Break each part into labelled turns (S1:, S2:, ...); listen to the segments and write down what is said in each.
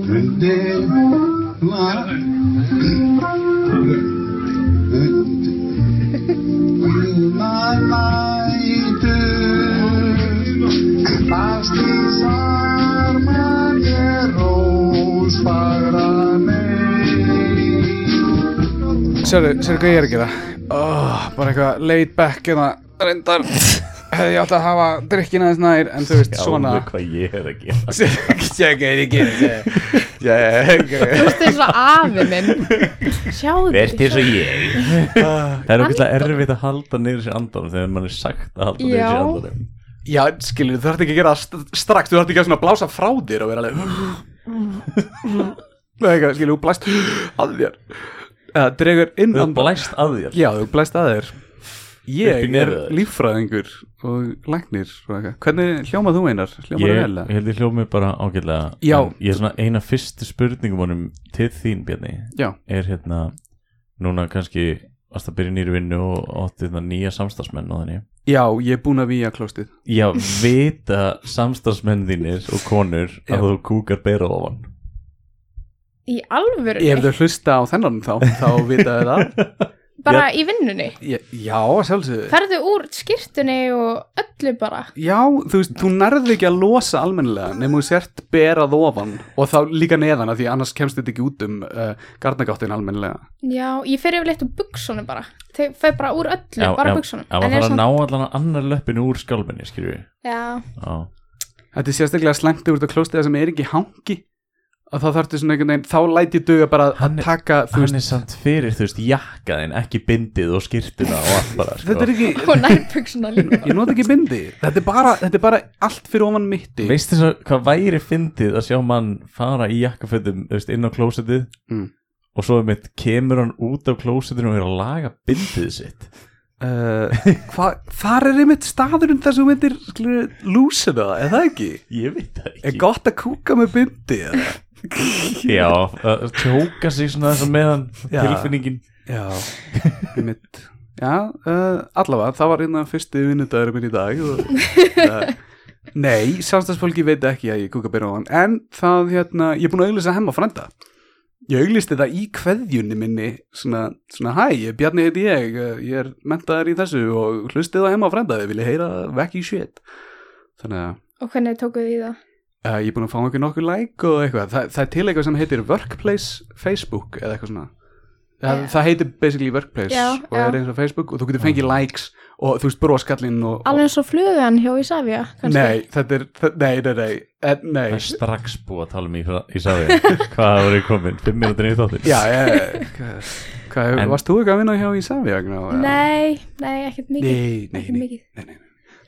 S1: Önde var.
S2: Sérðu, sérðu hvað ég er að gera oh, Bara eitthvað laid back eða reyndar Hefði ég átt að hafa drikkina þess nær En þú veist, svona
S3: Sjáðu hvað ég er að gera
S2: Sérðu hvað ég er að gera Sérðu hvað ég er að gera
S4: Þetta er svo afi minn Sjáðu
S3: Verð eins og ég Það er okkur erfitt að halda niður sér andanum þegar mann er sagt að halda niður
S4: Já.
S3: sér andanum
S5: Já, skilur, þú þarf ekki að gera það st- strax, þú þarf ekki að svona blása frá þér og vera alveg Nei, eitthvað, skilur, þú blæst að þér eða dregur inn
S3: Þú
S5: andann.
S3: blæst að þér
S5: Já, þú blæst að þér
S3: Upp í
S5: Ég er
S3: nefið á þér.
S5: líffræðingur og læknir og eitthvað. Hvernig hljómað þú einar? Hljómað
S3: Ég
S5: þú vel?
S3: ég held ég hljóð mig bara ágætlega
S5: Já.
S3: En Ég er svona eina fyrstu spurningum honum til þín Bjarni
S5: Já,
S3: er hérna núna kannski varst að byrja í nýri vinnu og átti þetta nýja samstagsmenn og þannig
S5: já, ég er búin að víja klóstið
S3: Já, vita samstagsmenn þínir og konur
S5: Já.
S3: að þú kúkar bera ofan
S4: Í alvöru
S5: Ef þau hlusta á þennan þá, þá vita þau það
S4: Bara í vinnunni
S5: Ég- Já, sjálfsögðu
S4: Ferðu úr skýrtunni og öllu bara
S5: Já, þú veist, þú nærði ekki að losa almennilega nema þú sért berað ofan og þá líka neðan að því annars kemst þetta ekki út um uh, garnagáttin almennilega
S4: Já, ég fer yfirleitt úr buksunum bara Þau fer bara úr öllu, bara buksunum
S3: Já,
S4: En
S3: maður
S4: er
S3: þarf að
S4: samt-
S3: ná allan að annar löppinu úr skálminni, skilju
S4: Já,
S3: Já,
S5: Þetta er sérstaklega slæmt ef þú ert að klósta það sem er ekki hangi að þá þarftu svona einhvern veginn, þá læt ég duga bara
S3: Hann
S5: að
S3: er-
S5: taka, þú veist,
S3: hann er samt fyrir, þú veist, jakkaðin ekki bindið og skýrtuna og allt bara sko.
S5: þetta er ekki
S4: og nær buksuna líka
S5: Ég nota ekki bindi Þetta er bara, þetta er bara allt fyrir ofan mitti
S3: Veistu svo hvað væri fyndið að sjá mann fara í jakkafötum þú veist, inn á klósetið
S5: Mm.
S3: og svo mitt kemur hann út af klósetinu og er að laga bindið sitt
S5: uh, hva, Þar er einmitt staðurinn þar sem þú myndir skilur, lúsa það, er það ekki?
S3: Ég veit það ekki
S5: Er gott að kúka með bindi? eða?
S3: Já, að tjóka sig svona þess að meðan
S5: Já.
S3: tilfinningin
S5: Já, einmitt Já, uh, allavega, það var hérna fyrsti vinnudagur minn í dag og, uh, Nei, samstagsfólki veit ekki að ég kúka byrja á hann En það, hérna, ég er búin að auglýsa hemma frænda Ég auglýsti það í kveðjunni minni Svona, svona hæ, Bjarni heiti ég uh, Ég er mentaður í þessu og hlustið á hemma frænda Þið vilja heyra vekki shit Þannig að
S4: Og hvernig tókuð þið í það?
S5: uh, ég er búin að fá einhver nokkur like og eitthvað Þa, Það er til eitthvað sem heitir Workplace Facebook eða eitthvað svona Það,
S4: Já.
S5: það heitir basically Workplace
S4: Já,
S5: og
S4: já.
S5: er eins og Facebook og þú getur fengið
S3: Ah.
S5: likes og þú veist broskallinn og,
S4: Alveg
S5: og
S4: eins og flugan hjá Ísafja
S5: Nei, þetta er, þa- nei, nei, nei, eh,
S3: Það
S5: nei.
S3: er strax búið að tala um í, í safi Hvað það voru komin, fimm minútur í þáttir
S5: Já, eh, hvað, hvað,
S3: En-
S5: varst þú ekki að vinna hjá í Savi?
S4: Nei, nei, ekkert mikið
S5: nei, nei,
S4: Ekki
S5: nei,
S4: mikið.
S5: nei, nei.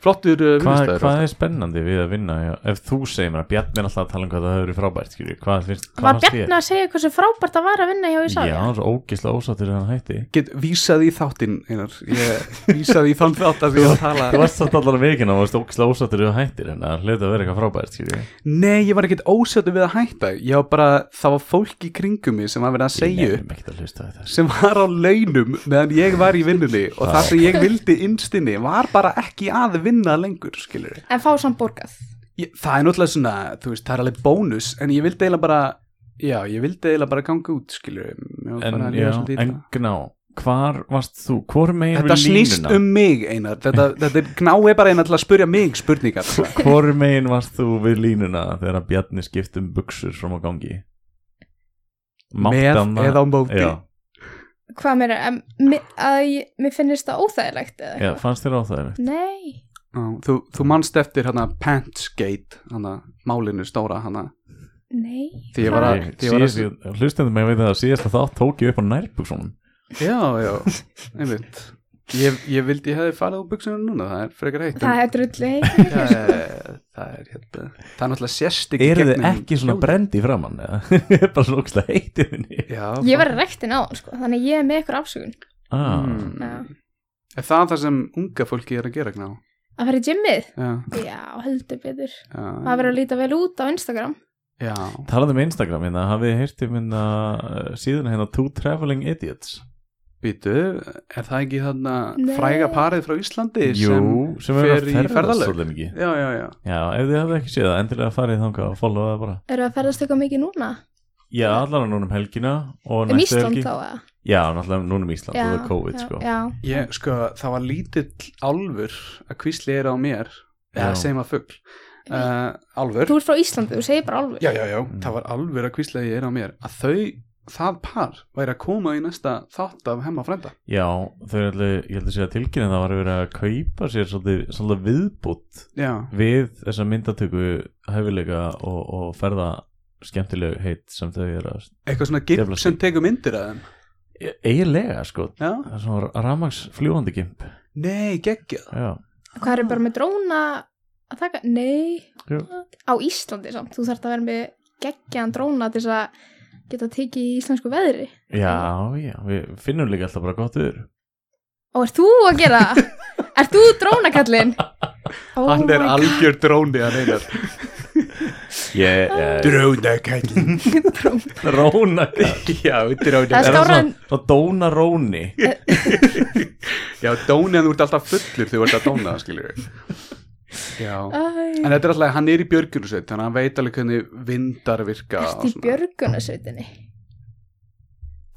S5: Flottur uh,
S3: Hvað,
S5: vinnustæður
S3: hvað er spennandi við að vinna já? ef þú segir mér að Bjarni er alltaf að tala um hvað það hefur verið frábært skilju, hvað finnst, hvað
S4: Var
S3: fannst þér?
S4: Bjarni að segja hversu frábært að vara að vinna hjá
S3: Já,
S4: Ísafja?
S3: hann er svo ógislega ósáttur þegar hann hætti
S5: Get vísað í þáttinn, einar Ég vísaði í þann þátt að því að tala
S3: Þú varst samt allar að vikina og varst ógislega ósáttur þegar hættir en það hlutið að vera eitthvað frábært skilju.
S5: Nei, ég var ekkert ósjötu við að hætta Ég var bara, það var fólk í kringum mig sem var verið að segja
S3: Ég
S5: upp
S3: nefnum ekkert að hlusta á þetta
S5: sem var á launum meðan ég var í vinnunni og það sem ég vildi innstinni var bara ekki að vinna lengur, skilur
S4: En fá samt borgað
S5: ég, Það er náttúrulega svona, þú veist, það er alveg bónus en ég vildi eiginlega bara, já, ég vildi eiginlega bara ganga út, skilur
S3: En, já, en gná, hvar varst þú, hvor megin
S5: Þetta
S3: við
S5: snýst
S3: línuna
S5: um mig, Einar Þetta, þetta gnái bara einar til að spurja mig spurningar
S3: Hvor megin varst þú við línuna þegar að Bjarni skipt um buksur frá að gangi
S5: Með eða á móti
S3: Já,
S4: Hvað meira, að, að ég, mér finnist það óþægilegt eða
S3: já,
S4: eitthvað?
S3: fannst þér á það
S4: Nei,
S5: Já, þú, þú manst eftir hana Pantsgate, hana málinu stóra hana
S4: nei
S5: Því ég var að- því ég var að-
S3: Hlustandi mig að veit að síðast að þá tók ég upp á nærbuksum
S5: Já, já, einmitt Ég, ég vildi ég hefði farið úr buksunum núna, það er frekar heitt en-
S4: Það er drullu
S5: það er, það er, hérna, það er náttúrulega sérst ekki
S3: Eru þið
S5: gegnum
S3: ekki svona
S5: hljóðið.
S3: brendi framann eða? Ég er bara svona ógislega heitið minni
S5: Já,
S4: Ég var í rektin á hann sko, þannig ég er með ykkur afsökun
S3: ah.
S4: Já.
S5: mm. Er það það sem unga fólki er að gera gná?
S4: Að fara í gymmið?
S5: Já,
S4: Já, heldur betur
S5: já,
S4: Það verður að líta vel út á Instagram
S5: já
S3: um, Talandi um Instagram hérna, hafið þið heyrtið minna síðan hérna Two Traveling hérna, Idiots
S5: Býtu, er það ekki þarna
S4: Nei.
S5: fræga parið frá Íslandi sem
S3: Jú, sem
S5: fer
S3: er að
S5: í
S3: ferðast
S5: ferðalög.
S3: svolítið mikið
S5: Já, já, já
S3: Já, ef þið hafið ekki séð það, endilega farið þangað og followa það bara
S4: Eru að ferðast eitthvað mikið núna?
S3: Já, allan núna um helgina og
S4: Um
S3: næstu
S4: Ísland
S3: helgi
S4: þá eða?
S3: Já, náttúrulega núna um Ísland, það er COVID
S4: já,
S3: sko
S4: Já,
S5: Ég, sko, það var lítill álfur að kvísli er á mér eða
S3: Já.
S5: segjum að fugl uh, Álfur
S4: þú ert frá Íslandi, þú segir bara alveg
S5: Já, já, já, það var álfur að kvísli er á mér að þau, það par væri að koma í næsta þátt af hemma frænda
S3: Já, þau er allir, ég held að segja tilkynna það var að vera að kaupa sér svolítið, svolítið viðbútt
S5: Já,
S3: við þessa myndatöku hæfileika og, og ferða skemmtileg heitt sem þau er að
S5: eitthvað svona gimp
S3: Djöfla
S5: sem
S3: skýt.
S5: tekur myndir að þeim
S3: E- eiginlega sko,
S5: Já,
S3: það er svona ramags fljúandi gimp
S5: nei, geggjað
S3: Já,
S4: Hvað eru bara með dróna að taka? Nei,
S3: Jú.
S4: á Íslandi samt Þú þarft að vera með geggjaðan dróna til þess að geta tekið í íslensku veðri
S3: já, já, við finnum líka alltaf bara gott viður
S4: Og ert þú að gera? það? ert þú drónakallinn? Oh
S5: Hann er
S4: my god.
S5: algjör dróni að reynar
S3: Ég, eh, ég,
S5: Drónakallin
S3: róna
S5: Já, dróni
S4: Það er skárra en-
S3: Svo dóna róni
S5: Já, dóni en þú ert alltaf fullur þegar þú ert að dóna það skilur við Já
S4: Æ,
S5: En þetta er alltaf, hann er í björgjörnusveit þannig að hann veit alveg hvernig vindar virka
S4: Ert í björgunasveitinni?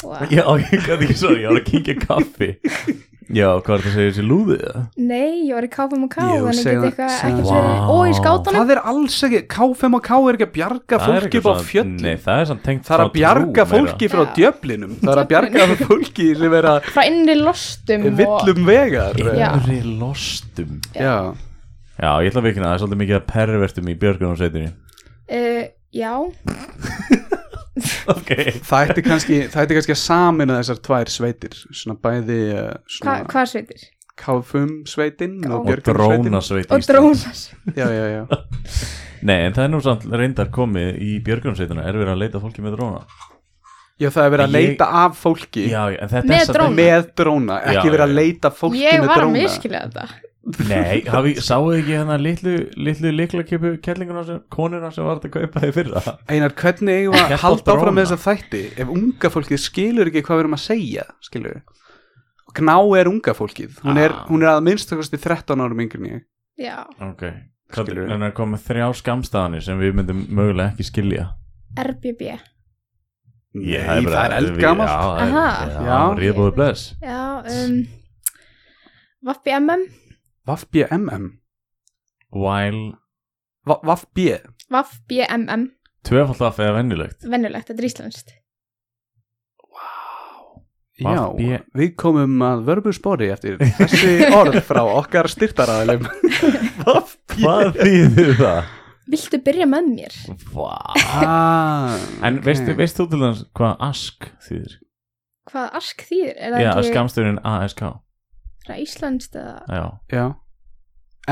S4: Wow.
S3: Já, ég gæti ekki svo, ég var að kynkja kaffi Já, hvað er það að segja þessi lúðið það?
S4: Nei, ég var í KFM og K
S5: Jú,
S4: Þannig
S5: segðu-
S4: get eitthvað
S5: segðu-
S4: ekkert verið Og í
S3: Vá.
S4: skátunum
S5: Það er alls ekki, KFM og K er ekki að bjarga
S3: Það er
S5: fólki
S3: eitthvað
S5: upp á
S3: svona- Nei,
S5: fjöllum
S3: það er samt tengt
S5: Það er að
S3: svona
S5: bjarga
S3: trú meira.
S5: fólki frá
S4: Já.
S5: djöflinum Það er að bjarga fólki sem er að
S4: frá innri lostum og...
S5: villum vegar
S4: Já.
S3: Innri lostum
S5: Já.
S3: Já, ég ætla að vikna, það er svolítið mikið að pervertum í björgunumsveitinni
S4: Uh, já,
S3: Ok
S5: Það ætti kannski, það ætti kannski að samina þessar tvær sveitir Svona bæði eh,
S4: hva,
S5: svona
S4: hvað sveitir?
S5: KFM sveitin og
S3: Og
S5: björgjörnusveitin
S3: drónasveit
S4: Og
S3: Íslands.
S4: drónas
S5: Já, já, já
S3: Nei, en það er nú samt reyndar komið í björgunumsveitina Er verið að leita fólki með dróna
S5: Já, það er verið að
S3: Ég-
S5: leita af fólki
S3: Já, já, en þetta
S4: Með
S3: er samt-
S4: dróna.
S5: með dróna, ekki
S3: Já,
S5: verið að
S3: já, já.
S5: leita fólki
S4: Ég
S5: með
S4: var að
S5: dróna
S4: miskilja þetta
S3: Nei, hafi, sáu þið ekki hana litlu, litlu liklakipu kellinguna sem, konuna sem var að kaupa þið fyrra
S5: Einar, hvernig eigum við að
S3: Hélt á
S5: halda áfram
S3: dróna.
S5: með þessa þætti ef unga fólkið skilur ekki hvað við erum að segja skilur við Gná er unga fólkið, hún er,
S3: Ah.
S5: hún er að minnstakosti 13 árum yngri en ég
S4: Já,
S3: Ok,
S5: Skilurðu?
S3: hann er komið þrjá skamstaðanir sem við myndum mögulega ekki skilja
S4: RBB
S5: Nei, það er eldgamalt
S3: Já, það
S4: Aha.
S3: er- já,
S5: Já.
S3: ríðbúið bless
S4: Já, um Vappi MM
S5: Vaff-BMM,
S3: While
S5: Vaff-B
S4: Vappi MM,
S3: tvefaldaf eða vennilegt
S4: venjulegt, þetta er íslenskt
S5: Já,
S3: Vaff-B.
S5: við komum að vörbu spori eftir þessi orð frá okkar styrtaraðilum
S3: Hvað þýðir það?
S4: Viltu byrja með mér?
S3: Vá
S5: ah,
S3: En
S5: ok.
S3: veistu, veistu þú til þess hvað ask þýðir?
S4: Hvað ask þýðir? Er
S3: Já,
S4: það ekki
S3: skamstöðurinn ASK
S4: skam... íslenskt eða
S3: Já,
S5: Já,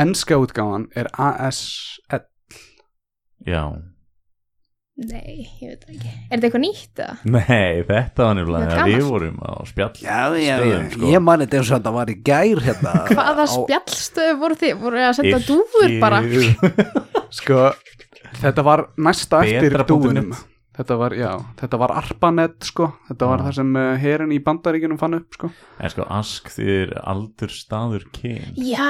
S5: enska útgáfan er ASL
S3: já
S4: Nei, ég veit það ekki Er þetta eitthvað nýtt eða?
S3: Nei, þetta var nefnilega
S4: Já,
S3: þegar við
S4: gamalt.
S3: vorum á spjall
S6: Já, já,
S3: stöðum,
S6: já,
S3: sko.
S6: ég man þetta eins og þetta var í gær hérna
S4: Hvaða
S6: á-
S4: spjallstöðu voru þið? Voru þið að senda dúfur bara?
S5: Sko, þetta var næsta eftir
S3: Betra punktur
S5: dúinum
S3: net.
S5: Þetta var, já, þetta var ARPANET sko Þetta var
S3: Já.
S5: það sem uh, herin í bandaríkinum fann upp sko
S3: En sko, ask þýðir aldur staður kyn
S4: Já,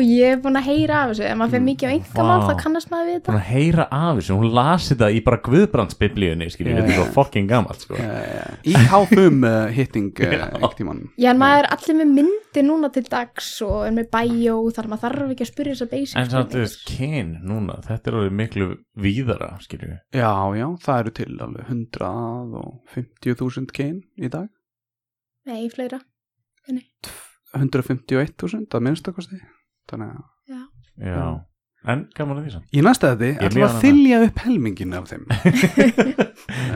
S4: ég er búin að heyra af þessu Ef maður fyrir mikið á engamál
S3: Mm, Vá.
S4: þá kannast maður við þetta
S3: Búin að heyra af þessu, hún lasi þetta í bara Guðbrandsbiblíunni, skiljum,
S5: Já.
S3: þetta er svo fucking gamalt sko.
S5: uh, Í KFUM uh, hitting uh, einhvern tímann
S4: Já, en maður er allir með myndi núna til dags og er með bæjó þar maður þarf ekki að spyrja þess að basic
S3: En samt
S4: spurningar.
S3: þess kyn núna, þetta er alveg miklu víðara, skiljum
S5: Já, já, það eru til alveg 150.000 kein í dag
S4: Nei, fleira
S5: 151.000 að minnstakosti Þannig að
S3: Já, en gaman að því samt
S5: í næsta þetta
S3: Ég
S5: ætlum við
S3: mjög
S5: að þylja upp helmingin af þeim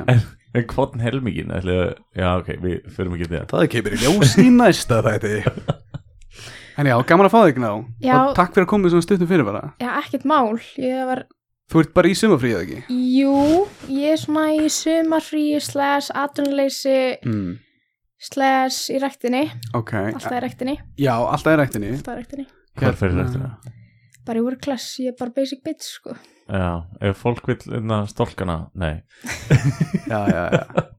S3: En, en hvort helmingin, ætli að, já ok, við förum ekki til það
S5: Það kemur í ljós í næsta þetta En já, gaman að fá þig ná
S4: Já.
S5: og takk fyrir að koma með svona stuttum fyrirvara
S4: Já, ekkert mál Ég var,
S5: Þú ert bara í sumafríð ekki?
S4: jú, ég er svona í sumarfrí slash atvinnuleysi
S5: Mm.
S4: slash í rektinni
S5: Ok,
S4: Alltaf í rektinni,
S5: já, alltaf er rættinni
S4: alltaf í rektinni
S3: Hvað fyrir
S5: Hérna.
S3: þetta?
S4: Bara í workclass, ég er bara basic bitch sko
S3: Já, ef fólk vil hérna, stólkana, nei
S5: Já, já, já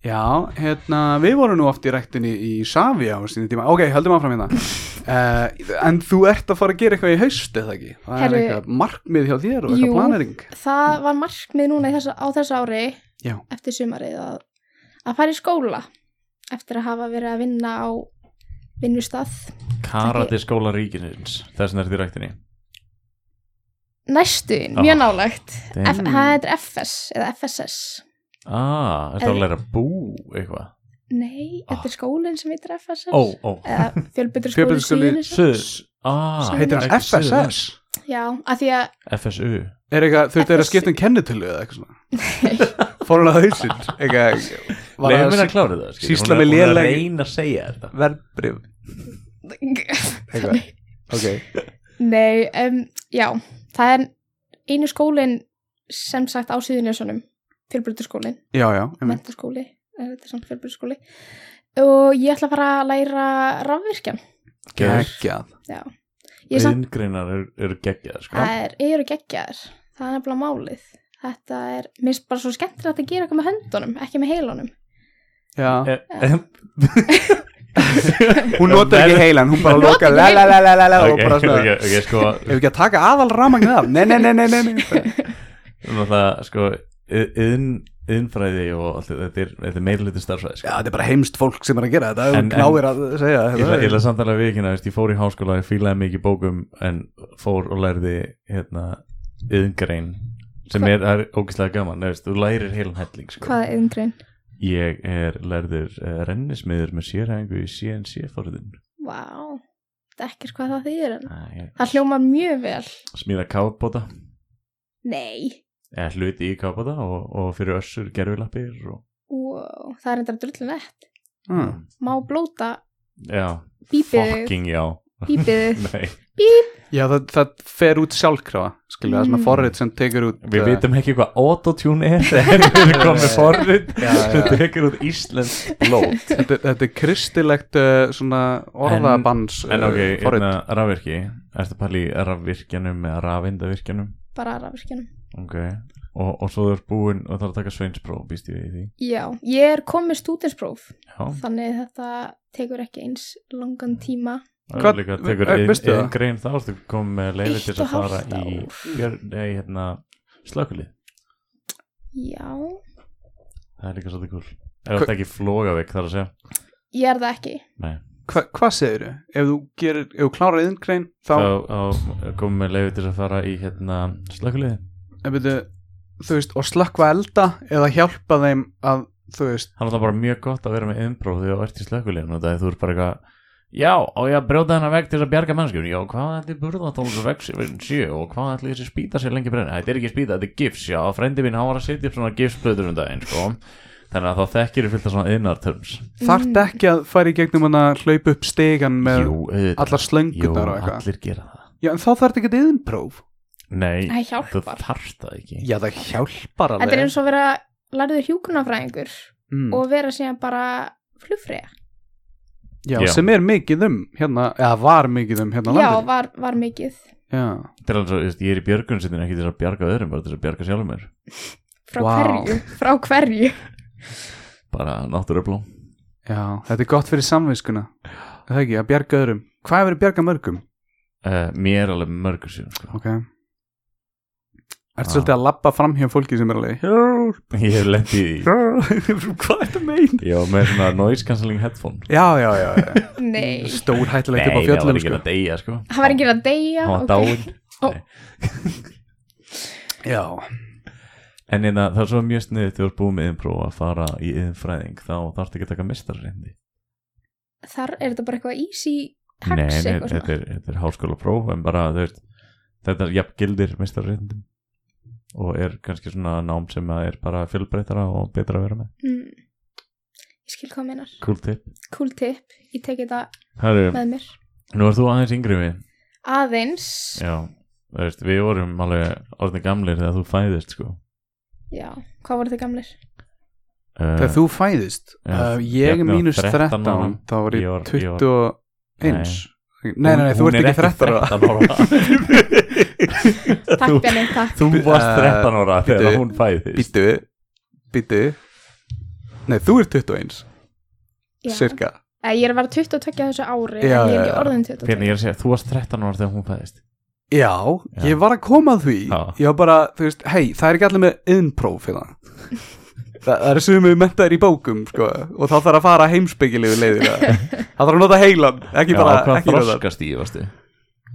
S5: Já, hérna, við vorum nú oft í ræktinni í Savi á sínu tíma Ok, höldum áfram hérna uh, En þú ert að fara að gera eitthvað í haust, eða ekki? Það
S4: Herru-
S5: er eitthvað markmið hjá þér og eitthvað
S4: Jú.
S5: planering
S4: Það var markmið núna í þessa, á þessu ári
S5: Já.
S4: eftir sumarið að, að fara í skóla eftir að hafa verið að vinna á vinnustað
S3: Karate skóla ríkisins Þess vegna er því ræktinni
S4: næstuðin,
S3: Ah.
S4: mjög nálægt
S3: Damn.
S4: F, það er FS eða FSS
S3: Ah, ertu að
S4: Eða-
S3: læra bú eitthvað?
S4: nei, þetta er skólinn sem heitir FSS
S3: Ó, ó
S4: eða fjölbyttur skóli
S5: Fjölbrautaskóli
S3: Suður Ah,
S4: Suður-
S5: Heitir hann
S3: ekki Suður-
S5: FSS?
S4: já, að því að
S3: FSU
S5: Er eitthvað, þurftu þeir að
S4: FSS?
S5: skipta um kennitölu eða eitthvað svona? Fór hún að hausinn? Eitthvað, var
S3: Leifum
S5: það
S3: minna að klára það skilur.
S5: sýsla
S3: Hún er-
S5: með
S3: Hún er að
S5: léleg-
S3: reyna að segja þetta
S5: verbrif? Eitthvað, ok
S4: Nei, um, já, það er einu skólinn sem sagt á Suðunjössunum, fjölbrytaskólinn,
S5: Já, já, einmitt.
S4: mentaskóli, er þetta er samt fjölbrytaskóli og ég ætla að fara að læra rafvirkjan,
S5: geggjað
S4: já. Ég samt,
S3: Íðngreinar eru er geggjað sko.
S4: það er, eru geggjaðar, það er nefnilega málið. Þetta er, minnst bara svo skemmtilegt að gera eitthvað með höndunum, ekki með heilunum.
S5: Já,
S3: Eh, eh,
S5: hún notar ekki heilan, hún bara loka
S4: ekki
S5: la la la la la la og
S3: Ok,
S5: bara
S3: ok,
S5: svona
S3: ok, sko
S5: Ef ekki að taka aðal rafmagnið af, nei, nei, nei, nei, nei, nei.
S3: Náttúrulega, sko ið- iðn- Iðnfræði og allt þetta Þetta er, þetta er meirlítið starfræði
S5: Já,
S3: sko.
S5: þetta er bara heimst fólk sem er að gera þetta
S3: En-
S5: en, Náir að segja
S3: Ég
S5: þetta
S3: ætla- ég ætla samt alveg að viðkynna, veist, ég fór í háskóla, ég fílaði mikið í bókum en fór og lærði hérna, yðngrein sem er, er ógeðslega gaman, neðvist, þú lærir heilum helling sko.
S4: Hvað er yngrein?
S3: Ég er lærður uh, rennismiður með sérhengu í CNC-forðin.
S4: Vá, þetta er ekkert hvað það þýðir en
S5: Ah,
S4: það
S3: Það
S4: hljómar mjög vel.
S3: Smíða kápbóta,
S4: Nei,
S3: eða hluti í kápbóta og, og fyrir össur gerfilappir og...
S4: wow, það er enda drullinett.
S5: mm.
S4: Má blóta
S3: Já,
S4: bíbið þig,
S3: fucking já.
S4: bíbið þig.
S3: Nei,
S5: Já, það, það fer út sjálfkrafa Skilja, það er svona
S4: Mm.
S5: forrið sem tekur út
S3: við
S5: eh,
S3: vitum ekki hvað autotune er, þegar við erum komið forðin
S5: Já, já.
S3: sem tekur út Íslands blót.
S5: þetta, þetta er kristilegt uh, svona orðabans
S3: En ok,
S5: eh, forrit.
S3: hérna rafvirki Ertu að pæla í rafvirkjanum eða rafindavirkjanum
S4: bara rafvirkjanum.
S3: Ok Og, og svo þú ert búinn og þarf að taka sveinspróf Býst ég við í því
S4: Já, ég er komið stúdinspróf
S3: Já,
S4: þannig að þetta tekur ekki eins langan tíma
S3: það
S5: Hvað-
S3: er líka tekur
S5: eh,
S3: ein,
S5: veistu það?
S3: ein grein þá Þú kom með leiði til
S4: Eitt og
S3: að fara
S4: hálft
S3: í
S4: ár.
S3: fjör, nei, hérna, Slökulið
S4: Já,
S3: Það er líka svolítið kúl Ef þú ert ekki flógavik þar að segja
S4: ég er það ekki
S3: Nei,
S5: Hva, Hvað segir þau? Ef þú, gerir, ef þú klárar yðingrein þá,
S3: þá, þá komum með leiði til að fara í hérna, slökulið
S5: þá byrju, eh, þú veist, og slökkva elda eða hjálpa þeim að þú veist,
S3: Það er náttúrulega bara mjög gott að vera með umbróð þegar þú ert í slökuleginu og það er þú ert bara eitthvað Já, og ég að brjóta hennar veg til þess að bjarga mennskjum Já, hvað ætli burðatóls og veg séu og hvað ætli þessi spýta sér lengi brenna Þetta er ekki spýta, þetta er gifs, já, frendi mín hann var að setja upp svona gifsplötur um daginn, sko Þannig að þá þekkir þú fylgta svona innartöms
S5: þarft ekki að fara í gegnum hana hlaupa upp stegan með
S3: Jú, auðvitað
S5: allar
S3: Jú,
S5: slöngunar og eitthvað
S3: allir gera það
S5: Já, en þá þarft ekki að yðinpróf
S3: Nei,
S4: Það
S3: þú
S4: hjálpar
S3: þarft það ekki
S5: Já, það hjálpar
S4: Þetta er eins og að vera lærður hjúkunarfræðingur
S5: mm.
S4: og vera síðan bara flugfræða
S5: Já,
S3: Já.
S5: sem er mikið um hérna, eða var mikið um hérna á
S4: Já,
S5: landinu.
S4: var, var mikið
S5: Já,
S3: Þetta er alveg svo, þú veist, ég er í björgunsinni ekki til þess að bjarga öðrum, bara til þess að bjarga sjálfum mér
S4: frá
S5: Vá.
S4: hverju, frá hverju
S3: Bara náttúruöflum.
S5: já, þetta er gott fyrir samviskuna Er Það ekki, að bjarga öðrum Hvað hefur bjarga mörgum?
S3: Eh, mér alveg mörgur síðan, sko.
S5: Ok Ertu
S3: Ah.
S5: svolítið að labba fram hjá fólki sem er alveg
S3: Ég hef lent í því.
S5: Hvað er þetta mein?
S3: Já, með svona noise cancelling headphone
S5: Já, já, já, já.
S4: Nei,
S5: Stór hættulegt upp á
S3: það var
S5: fjöllum
S3: ekki
S5: sko.
S3: að deyja sko
S4: það var enginn að deyja
S3: Hann var
S4: ok.
S3: dáinn.
S4: Ó.
S3: Nei.
S5: Já,
S3: En einna, það er svo mjög sniðið þegar þú ert búið með innpró að fara í innfræðing þá þarfst ekki að taka mistarreindi
S4: Þar er þetta bara eitthvað easy
S3: Nei,
S4: hacks
S3: nei,
S4: eitthvað
S3: þetta
S4: svona
S3: er, þetta er háskóla próf en bara þú veist þetta er jafn gildir mistarreindum og er kannski svona nám sem að er bara fjölbreytara og betra að vera með
S4: mm. Ég skil hvað þú meinar
S3: Cool tip
S4: Cool tip, ég teki þetta
S3: Herru,
S4: með mér
S3: nú ert þú aðeins yngri við
S4: Aðeins,
S3: Já, þú veist, við vorum alveg orðin gamlir þegar þú fæðist sko
S4: já, hvað voru þið gamlir?
S3: Eh,
S5: þegar þú fæðist
S3: Já,
S5: uh, Ég
S3: Bjarni var
S5: mínus
S3: 13 ára.
S5: 13 Þá var
S3: Ég
S5: ég
S3: var- ég var-
S5: 21 Nei, nei, nei, þú ert
S3: Hún- hún
S5: ekki 13 ára
S3: ára
S4: Takk Bjarni, takk
S3: Þú varst
S5: Eh,
S3: 13 ára
S5: bíddu,
S3: þegar hún fæðist
S5: Býtu, býtu Nei, þú ert 21,
S4: Já.
S5: cirka
S4: Eh, Ég er að vera 22 þessu ári
S5: Já,
S4: en
S5: já,
S4: ég er ekki
S5: já.
S4: orðin
S3: Fyrir
S4: 22
S3: ég er að segja, þú varst 13 ára þegar hún fæðist
S5: Já,
S3: Já.
S5: ég var að koma að því
S3: Já.
S5: Ég var bara, þú veist, hei, það er ekki allir með innpróf fyrir það Það eru sumið mentaðir í bókum, sko Og þá þarf að fara heimspekilegu leiðir að- Það þarf að nota heilan, ekki
S3: Já,
S5: bara,
S3: hvað
S5: ekki nota
S3: þroskast í, varstu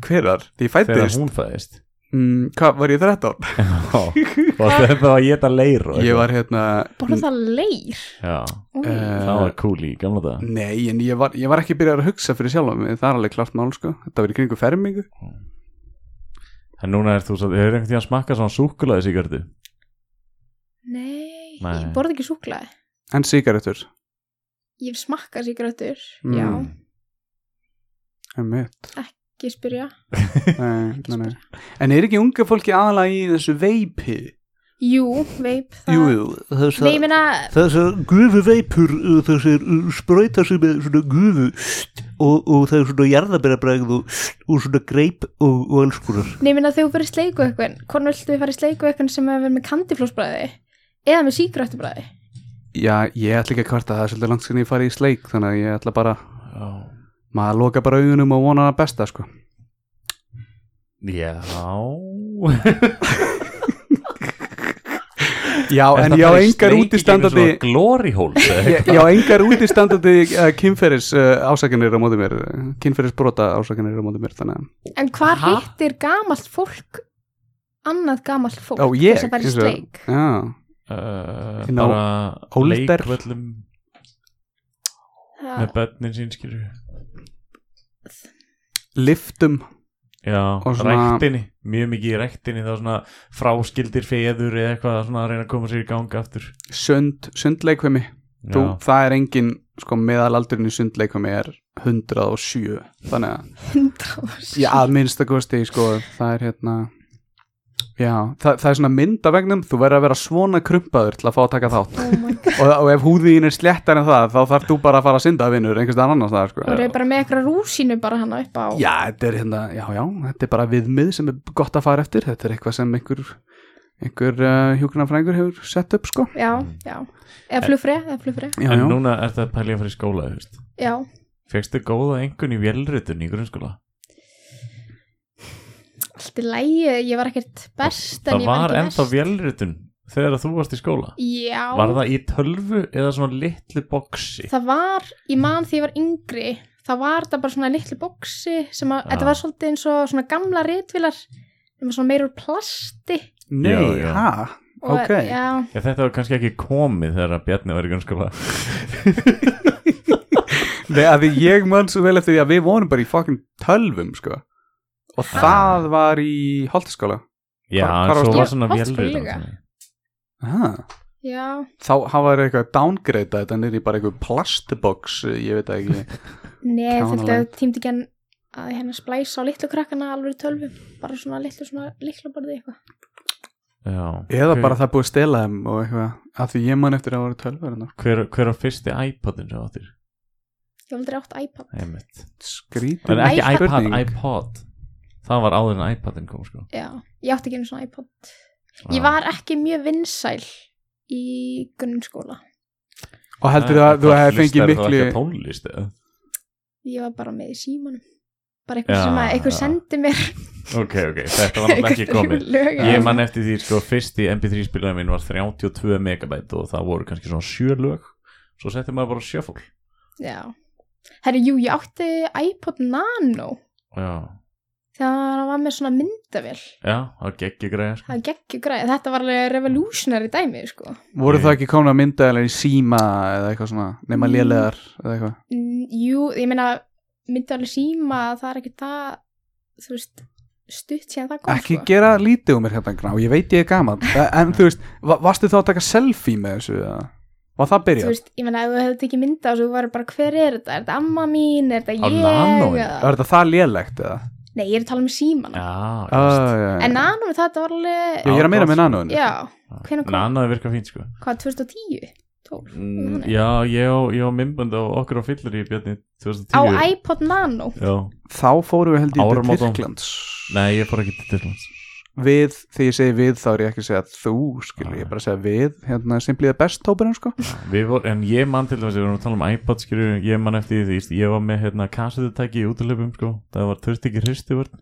S5: Hver var? Því ég
S3: Þegar
S5: fættist
S3: hún fæðist
S5: mm, Hvað, var ég 13?
S3: Og það er bara að geta leir og
S5: Ég
S3: eitthvað.
S5: var hérna
S4: Borða leir
S3: Já,
S4: Új.
S3: það
S5: uh,
S3: var cool í gamla dag
S5: Nei, en ég var, ég var ekki byrjað að hugsa fyrir sjálf mig Það er alveg klart mál, sko Þetta var í kringu fermingu
S3: En núna er þú svo, hefur einhvern tíðan smakkað svona súkulaði sigardu
S4: Nei,
S3: Nei.
S4: ég borða ekki súklaði
S5: En sigarettur
S4: Ég hef smakkað sigrötur
S5: Mm.
S4: Já,
S5: En mitt
S4: ekki spyrja
S5: nei, nei, nei. En er ekki unga fólki aðalega í þessu veipi?
S4: Jú, veip það
S5: Jú, jú
S4: Nei, ég meina,
S6: Þessar gufu veipur, uh, þessir uh, sprauta sem er svona gufu og, og það er svona jarðabirabræð og, og svona greip og, og alls konar.
S4: nei, ég meina þegar þú fyrir sleiku eitthvað Hvern viltu fara í sleiku eitthvað sem hefur verið með kandiflósbræði Eða með sígröttubræði
S5: Já, ég ætla ekki að kvarta það er svolítið langt sinni ég farið í sleik Þannig að ég ætla bara
S3: Já,
S5: Maður loka bara augunum og vonar að besta, sko
S3: já.
S5: Já, en ég á engar útistandandi
S3: Glory holes eða
S5: Ég, ég á engar útistandandi uh, kynferðis uh, ásakanir á móti mér kynferðis brota ásakanir á móti mér þannig að
S4: En hvar
S3: Ha?
S4: hittir gamalt fólk Annað gamalt fólk
S5: Já, ég,
S4: Þess að fara í
S5: eins og-
S4: sleik
S5: já,
S3: uh,
S5: Inn á
S3: bara
S5: Hólder.
S3: leikvöllum
S4: Það-
S3: með börnin sín skilur
S5: liftum
S3: já,
S5: Og svona-
S3: ræktinni, mjög mikið í ræktinni þá svona fráskildir feður eða eitthvað svona að reyna að koma sér í gang aftur
S5: sund, sundleikvimi Þú,
S3: já,
S5: það er engin, sko, meðalaldurinn í sundleikvimi er 107 þannig að,
S4: 100%.
S5: já, að minnsta kosti sko, það er hérna já, það, það er svona mynd af vegnum þú verður að vera svona krumpaður til að fá að taka þátt
S4: Oh my god.
S5: og, og ef húðin er sléttar en það þá þarf þú bara að fara að synda að vinnur einhvers staðar annars það,
S4: Þú
S5: sko
S4: eru bara með eitthvað rúsínu bara hana upp á
S5: já, þetta er hérna, já, já, þetta er bara viðmið sem er gott að fara eftir, þetta er eitthvað sem einhver, einhver uh, hjúknarfrængur hefur sett upp, sko
S4: já,
S3: Mm.
S4: já. Eða flugfrið, eða flugfrið
S5: já,
S3: en
S5: já,
S3: núna ertu að pælja að fara í skóla þú veist.
S4: Já,
S3: fegstu góða engun í vélritun í grunnskóla
S4: allt í lægi, ég var ekkert best en
S3: það
S4: ég var
S3: var
S4: ekki
S3: ennþá
S4: verst.
S3: vélritun þegar þú varst í skóla
S4: Já,
S3: var það í tölvu eða svona litlu boksi
S4: það var, ég man því ég var yngri Það var það bara svona litlu boksi sem að,
S3: Já.
S4: þetta var svolítið eins og svona gamla ritvilar sem var svona meirur plasti
S5: nei,
S3: Já, já.
S5: ha
S4: og,
S5: Ok.
S4: Já,
S3: Já, þetta var kannski ekki komið þegar að Bjarni var í grunnskóla
S5: Nei, að því ég man svo vel eftir því að við vorum bara í fucking tölvum, sko. Og
S3: Ah.
S5: það var í holtaskóla.
S3: Já,
S5: Hvar- hvar
S3: en svo
S5: varstu?
S3: var svona
S4: Ég- Holtsskóla
S3: vélritun
S4: líka.
S3: svona.
S5: Aha.
S3: Ah.
S4: já,
S5: Þá hafa þeir eitthvað downgrade þetta niður í bara eitthvað plastbox, ég veit það ekki.
S4: nei, þetta
S5: Kjánalegt.
S4: tímdi ekki en að hérna splæsa á litlu krakkana alveg í tölvu, bara svona litlu svona litlu borðið eitthvað
S3: Já,
S5: Eða
S3: ok.
S5: bara það búið að stela þeim og eitthvað. Að því ég man eftir að það voru tölvur hennar.
S3: hver, hver var fyrsti iPodin sem þú áttir?
S4: Ég hef aldrei átt iPad
S3: Einmitt.
S5: Skrítið.
S3: En ekki iPad,
S5: spurning.
S3: iPod Það var áður en iPadin kom sko
S4: Já, ég átti ekki einu svona iPod.
S3: Já.
S4: Ég var ekki mjög vinsæl í grunnskóla.
S5: Og
S3: Ah.
S5: heldur það að þú hefði fengið
S3: Tónlist, er
S5: miklu...
S3: það ekki tónlist eða?
S4: Ég var bara með í símanum. Bara eitthvað
S3: Já.
S4: sem að eitthvað sendi mér.
S3: Ok, ok, þetta var náttúrulega ekki komið
S4: Lög,
S3: Ég man eftir því sko fyrsti MP3 spilaði minn var 32 megabæt og það voru kannski svona sjö lög Svo setti maður bara á shuffle
S4: Já. Herri, jú, ég átti iPod Nano.
S3: Já,
S4: Þegar hann var með svona myndavél.
S3: já það geggjur greið sko.
S4: Það geggju greið. Þetta var alveg revolutionary dæmið, sko.
S5: Voru það ekki komin að mynda eða í síma eða eitthvað svona,
S3: Mm.
S5: nema lélegar eða eitthvað.
S4: Mm, Jú, ég meina, myndavél í síma, það er ekki það, þú veist, stutt síðan það kom,
S5: Ekki
S4: sko.
S5: gera lítið um mér hérna grá, ég veit ég er gaman. En þú veist, va- varstu þá að taka selfie með þessu eða? Var það
S4: Þú
S5: byrjað?
S4: veist, ég meina, ef þú hefði ekki mynda og þú væri bara, hver er þetta? Er þetta amma mín? Er þetta
S3: Á
S4: ég?
S3: nanóinu?
S4: Eða-
S5: Er þetta það lélegt eða?
S4: Nei, ég er að tala um símana.
S5: Ah,
S3: Já, uh,
S5: já, já.
S4: En nanóinu þetta var alveg,
S5: Já, ég er að meina með nanóin
S4: já, hvenær kom,
S3: Nannaði virka fínt sko
S4: hvað, 2010? 12?
S3: Mm,
S4: Þannig.
S3: Já, ég á, ég á myndband á okkur á fyllir í Bjarni 2010
S4: Á iPod Nano.
S3: Já,
S5: Þá fórum við held ég til
S3: Áramótum.
S5: Tyrklands
S3: nei, ég fór ekki til Tyrklands
S5: við, þegar ég segi við þá er ég ekki að segja þú, skilur, ég er bara að segja við hérna, simpliða best hópurinn, sko
S3: Við voru, en ég man til þess að við vorum að tala um iPod skilju, ég man eftir því, því ég var með hérna kassetutæki í útlöpum sko, það var törst ekki hristi vörn,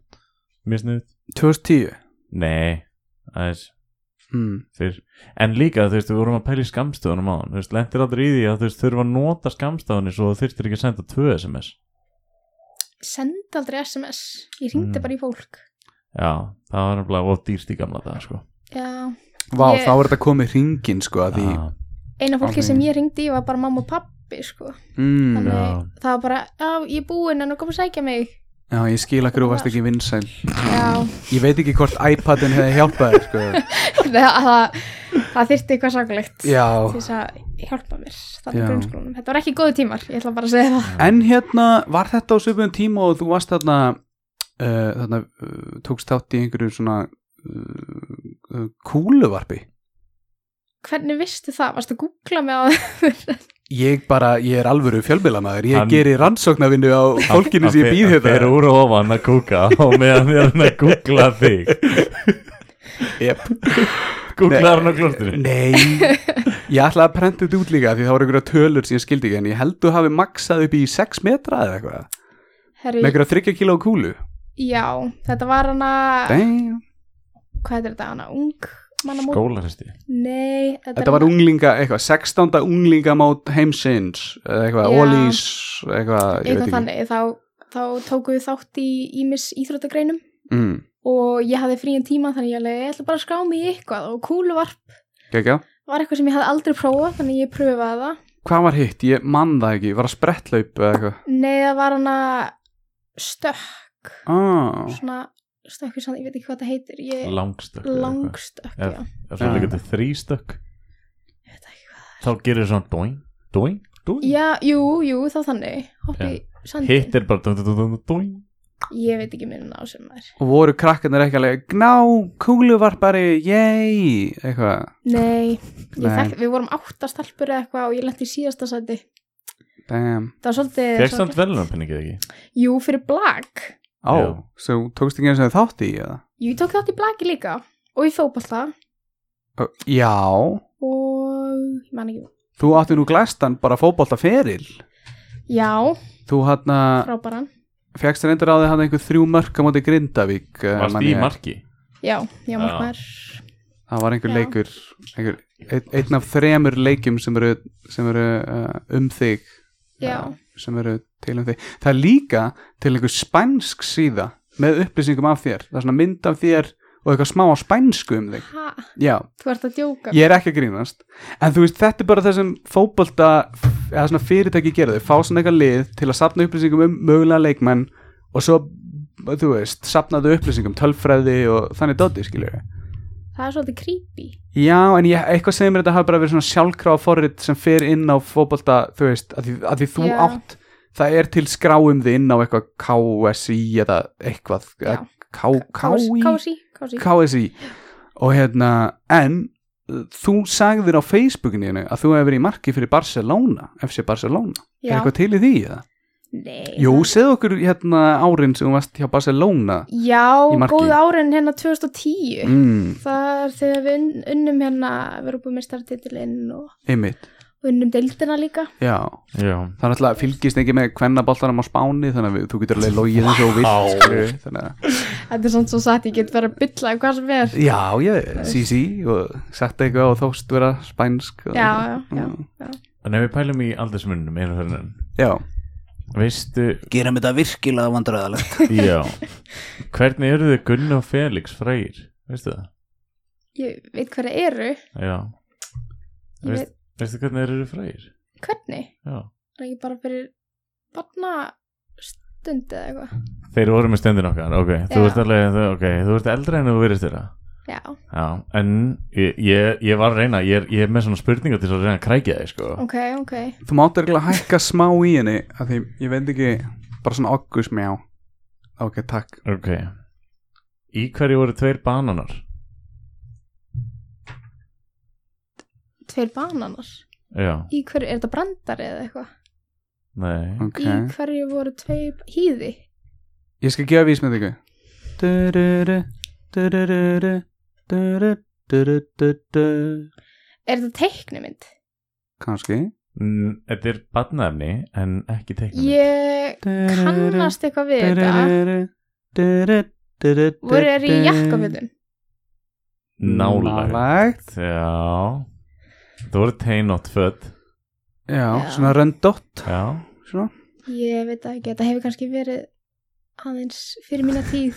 S3: misnuð
S5: 2010
S3: Nei, aðeins
S5: mm.
S3: fyrr, en líka þú veist, við vorum að pæla í skamstöðunum á hann, þú veist, lendir aldrei í því að þú veist, þurfa að nota skamstöðunni svo þú þurftir ekki að senda tvö SMS
S4: Senda aldrei SMS Ég ringdi
S3: Mm.
S4: bara í fólk
S3: Já, það var nefnilega of dýrst í gamla dag sko.
S4: Já,
S5: Vá,
S4: Ég-
S5: þá er þetta komið hringin, sko að því,
S3: Já,
S4: eina fólki
S5: Ok.
S4: sem ég ringdi í var bara mamma og pappi sko.
S5: mm,
S4: Þannig
S3: já.
S4: það var bara, já, ég er búinn en þú kom að sækja mig
S5: já, ég skil að hverju varst ekki vinsæl
S4: Já,
S5: Ég veit ekki hvort iPadin hefði hjálpað þér, sko
S4: það, það, það þyrfti eitthvað saklegt
S5: Já,
S4: til þess að hjálpa mér
S5: Já.
S4: þannig grunnskólanum. Þetta var ekki góðu tímar, ég ætla bara að segja það.
S5: en hérna, var þetta á svipum tíma og þú varst þarna uh, þarna, uh, tókst þátt í einhverju svona uh, uh, kúluvarpi
S4: Hvernig vistu það? Varstu að googla mig á það?
S5: Ég bara, ég er alvöru fjölmiðlamæður Ég
S3: Hann-
S5: geri rannsóknarvinnu á fólkinu sem ég hérna. býð
S3: Það fer
S5: þetta
S3: úr og ofan að kúka og meðan er hann að googla þig
S5: yep.
S3: Googla hann á klostinu
S5: Nei Ég ætlaði að prenta þetta út líka Því það voru einhverja tölur sem ég skildi ekki En ég held þú hafi maksað upp í 6 metra eða eitthvað Með
S4: Herri,
S5: einhverja 30 kíló kúlu
S4: já, þetta var hana,
S5: Damn.
S4: hvað heitir þetta, hana, ung mannamót?
S3: Skólaresti
S4: Nei, þetta,
S5: Þetta var unglinga, eitthvað 16. unglingamót heimsins eða Eitthvað,
S4: Já.
S5: Ólís Eitthvað, ég veit
S4: Eitthvað
S5: ekki
S4: þannig, þá, þá tóku við þátt í ímis íþróttagreinum
S5: mm.
S4: og ég hafði frían tíma þannig ég, alveg, ég ætla bara að skrá mig í eitthvað og kúluvarp
S5: Gekja.
S4: var eitthvað sem ég hafði aldrei prófað þannig ég pröfaði það.
S5: Hvað var hitt? Ég man það ekki, var að spretthlaup eða eitthvað
S4: Nei, það var hana stökk,
S5: ah.
S4: svona stökk, ég veit ekki hvað það heitir, ég,
S3: Langstökk eða eitthvað.
S4: langstökk,
S3: Ef-
S4: já.
S3: Ef það
S5: Já.
S3: líka til þrýstökk
S4: Ég veit ekki hvað.
S3: þá gerir svona doing, doing, doing
S4: Já, jú, jú, þá þannig Hoppa í sandin
S3: Hitt er bara doing, doing, doing, doing
S4: Ég veit ekki minna á sem maður
S5: Og voru krakkarnir ekki alveg Gná, kúluvarpari, yey Eitthvað
S4: Nei,
S5: Nei.
S4: Nei. Þekk, við vorum átta stelpur eða eitthvað og ég lenti í síðasta sæti
S5: Damn.
S4: Það var svolítið
S3: Fekst hann
S4: sorglegt.
S3: velunarpenningið ekki?
S4: Jú, fyrir blag
S5: Á,
S3: Já.
S5: svo tókst ekki eins og þátt í eða?
S4: Jú, ég tók þátt í blagi líka og í fótbolta
S5: Ö, Já,
S4: og ég man ekki
S5: þú átti nú glæstan bara fótbolta feril.
S4: Já,
S5: Þú hann að,
S4: frábæran
S5: fegst reyndar á því hann einhver þrjú mörk á móti Grindavík. eh,
S3: Varst
S5: man
S3: í
S5: ég.
S3: marki?
S4: Já, já, markmaður
S5: Það var einhver
S4: Já.
S5: leikur, einhver, ein, einn af þremur leikjum sem eru, sem eru uh, um þig, eh,
S4: Já,
S5: sem eru til um þig. Það er líka til einhver spænsk síða með upplýsingum af þér. Það er svona mynd af þér og eitthvað smá á spænsku um þig.
S4: ha,
S5: Já,
S4: þú ert að djóka
S5: ég er ekki að grínast en þú veist, þetta er bara það sem fótbolta eða svona fyrirtæki gera þau fá svona eitthvað lið til að sapna upplýsingum um mögulega leikmenn og svo þú veist, sapnaðu upplýsingum tölfræði og þannig dóti, skilur við
S4: Það er svolítið creepy
S5: já, en ég, eitthvað segir mér þetta hafa bara verið svona sjálfkrafa forrið sem fer inn á fótbolta þú veist, að því, að því þú
S4: Já.
S5: átt það er til skráum þið inn á eitthvað KSI eða eitthvað
S4: Já.
S5: K, KI
S4: Kási, kási
S5: KSI og hérna, en uh, þú sagðir á Facebookinu hérna að þú hefur verið í marki fyrir Barcelona FC Barcelona, er
S4: Já,
S5: eitthvað til í því eða?
S4: nei
S5: Jú,
S4: það-
S5: segð okkur hérna árin sem þú varst hjá Barcelona
S4: Já,
S5: í marki.
S4: góð árin hérna 2010
S5: mm,
S4: Það er þegar við unn- unnum hérna, við erum búið með starftitilinn og
S5: einmitt,
S4: og unnum deildina líka.
S5: já
S3: Já
S5: það er alltaf fylgist ekki með kvennaboltanum á Spáni þannig að við, þú getur alveg logið eins og þú vilt skilur við, þannig að,
S4: Þetta er svona svo satt, ég get verið að bylla eða hvað sem er.
S5: já, ég, sí, sí og sagt eitthvað og þóst vera spænsk og, Mm.
S4: Já, já, já.
S3: En ef við pælum í aldersmunum einu þennan
S5: já,
S3: Veistu,
S6: Gerum þetta virkilega vandræðalegt
S3: já Hvernig eru þið Gunni og Felix frægir? Veistu það?
S4: Ég veit hver það eru,
S3: Já
S4: ég
S3: Veist-
S4: veit
S3: Veistu hvernig þeir eru frægir?
S4: hvernig.
S3: Já
S4: Það er ekki bara fyrir barna stund eða eitthvað.
S3: Þeir voru með stendin okkar, ok Þú
S4: Já.
S3: ert alveg, ok, þú ert eldri en þú verist þeirra
S4: Já,
S3: Já, en ég, ég, ég var að reyna, ég er, ég er með svona spurningar til þess að reyna að krækja þig, sko
S4: ok, ok.
S5: þú mátt örgulega hækka smá í henni að því, ég veit ekki, bara svona oggusmjá ok, takk
S3: Ok Í hverju voru tveir bananar?
S4: Tveir bananar.
S3: Já,
S4: Í hverju, er þetta brandari eða eitthvað?
S3: nei
S5: Ok.
S4: Í hverju voru tveir hýði?
S5: Ég skal gefa vísmyndingu Du-du-du-du, du-du-du-du-du.
S4: Er þetta teiknumynd?
S5: Kannski
S3: Mm, Þetta er batnaefni en ekki teiknum
S4: Ég kannast eitthvað við þetta.
S5: þetta
S4: Voru þeir í jakkafötum?
S3: Nálægt
S5: Nálægt
S3: Já Það voru teinótt född
S5: Já,
S4: Já.
S5: svona röndótt
S3: Já
S5: Svona
S4: Ég veit það ekki, þetta hefur kannski verið aðeins fyrir mína tíð.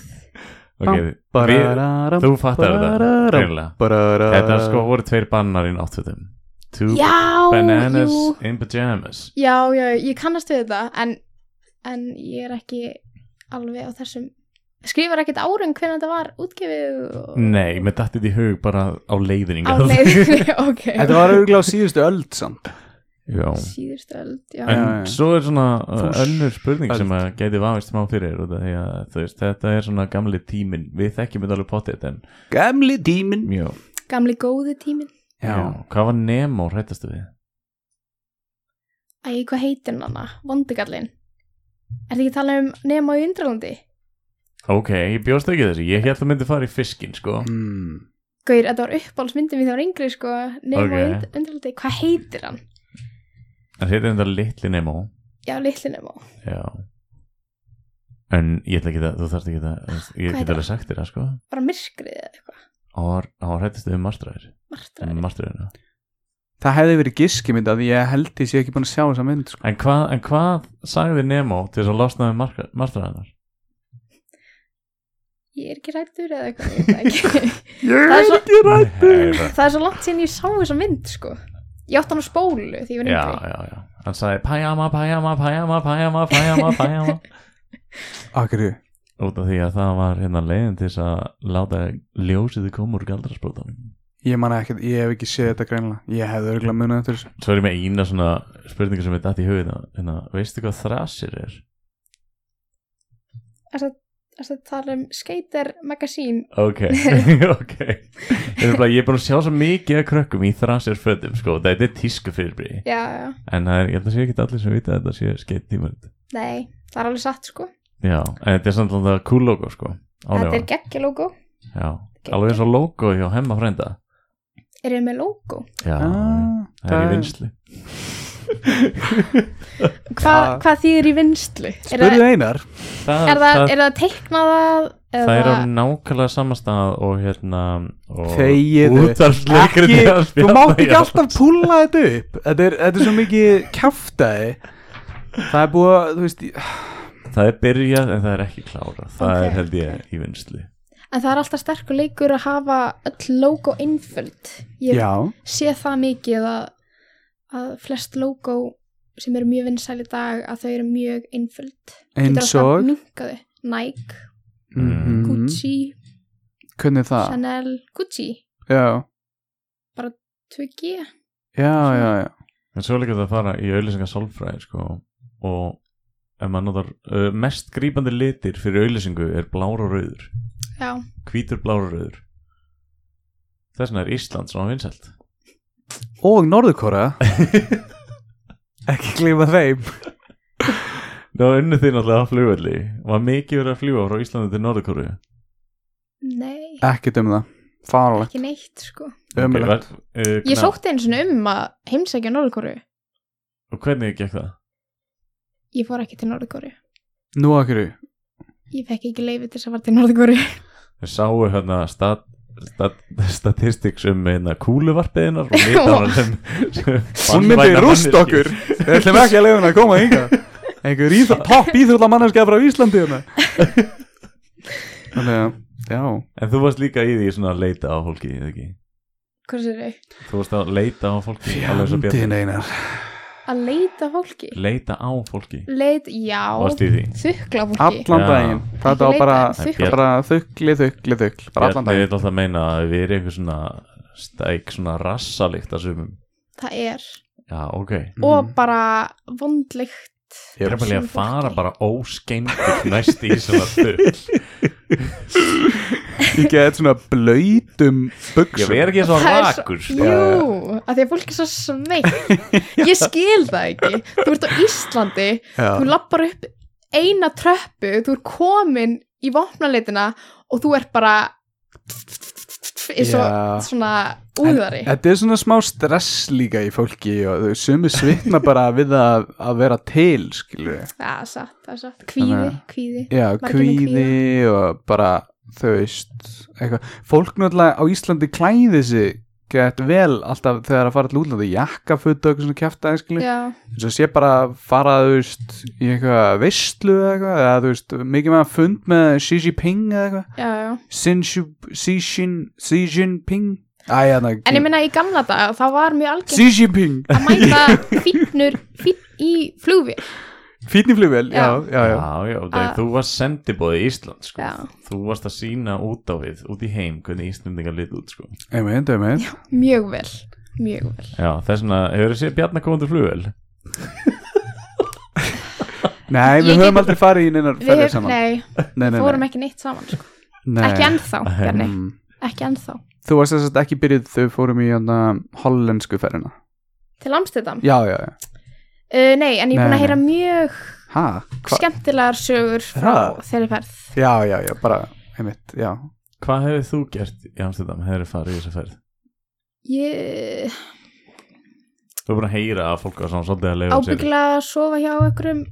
S3: okay.
S5: Barararam,
S3: Þú fattar þetta
S5: barararam,
S3: greinilega.
S5: barararam.
S3: Þetta sko voru tveir bannar í náttfötum Two
S4: Já,
S3: bananas
S4: jú.
S3: in pajamas
S4: Já, já, ég kannast við þetta en, en ég er ekki alveg á þessum skrifar ekkert árun hvernig þetta var útgefið og...
S3: Nei, mér datti þetta í hug bara á leiðninga
S4: á leiðinni, ok
S5: Þetta var auðvitað á síðustu öld samt
S3: Já
S4: síðustu öld, já,
S5: Já,
S3: En
S5: já.
S3: svo er svona
S5: Þú-
S3: uh, önnur spurning sem
S5: Öld.
S3: að gæti vafist smá fyrir út af því að, þú veist, þetta er svona gamli tímin við þekkjum þetta alveg potið en
S5: Gamli tímin
S3: mjög
S4: gamli góði tímin
S5: Já,
S3: Hvað var Nemo hrættastu við?
S4: Æ, hvað heitir hann hana? Vondigallin Er þetta ekki að tala um nema í undralandi?
S3: Ok, ég bjóst ekki þessu, ég held að myndi fara í fiskin sko
S5: Mm.
S4: Gaur, þetta var uppbálsmyndin við þá rengri sko nema
S3: Ok.
S4: í und- undralandi, hvað heitir hann?
S3: En þetta er þetta litli Nemo
S4: Já, litli nema
S3: Já En ég ætla ekki að, þú þarft ekki að Ég get
S4: Hvað heitir
S3: alveg sagt þér það sko
S4: bara myrkrið eða eitthvað,
S3: Hann var- hann hrættist við marstræðir
S4: martraði
S3: Marstræðina
S5: Það hefði verið giskimynd að ég held ég sé ekki búin að sjá þessa mynd sko.
S3: En hvað, en hvað sagði Nemo til þess að losna við marstræðinar?
S4: Ég er ekki rættur eða eitthvað, ég veit það ekki
S5: Ég
S4: Það er svo-
S5: ekki
S4: það er svo langt síðan ég sá þessa mynd sko ég átti hann á spólu því ég var
S3: Já,
S4: yngri
S3: já, já Hann sagði pæjama, pæjama, pæjama, pæjama, pæjama, pæjama
S5: Akkur
S3: Út af því að það var hérna leiðin til þess að láta ljósið koma úr galdrasprótanum
S5: Ég man ekki, ég hef ekki séð þetta greinlega Ég hefði auðvitað munið eftir þessu
S3: Svo er ég með eina svona spurningu sem er dætt í hugið hérna, Veistu hvað þrasir er?
S4: þess að tala um skater magazine
S3: Ok, ok Ég er bara- ég er búin að sjá svo mikið að krökkum í þrasir fötum sko. Þetta er tísku fyrirbyrði
S4: já, já,
S3: En það er, ég held að sé ekki allir sem vita að þetta sé skeitt tímaritt
S4: nei, það er alveg satt sko
S3: Já, en þetta er samt alveg cool logo sko
S4: þetta
S3: Ánægja
S4: er geggja logo
S3: Já, alveg eins og logo hjá hemma frænda
S4: eru þið með logo?
S3: Já,
S5: Ah,
S3: það er í
S5: það-
S3: vinslu
S4: Hva,
S5: Já.
S4: hvað þýðir í vinstlu? er það,
S5: Spurðu Einar
S3: hérna. það,
S4: er það, er það teiknaðað?
S3: það er um- á nákvæmlega samastað og hérna og
S5: Þegiðu.
S3: Útvarpsleikriti að
S5: Ekki- Þú
S3: spjalla
S5: mátt ekki
S3: í
S5: alltaf púla þetta upp Þetta er, þetta er svo mikið kjaftaði Það er búið að, þú veist
S3: Það er byrjað en það er ekki klárað Það
S4: Ok,
S3: er held ég í vinslu
S4: en það er alltaf sterkur leikur að hafa öll logo einföld ég
S5: Já,
S4: sé það mikið að, að flest logo sem eru mjög vinsæl í dag að þau eru mjög einföld
S5: eins og
S4: minkaði Nike,
S5: Mhm.
S4: Gucci,
S5: Hvernig það?
S4: Chanel, Gucci
S5: Já,
S4: 2G
S5: já, já, já
S3: En svo er líka það að fara í auðlýsingar sálfræði sko, og ef maður notar uh, mest grípandi litir fyrir auðlýsingu er blár og rauður
S4: já,
S3: hvítur, blár og rauður þess vegna er Ísland svona vinsælt
S5: Og Norðurkora Ekki gleyma þeim
S3: Ná unnu þín alltaf að flugvelli var mikið verið að fljúa frá Íslandi til Norðurkóru
S4: nei
S5: Ekkert um það, farlegt,
S4: ekki neitt sko
S5: ömulegt
S3: uh,
S4: ég sótti eins og um að heimsækja Norðkóru
S3: og hvernig gekk það?
S4: ég fór ekki til Norðkóru
S5: Nú að hverju?
S4: ég fekk ekki leiði til þess að fara til Norðkóru
S3: Þau sáu hérna stat, stat, statistics um hérna kúluvarpiðinar og mitaðar sem, sem
S5: Hún myndi rúst okkur Við ætlum ekki að leiða hún að koma hinga Einhver íþjóð, topp íþjóðla mannarskja frá Íslandi hérna Þannig að, já
S3: En þú varst líka í því svona að leita á fólki, eða ekki?
S4: hvað sér þau?
S3: Þú varst að leita á fólki alveg svo
S5: Fjandinn
S3: björn
S5: einar
S4: að leita fólki
S3: Leita á fólki
S4: leit, já,
S3: Varst í því
S4: þukla fólki
S5: Allan
S3: Já.
S5: daginn, þetta var
S4: leita,
S5: bara
S4: þukla.
S5: bara þukli, þukli, þukli bara allan
S3: Bjarni vil
S5: daginn
S3: alltaf meina að við erum einhver svona stæk svona rassalikt að sumum
S4: það er
S3: Já, ok
S4: og bara vondlegt
S3: Ég Mhm. er
S4: Yep.
S3: bara líka
S4: Sumu
S3: að fara
S4: fólki.
S3: bara óskeindur næst í svona dull
S5: Ég get svona blöytum
S3: Ég
S5: buksum
S3: verð ekki svo
S4: Það er svo-
S3: rakur sko.
S4: Jú, að því að fólk er svo smeykt Ég skil það ekki Þú ert á Íslandi Þú
S5: Já,
S4: lappar upp eina tröppu Þú ert komin í vopnalitina Og þú ert bara er svo
S5: Já.
S4: svona
S5: En
S4: úðari
S5: Þetta er svona smá stress líka í fólki og þau sumi svitna bara við að, að vera til, skilur við.
S4: Já, satt, það er satt, kvíði,
S5: Þannig
S4: kvíði
S5: Já,
S4: Margir með
S5: kvíði og bara, þau veist, eitthvað. Fólk náttúrulega á Íslandi klæði sig gett vel alltaf þegar að fara til útlandi, jakkaföt og eitthvað svona kjaftaði, skilur.
S4: Já,
S5: Þess að sé bara að fara, þú veist, í eitthvað veistlu eða eitthvað, eða þú veist, mikið með að fund með Xi Jinping eða eitthvað.
S4: já, já
S5: Xin Xi- Xi Jin- Xi Jinping. Æ, hérna,
S4: En ég minna í gamla dag, þá var mjög algjörn
S5: Xi Jinping.
S4: að mæta fínur fínn í flugvél
S5: Fínni flugvél, já, já, já.
S3: Já, já, þegar
S4: Að-
S3: þú varst sendibóði í Ísland sko.
S4: Já.
S3: Þú varst að sína út á við, út í heim hvernig Íslandingar lit út sko.
S5: Einmitt, einmitt.
S4: Mjög vel, mjög vel
S3: Já, þess vegna, hefur þið séð bjarnakofundur flugvel?
S5: Nei, við
S4: Ég
S5: höfum
S4: get-
S5: aldrei farið í neinar
S4: Við
S5: ferðir
S4: hef,
S5: saman.
S4: nei,
S5: nei, nei,
S4: fórum ekki neitt saman sko.
S5: nei.
S4: Ekki ennþá, Bjarni,
S5: Mm.
S4: ekki ennþá
S5: Þú varst þess að ekki byrjuð þau fórum í hana, hollensku ferðina.
S4: Til Amstedam
S5: Já, já, já.
S4: uh, Nei, en ég er búin
S5: Nei,
S4: að heyra mjög
S5: Ha, hva?
S4: skemmtilegar sögur frá
S5: Það?
S4: þeirri ferð
S5: Já, já, já, bara, einmitt, já.
S3: Hvað hefur þú gert í Amstendam, hefur þið farið í þessa ferð?
S4: Ég
S3: Þú er búin að heyra að fólk var svona svolítið að leifa sér
S4: ábyggla að sofa hjá einhverjum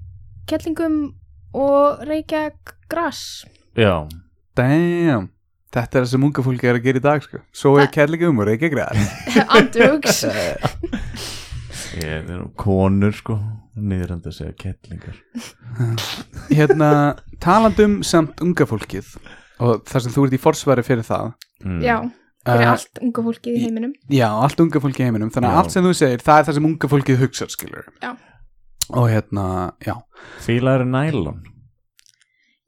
S4: kellingum og reykja gras
S3: Já,
S5: Damn. Þetta er það sem unga fólki er að gera í dag, sko. Svo er kærleika um og reykja græð.
S4: andjóks
S3: ég er nú konur sko Niðurandi að segja kettlingar
S5: Hérna, talandum samt unga fólkið og þar sem þú ert í forsværi fyrir það.
S3: mm.
S4: já, fyrir
S5: Eh,
S4: allt unga fólkið í heiminum
S5: Já, allt unga fólki í heiminum, þannig
S3: Já.
S5: að allt sem þú segir, það er það sem unga fólkið hugsar, skilur.
S4: Já.
S5: Og hérna, já.
S3: Fílaður nælon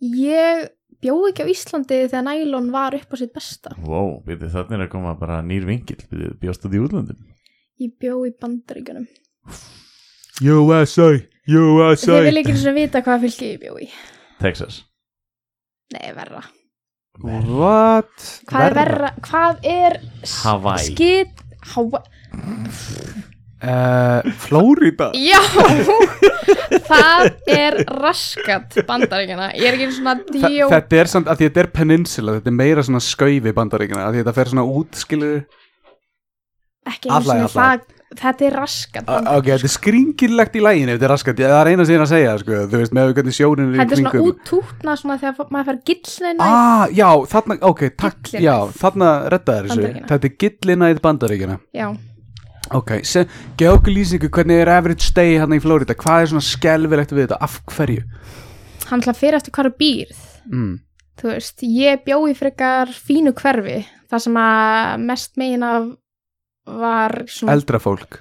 S4: ég bjóð ekki á Íslandi þegar nælon var upp á sitt besta
S3: Vó, býttu þannig er að koma bara nýr vingill Býttu bjóstu því útlöndum
S4: ég bjóð í bandaríkjunum
S5: USA, USA.
S4: þið vil ekki svona vita hvað fylgið ég bjóð í
S3: Texas
S4: nei, verra
S5: What?
S4: hvað er verra, hvað er s-
S3: Hawaii.
S4: skit Hawaii
S5: Uh, Florida
S4: Já, það er raskat bandaríkjana Ég er ekki svona
S5: Þa,
S4: djó
S5: Þetta er samt, að því þetta er peninsula Þetta er meira svona skaufi bandaríkina að Því þetta fer svona út, skilur
S4: Ekki eins
S5: alla-
S4: og
S5: alla.
S4: það Þetta er raskat
S5: A-
S4: bandaríkjana
S5: Ok, þetta er skringilegt í læginu Þetta er raskat, það er eina sem ég er að segja sko. Þú veist, með hvernig sjónin er í
S4: Þetta er svona
S5: kringum
S4: úttútna svona þegar fa- maður fær gillnæna
S5: Ah, já, þarna, ok, takk
S4: Gillinæð.
S5: Já, þarna reddaði þessu
S4: Bandaríkjanna.
S5: Þetta er gillinæð bandaríkina
S4: Já,
S5: Ok, se- geð okkur lýsingu Hvernig er average day hérna í Florida Hvað er svona skelfilegt við þetta, af hverju
S4: hann ætla fyrir eftir hvar þú býrð
S5: mm.
S4: Þú veist, ég bjó í frekar fínu hverfi Það sem að mest megin af var svona
S5: Eldra fólk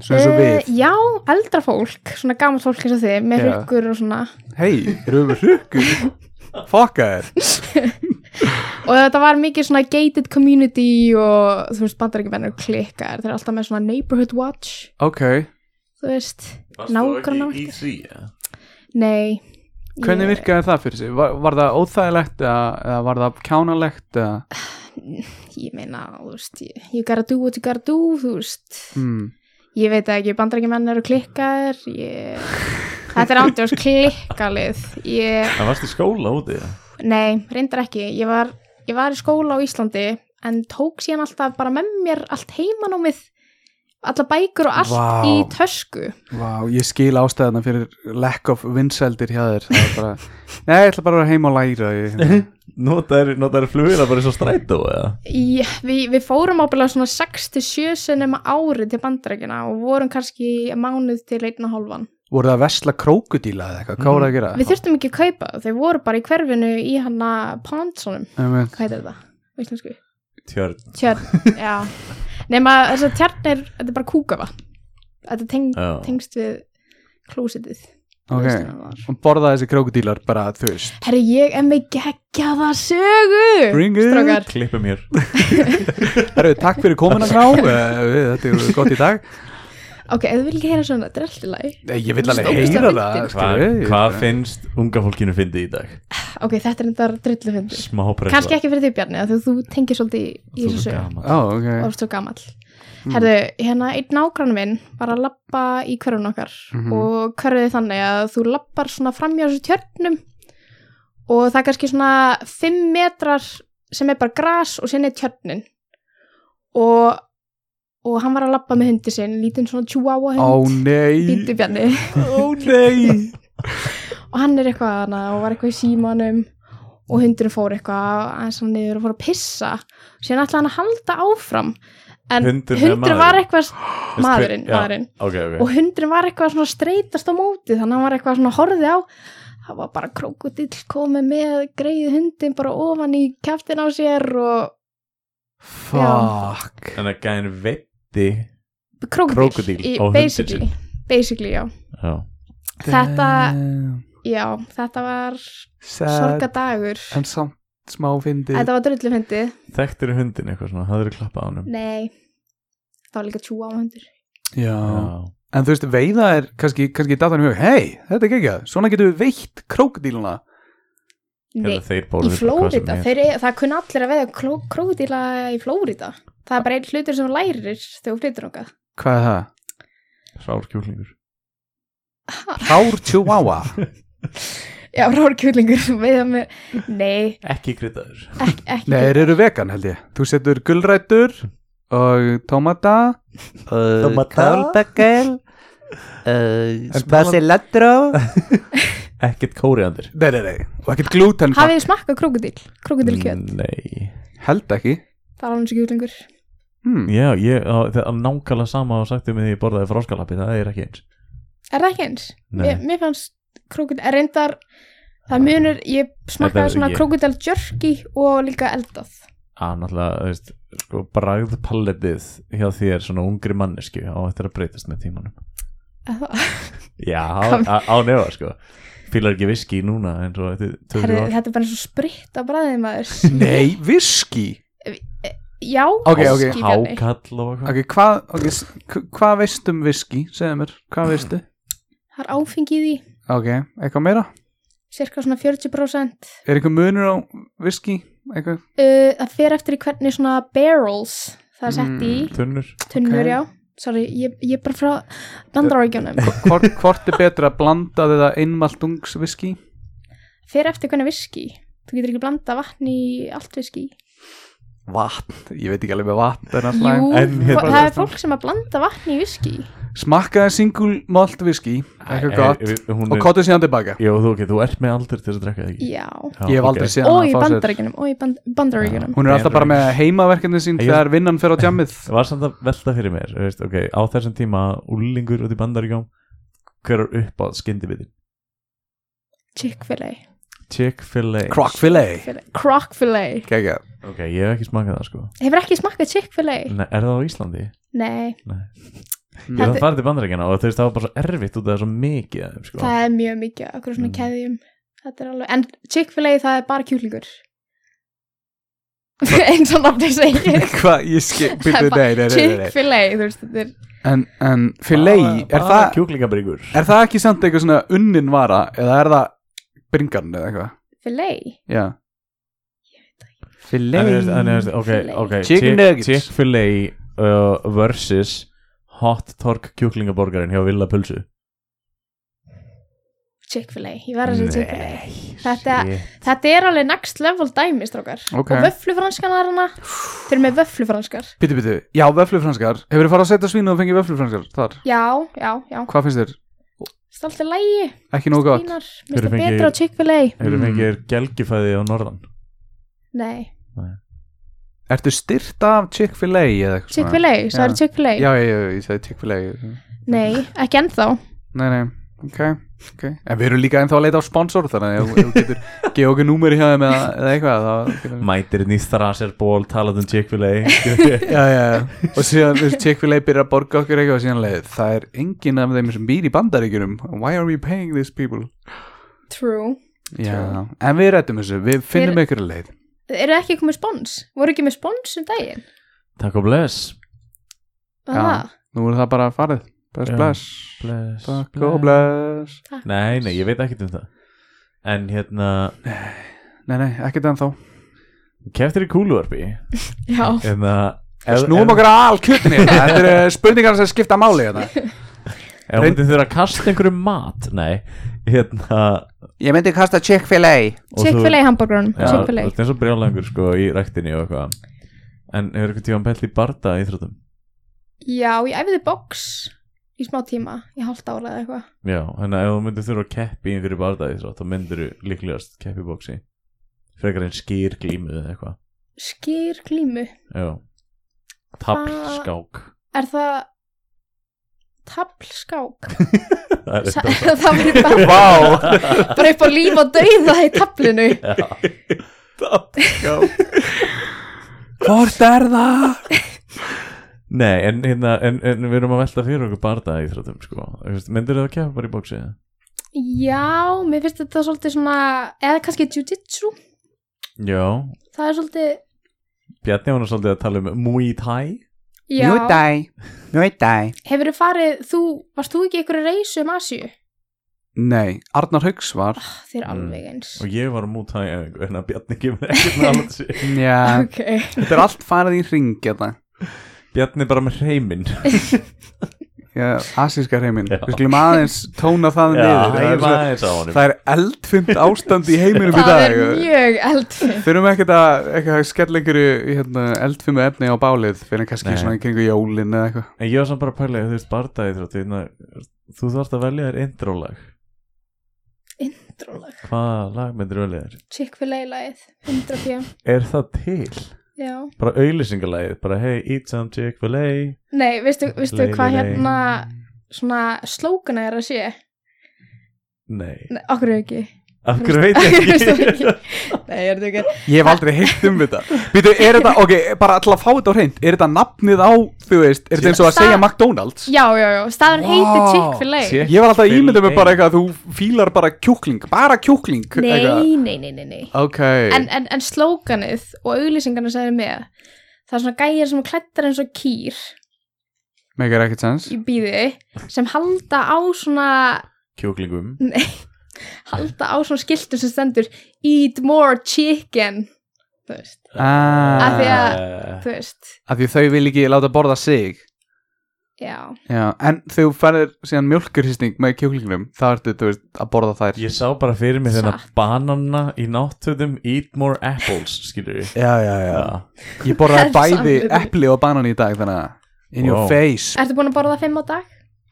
S5: Svona eins og
S4: Mm. Eh,
S5: við
S4: Já, eldra fólk, svona gamalt fólk eins og þið Með
S5: Já.
S4: hryggur og svona
S5: Hei, erum við hrukkur? Fokka þér
S4: og þetta var mikið svona gated community og þú veist, bandaríkjumenn eru klikkar þeir eru alltaf með svona neighborhood watch
S5: Ok,
S4: þú veist, nákvæmna
S3: í því
S4: nei
S5: hvernig
S4: ég-
S5: virkaði það fyrir sig? Var, var það óþægilegt eða, eða var það kjánalegt? Eða?
S4: ég meina, þú veist, ég- you gotta do what you gotta do þú veist,
S5: Mm.
S4: ég veit ekki bandaríkjumenn eru klikkar ég... þetta er ándjóðs klikkalið ég,
S3: Það varst í skóla úti já.
S4: nei, reyndar ekki ég var, ég var í skóla á Íslandi en tók síðan alltaf bara með mér allt heimanámið alla bækur og allt
S5: Vá.
S4: í tösku
S5: Vá, ég skil ástæðana fyrir lack of vinsældir hjá þér Það er bara, Nei, ég ætla bara að vera heima og læra ég.
S3: Notaður notaður flugvélar bara svo strætó eða
S4: Í, við, við fórum ábyggilega svona 6-7 sinnum á ári til bandarækina og vorum kannski í mánuð til einna hálfan.
S5: Voru það að vesla krókudíla eða eitthvað? Hvað voru það að gera?
S4: Við þurftum ekki að kaupa þau, þau voru bara í hverfinu í hana Pondsonum,
S5: Einmitt.
S4: hvað heitir það? á Íslensku?
S3: Tjörn
S4: Tjörn, já. Nema þess að tjörn er, þetta er bara kúkafa. Þetta teng,
S3: Já.
S4: tengst við klósitið.
S5: Ok, og borða þessi krókudílar bara, þú veist
S4: Herri, ég er með geggjaða sögu!
S5: Bring it.
S4: Strákar,
S3: Klippum hér
S5: Herru, takk fyrir komuna grá Þetta er gott í dag
S4: ok, ef þú vil ekki heyra svona, þetta er alltaf læg.
S5: Nei, Ég vil alveg
S4: Stókist
S5: heyra
S4: að
S5: það
S4: fyndin.
S3: Hvað
S5: skilur við.
S3: hva finnst unga fólkinu fyndi í dag?
S4: Ok, þetta er endar drullu fundur.
S3: Smá pressa
S4: Kanski ekki fyrir því Bjarni, af því að þú tengir svolítið í- í
S3: Þú svo
S4: þessu sögu.
S3: gaman
S5: Ó, ok Mm.
S4: og svo gamall Herðu, hérna einn nágrann minn var að lappa í hverfun okkar
S5: Mhm.
S4: og hverfið þannig að þú lappar svona framjá þessu tjörnum og það er kannski svona 5 metrar sem er bara gras og sinni tjörnin og, og hann var að labba með hundi sinn, lítinn svona chihuahua
S5: Ó
S4: hund
S5: nei,
S4: bítubjarni
S5: ó nei
S4: og hann er eitthvað hana og var eitthvað í símanum og hundurinn fór eitthvað aðeins hann niður og fór að pissa og síðan ætlaði hann að halda áfram en
S3: Hundurinn eða
S4: hundurinn, var
S3: maðurinn?
S4: eitthvað
S3: hver-
S4: maðurinn,
S3: já.
S4: maðurinn
S3: ok, ok
S4: og hundurinn var eitthvað svona að streytast á móti þannig að hann var eitthvað svona horfið á það var bara krókudill komið með greið hundin bara ofan í kæftin á sér og
S5: Fuck
S3: en að gæðin veitti
S4: krókudill
S3: Krókódíll
S4: í-
S3: á hundinn
S4: basically, basically já.
S3: já,
S4: Þetta-
S5: Damn.
S4: já, þetta var
S5: Sad
S4: sorgadagur
S5: En samt smá fyndi
S4: þetta var drullufundið
S3: þekktir hundin eitthvað svona, hafður klappað á honum
S4: Nei, það var líka tjúa á hundur.
S5: Já
S3: já,
S5: En þú veist, veiða er kannski, kannski datan í hug Hei, þetta er geggjað, svona getum við veitt krókdíluna
S4: Nei,
S3: eða þeir
S4: í
S3: bóru
S4: Flórida, þeir, eru- það kunna allir að veða kró, krókudíla í Flórida. Það er bara einn hlutur sem þú lærir þegar þú flytur okkar.
S5: Hvað er það?
S3: sárkjúlingur
S5: Hár chihuahua
S4: Já, rárkjúlingur sem veiða með, nei,
S3: ekki kryddaður
S4: ek, ekki.
S5: Nei, þeir eru vegan held ég Þú setur gulrætur og tómata
S6: uh,
S3: Tómata.
S6: kálbakkel uh,
S5: En
S6: spasilandró
S3: ekkert kóriandir
S5: Nei, nei, nei, og ekkert glúten
S4: Hafið þið smakkað krókudíl, krókudílkjöt?
S3: Mm, nei
S5: Held ekki
S4: Það er alveg kjúlingur.
S5: hmm.
S3: Já, ég, á- það er nákvæmlega sama og sagtum við því ég borðaði fráskalappi, það er ekki eins
S4: Er það ekki eins?
S3: Nei.
S4: Mér, mér fannst krókudíl, er reyndar, það munur, ég
S3: Þetta er
S4: smakkaði svona
S3: ég-
S4: krókudíl jerky og líka eldað.
S3: að Ah, náttúrulega, þú veist, sko, bragðpalletið hjá þér svona ungri mannesku á eftir að breytast með tímanum
S4: Er það-
S3: Já,
S4: Kom-
S3: á, á nefa, sko Fýlar ekki viski núna eins og þetta
S4: Herri,
S3: tökur á
S4: Þetta er bara eins og spritt á bræðið maður.
S5: Nei, viski
S4: Já,
S5: Ok, ok.
S4: viskí, Bjarni.
S3: Hákall og eitthvað
S5: Ok, hvað okay, s- k- hvað veist um viski, segðu mér, hvað veistu?
S4: Það er áfengið í
S5: Ok, eitthvað meira?
S4: cirka svona 40% uh,
S5: Er eitthvað munur á viski? Eitthvað?
S4: Það fer eftir í hvernig svona barrels það er sett í
S3: Tunnur
S4: tunnur,
S5: ok.
S4: já Sorry, ég, ég er bara frá bandarákjónum
S5: Hvort, hvort er betra að blanda eða einmaltungs viski?
S4: Fer eftir hvernig viski Þú getur ekki blanda vatn í allt viski
S5: Vatn, ég veit ekki alveg með vatn er
S4: Jú,
S5: alltaf
S3: en
S4: fó-
S3: hérna-
S4: það er fólk sem að blanda vatn í viski
S5: Smakkaði single malt viski, eitthvað gott
S3: Eh, Hún
S5: og
S3: er,
S5: kottu síðan tilbaka
S3: Jó, þú, ok, þú ert með aldur til að drekka það ekki
S4: Já,
S3: Já,
S5: Ég hef
S3: ok.
S5: aldrei séð
S4: og
S5: hann
S4: í
S5: að fá sér
S4: bandarákjónum og í band, bandarákjónum
S5: Hún er alltaf bara með heimaverkefni sín
S3: Ég-
S5: þegar vinnan fer á djammið
S3: Það var samt að velta fyrir mér, þú veist, ok, á þessum tíma úlingur út í bandaríkjum Hver er upp á skyndibiti?
S4: Chick-fil-A
S3: Chick-fil-A
S5: Crockfilet
S4: Croc-fil-A
S5: Kækja
S3: Ok, ég hef ekki smakað það sko
S4: Hefur ekki smakkað Chick-fil-A?
S3: Nei, Er það á Íslandi?
S4: Nei,
S3: Mm. Ég var
S4: Þetta-
S3: að fara til bandarækjana og þú veist það var bara svo erfitt út af það er svo mikið af þeim, sko.
S4: það er mjög mikið okkur svona
S3: Mm.
S4: keðjum Þetta er alveg, en Chick-fil-A það er bara kjúlingur eins og náttúrulega segir
S5: Hvað, ég skil, byrju,
S4: Það
S5: nei, nei, nei, nei,
S4: Chick-fil-A, þú veist þetta er
S5: nei En, en filet, er,
S3: Bara
S5: það-
S3: kjúklingabringur
S5: er það ekki samt eitthvað svona unnin vara eða er það bringarn eða eitthvað?
S4: filet
S5: Já
S3: En þú
S5: Filet
S3: veist- en þú veist, ok,
S4: Filet.
S3: ok
S5: Chicken
S3: Chick-
S5: nuggets.
S3: Chick-fil-A uh, versus Hot Tork kjúklingaborgarinn hjá Villa Pulsu
S4: Chick-fil-A, ég verð að segja Chick-fil-A Þetta-
S3: shit.
S4: Þetta er alveg next level dæmi, strókar
S5: Ok.
S4: Og vöflufranskana hana Þeir eru með vöflufranskar
S5: Býtu, býtu, já, vöflufranskar Hefur þið farið að setja svínu og fengið vöflufranskar þar?
S4: Já, já, já,
S5: Hvað finnst þér?
S4: það er alltaf lægi
S5: Ekki nógu gott?
S4: Þínar,
S3: Þeir
S4: minnst
S3: eru
S4: það
S3: fengið-
S4: betra á Chick-fil-A
S3: Hefur
S5: Mm.
S3: fengið gelgifæði á norðan
S4: Nei,
S5: Ertu styrt af Chick-fil-A eða eitthvað svona?
S4: Chick-fil-A, það er Chick-fil-A
S5: Já, já, já, ég segi Chick-fil-A
S4: Nei, ekki ennþá
S5: Nei, nei, ok, ok En við erum líka ennþá að leita á sponsor þannig að ef- ef þú getur gefa okkur númeri hjá þeim eða, eða eitthvað þá,
S3: Mætirinn Mm. í Thrasherból talað um Chick-fil-A
S5: Já, já, já Og síðan þú veist, Chick-fil-A byrjar að borga okkur eitthvað og síðan leið Það er enginn af þeim sem býr í bandaríkjunum Why are we paying these people?
S4: True
S5: Já, en við rættum þessu, við finnum
S4: Þeir-
S5: ykkur leið
S4: Eru ekki komið spons? Voru ekki með spons um daginn?
S3: Takk og bless
S4: Var
S5: Já.
S4: það?
S5: Nú er það bara farið Bless,
S3: Já.
S5: bless
S3: Bless
S5: Takk og bless
S3: Nei, nei, ég veit ekkert um það En hérna,
S5: Nei, nei, ekkert ennþá
S3: keftir í kúluvarpi
S4: Já,
S3: Hérna
S5: Snúum okkur að alkjötinni Þetta eh, eru spurningar sem skipta máli hérna.
S3: Ef hún myndi þurfa að kasta einhverju mat Nei, hérna
S5: Ég myndi kasta Chick-fil-A
S3: og þú-
S4: Chick-fil-A hamburgrunum
S3: Já, þú
S4: Chick-fil-A
S3: ert eins og brjálangur sko í ræktinni og eitthvað En hefur eitthvað tíma pælt í barda í þróttum?
S4: Já, ég æfiði box í smá tíma, í hálft ára eða eitthvað
S3: Já, þannig að ef þú myndir þurfa að keppi í einhverju barda í þrótt þá myndir þú líklegast keppi í bóksi Frekar en skýr glímuð eða eitthvað
S4: Skýr glímu,
S3: Já Tablskák
S4: er það tablskák
S3: Það er
S4: Sa-
S3: þetta
S4: það var ég bara, bara upp á líf og dauða í tablinu
S5: Hvort er það?
S3: Nei, en, hérna, en, en við erum að velta fyrir okkur barda í þróttum sko Þú veist, Myndir þú að keppa bara í bóksi eða?
S4: já, mér finnst þetta svolítið svona eða kannski jiu-jitsu
S3: Já
S4: það er svolítið
S3: Bjarni var nú svolítið að tala um Muay Thai
S4: já,
S5: dæ, nú dæ
S4: hefur þið farið, þú, varst þú ekki í einhverju reysu um Asíu? Ah,
S5: Nei, Arnar Hauks var
S4: Þið er
S3: Mm.
S4: alveg eins
S3: Og ég var á Muay Thai eða en að Bjarni kemur ekkert með alveg sér
S5: Já,
S4: ok,
S5: þetta er allt farið í hérna. ringi þetta
S3: Bjarni bara með hreiminn
S5: Já, asíska heiminn
S3: Já.
S5: Við skulum aðeins tóna það niður Það er
S3: hæfa
S5: svo-
S3: aðeins á honum
S5: Það er eldfimt ástand í heiminum í
S4: það
S5: dag eh.
S4: er mjög eldfim
S5: Þurfum ekkert að, ekkert að skella einhverju hérna, eldfimu efni á bálið fyrir kannski
S3: Nei.
S5: svona í kringu jólin eða eitthvað
S3: En ég var samt bara að pæla í þú veist bardaði þrjótt hérna, Þú þarft að velja þér indrólag
S4: Drólag.
S3: Hvaða lag myndir velja þér?
S4: Chick-fil-A lagið, 100 pm
S3: Er það til?
S4: já,
S3: Bara auðlýsingalagið, bara hey, eat some Chick-fil-A
S4: nei, veistu, veistu
S3: Lei, lei,
S4: hvað
S3: lei.
S4: hérna svona slókana er að sé
S3: Nei,
S4: nei, okkur ekki
S3: af hverju veit
S4: Af hverju
S3: ég
S4: veistu
S3: ekki?
S4: ekki? nei, ég er þetta ekki
S5: Ég hef aldrei heilt um þetta Býtu, er þetta, ok, bara alltaf að fá þetta á hreint Er þetta nafnið á, þú veist, er þetta eins og að
S4: Sta-
S5: segja McDonalds?
S4: já, já, já, staðan heitir
S5: Vá,
S4: Chick-fil-A
S3: sé-
S5: Ég var alltaf að ímynda mig
S3: Chick-fil-A.
S5: bara eitthvað að þú fílar bara kjúkling, bara kjúkling eitthvað.
S4: Nei, nei, nei, nei, nei.
S5: Ok,
S4: En, en, en slókanið og auglýsingarna segir með það er svona gæjar sem klættar eins og kýr
S5: megar ekkert sens
S4: í bíði sem halda á svona
S3: Kjúklingum
S4: halda á svona skiltum sem stendur eat more chicken þú veist, Af því
S5: ah,
S4: að-
S3: Eh,
S4: þú veist
S5: Af því þau vil ekki láta borða sig
S4: já,
S5: Já, en þegar þú færðir síðan mjölkurhýsting með kjúklingnum, þá ertu, þú veist, að borða þær
S3: Ég sá bara fyrir mig þennan
S4: Satt.
S3: banana í náttöðum Eat more apples, skilur ég
S5: Já, já,
S3: Já,
S5: Ég borðaði
S4: Það er
S5: bæði
S4: sannleikur.
S5: epli og banan í dag, þannig að In your
S3: Wow.
S5: face
S4: ertu búin að borða fimm á dag?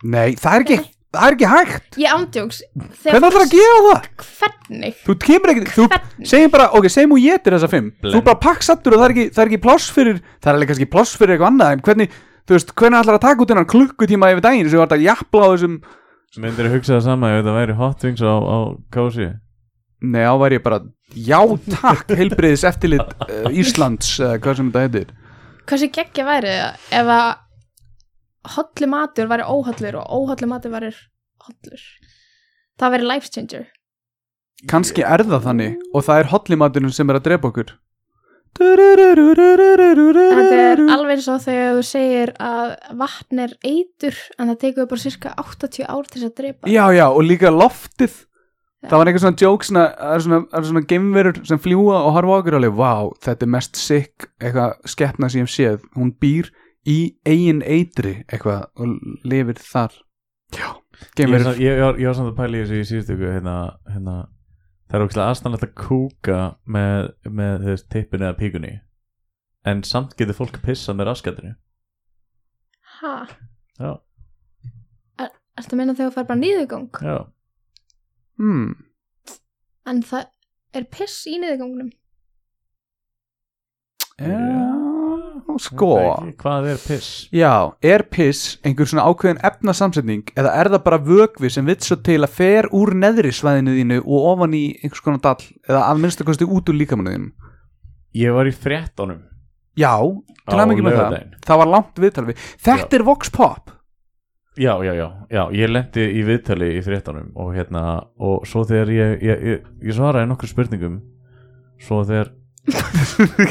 S5: Nei, það er ekki, það er ekki hægt
S4: Ég ándjóks
S5: Hvernig ætlar að gera það?
S4: Hvernig?
S5: Þú kemur ekki, þú
S4: Hvernig?
S5: segir bara, ok, segjum og ég til þessa fimm Þú
S3: Blend.
S5: bara pakksatur og það er ekki, það er ekki pláss fyrir Það er alveg kannski pláss fyrir eitthvað annað En hvernig, þú veist, hvernig ætlar að taka út hennar klukkutíma yfir daginn sem þú ert að japla á þessum
S3: myndir þú hugsa það sama ef þetta væri hot wings á, á kósi
S5: Nei, á væri ég bara, já takk, heilbriðis eftirlit uh, Íslands, uh, hvað sem þetta heitir
S4: Hversu geggja væri það ef að holli matur væri óhollur og óholli matur væri hollur það væri life changer
S5: Kannski er það þannig og það er hollimaturinn sem er að drepa okkur Þetta
S4: Þetta er alveg eins og þegar þú segir að vatn er eitur en það tekur bara cirka 80 ár til þess að drepa.
S5: Já, já, og líka loftið
S4: Já.
S5: Það var einhver svona joke, svona, það er svona, það eru svona geimverur sem fljúa og horfa á okkur alveg, vá, þetta er mest sick, eitthvað skeppna sem ég hef séð, hún býr í eigin eitri, eitthvað, og lifir þar. Já,
S3: Ég, er
S5: geimverur.
S3: samt- ég, ég, var- ég var samt að pæla í þessu í síðustu ykkur hérna, hérna, það er ógæslega aðstæðanlegt að kúka með, með þess tippinu eða píkunni en samt getur fólk pissað með raskatinu
S4: Hæ?
S3: Já.
S4: Ertu að minna þegar þú fær bara nýðugang?
S3: Já,
S5: Hmm,
S4: En það er piss í nýðugangunum.
S5: já, sko.
S3: Hvað er piss?
S5: Já, er piss einhver svona ákveðin efnasamsetning eða er það bara vögvi sem vill svo til að fer úr neðri svæðinu þínu og ofan í einhvers konar dall eða að minnsta kosti út úr líkamannu þínum?
S3: Ég var í fréttonum
S5: Já,
S3: á
S5: til að mikið með það.
S3: laugardaginn.
S5: Það var langt viðtal við. Þetta er Vox Pop.
S3: Já, já, já, já, ég lendi í viðtali í fréttanum og hérna, og svo þegar ég, ég, ég, ég svaraði nokkur spurningum svo þegar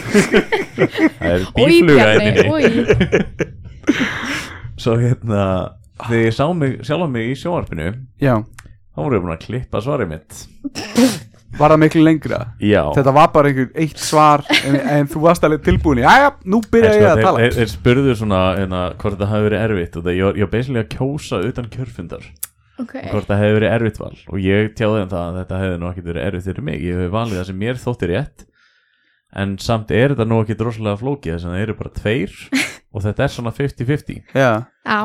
S3: Það er bífluga einnig
S4: Úi,
S3: Svo hérna, þegar ég sá mig, sjálf mig í sjónvarpinu
S5: Já,
S3: þá voru ég búin að klippa svarið mitt
S5: var það miklu lengra.
S3: Já
S5: Þetta var bara einhver eitt svar en, en þú varst alveg tilbúin. í, Jæja, nú byrja ég að tala.
S3: sko, Þeir, þeir spurðu svona hérna, hvort það hafi verið erfitt og það ég var, ég var basically að kjósa utan kjörfundar
S4: ok,
S3: hvort það hefði verið erfitt val og ég tjáði um það að þetta hefði nú ekkert verið erfitt fyrir mig, ég hefði valið það sem mér þótti rétt en samt er þetta nú ekkert rosalega flókið þess að það eru bara tveir og þetta er svona 50-50
S5: já,
S4: já,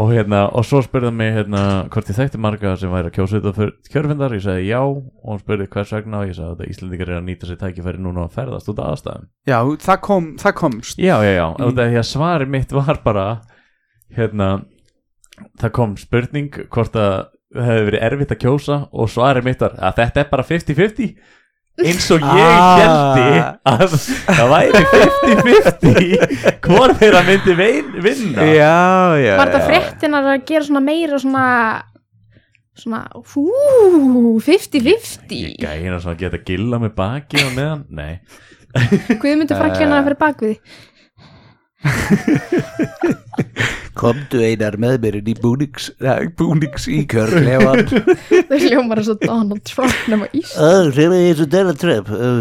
S3: og hérna, og svo spurði hann mig hérna hvort ég þekkti marga sem væri að kjósa þetta fyrir kjörfindar, ég sagði já og hann spurði hvers vegna og ég sagði að Íslendingar er að nýta sér tækifæri núna að ferðast út af aðstæðum
S5: já, það kom það komst,
S3: Já, já, já, mm. út af því að svari mitt var bara hérna það kom spurning hvort að það hefði verið erfitt að kjósa og svari mitt var að þetta er bara 50-50 eins og ég
S5: Ah.
S3: heldi að það væri 50-50 hvort þeirra myndi vein, vinna
S5: já, já
S4: var þetta fréttinar að gera svona meira svona svona, hú 50-50,
S3: Gæna hérna svona geta gilla með baki og meðan, nei
S4: hvað myndi frækjana fyrir bakvið
S6: Komdu einar með mér inn í búnings ja, búnings í kjörlefan
S4: þau hljómar eins og Donald Trump nema ís
S6: Það sem er eins og Donald Trump uh,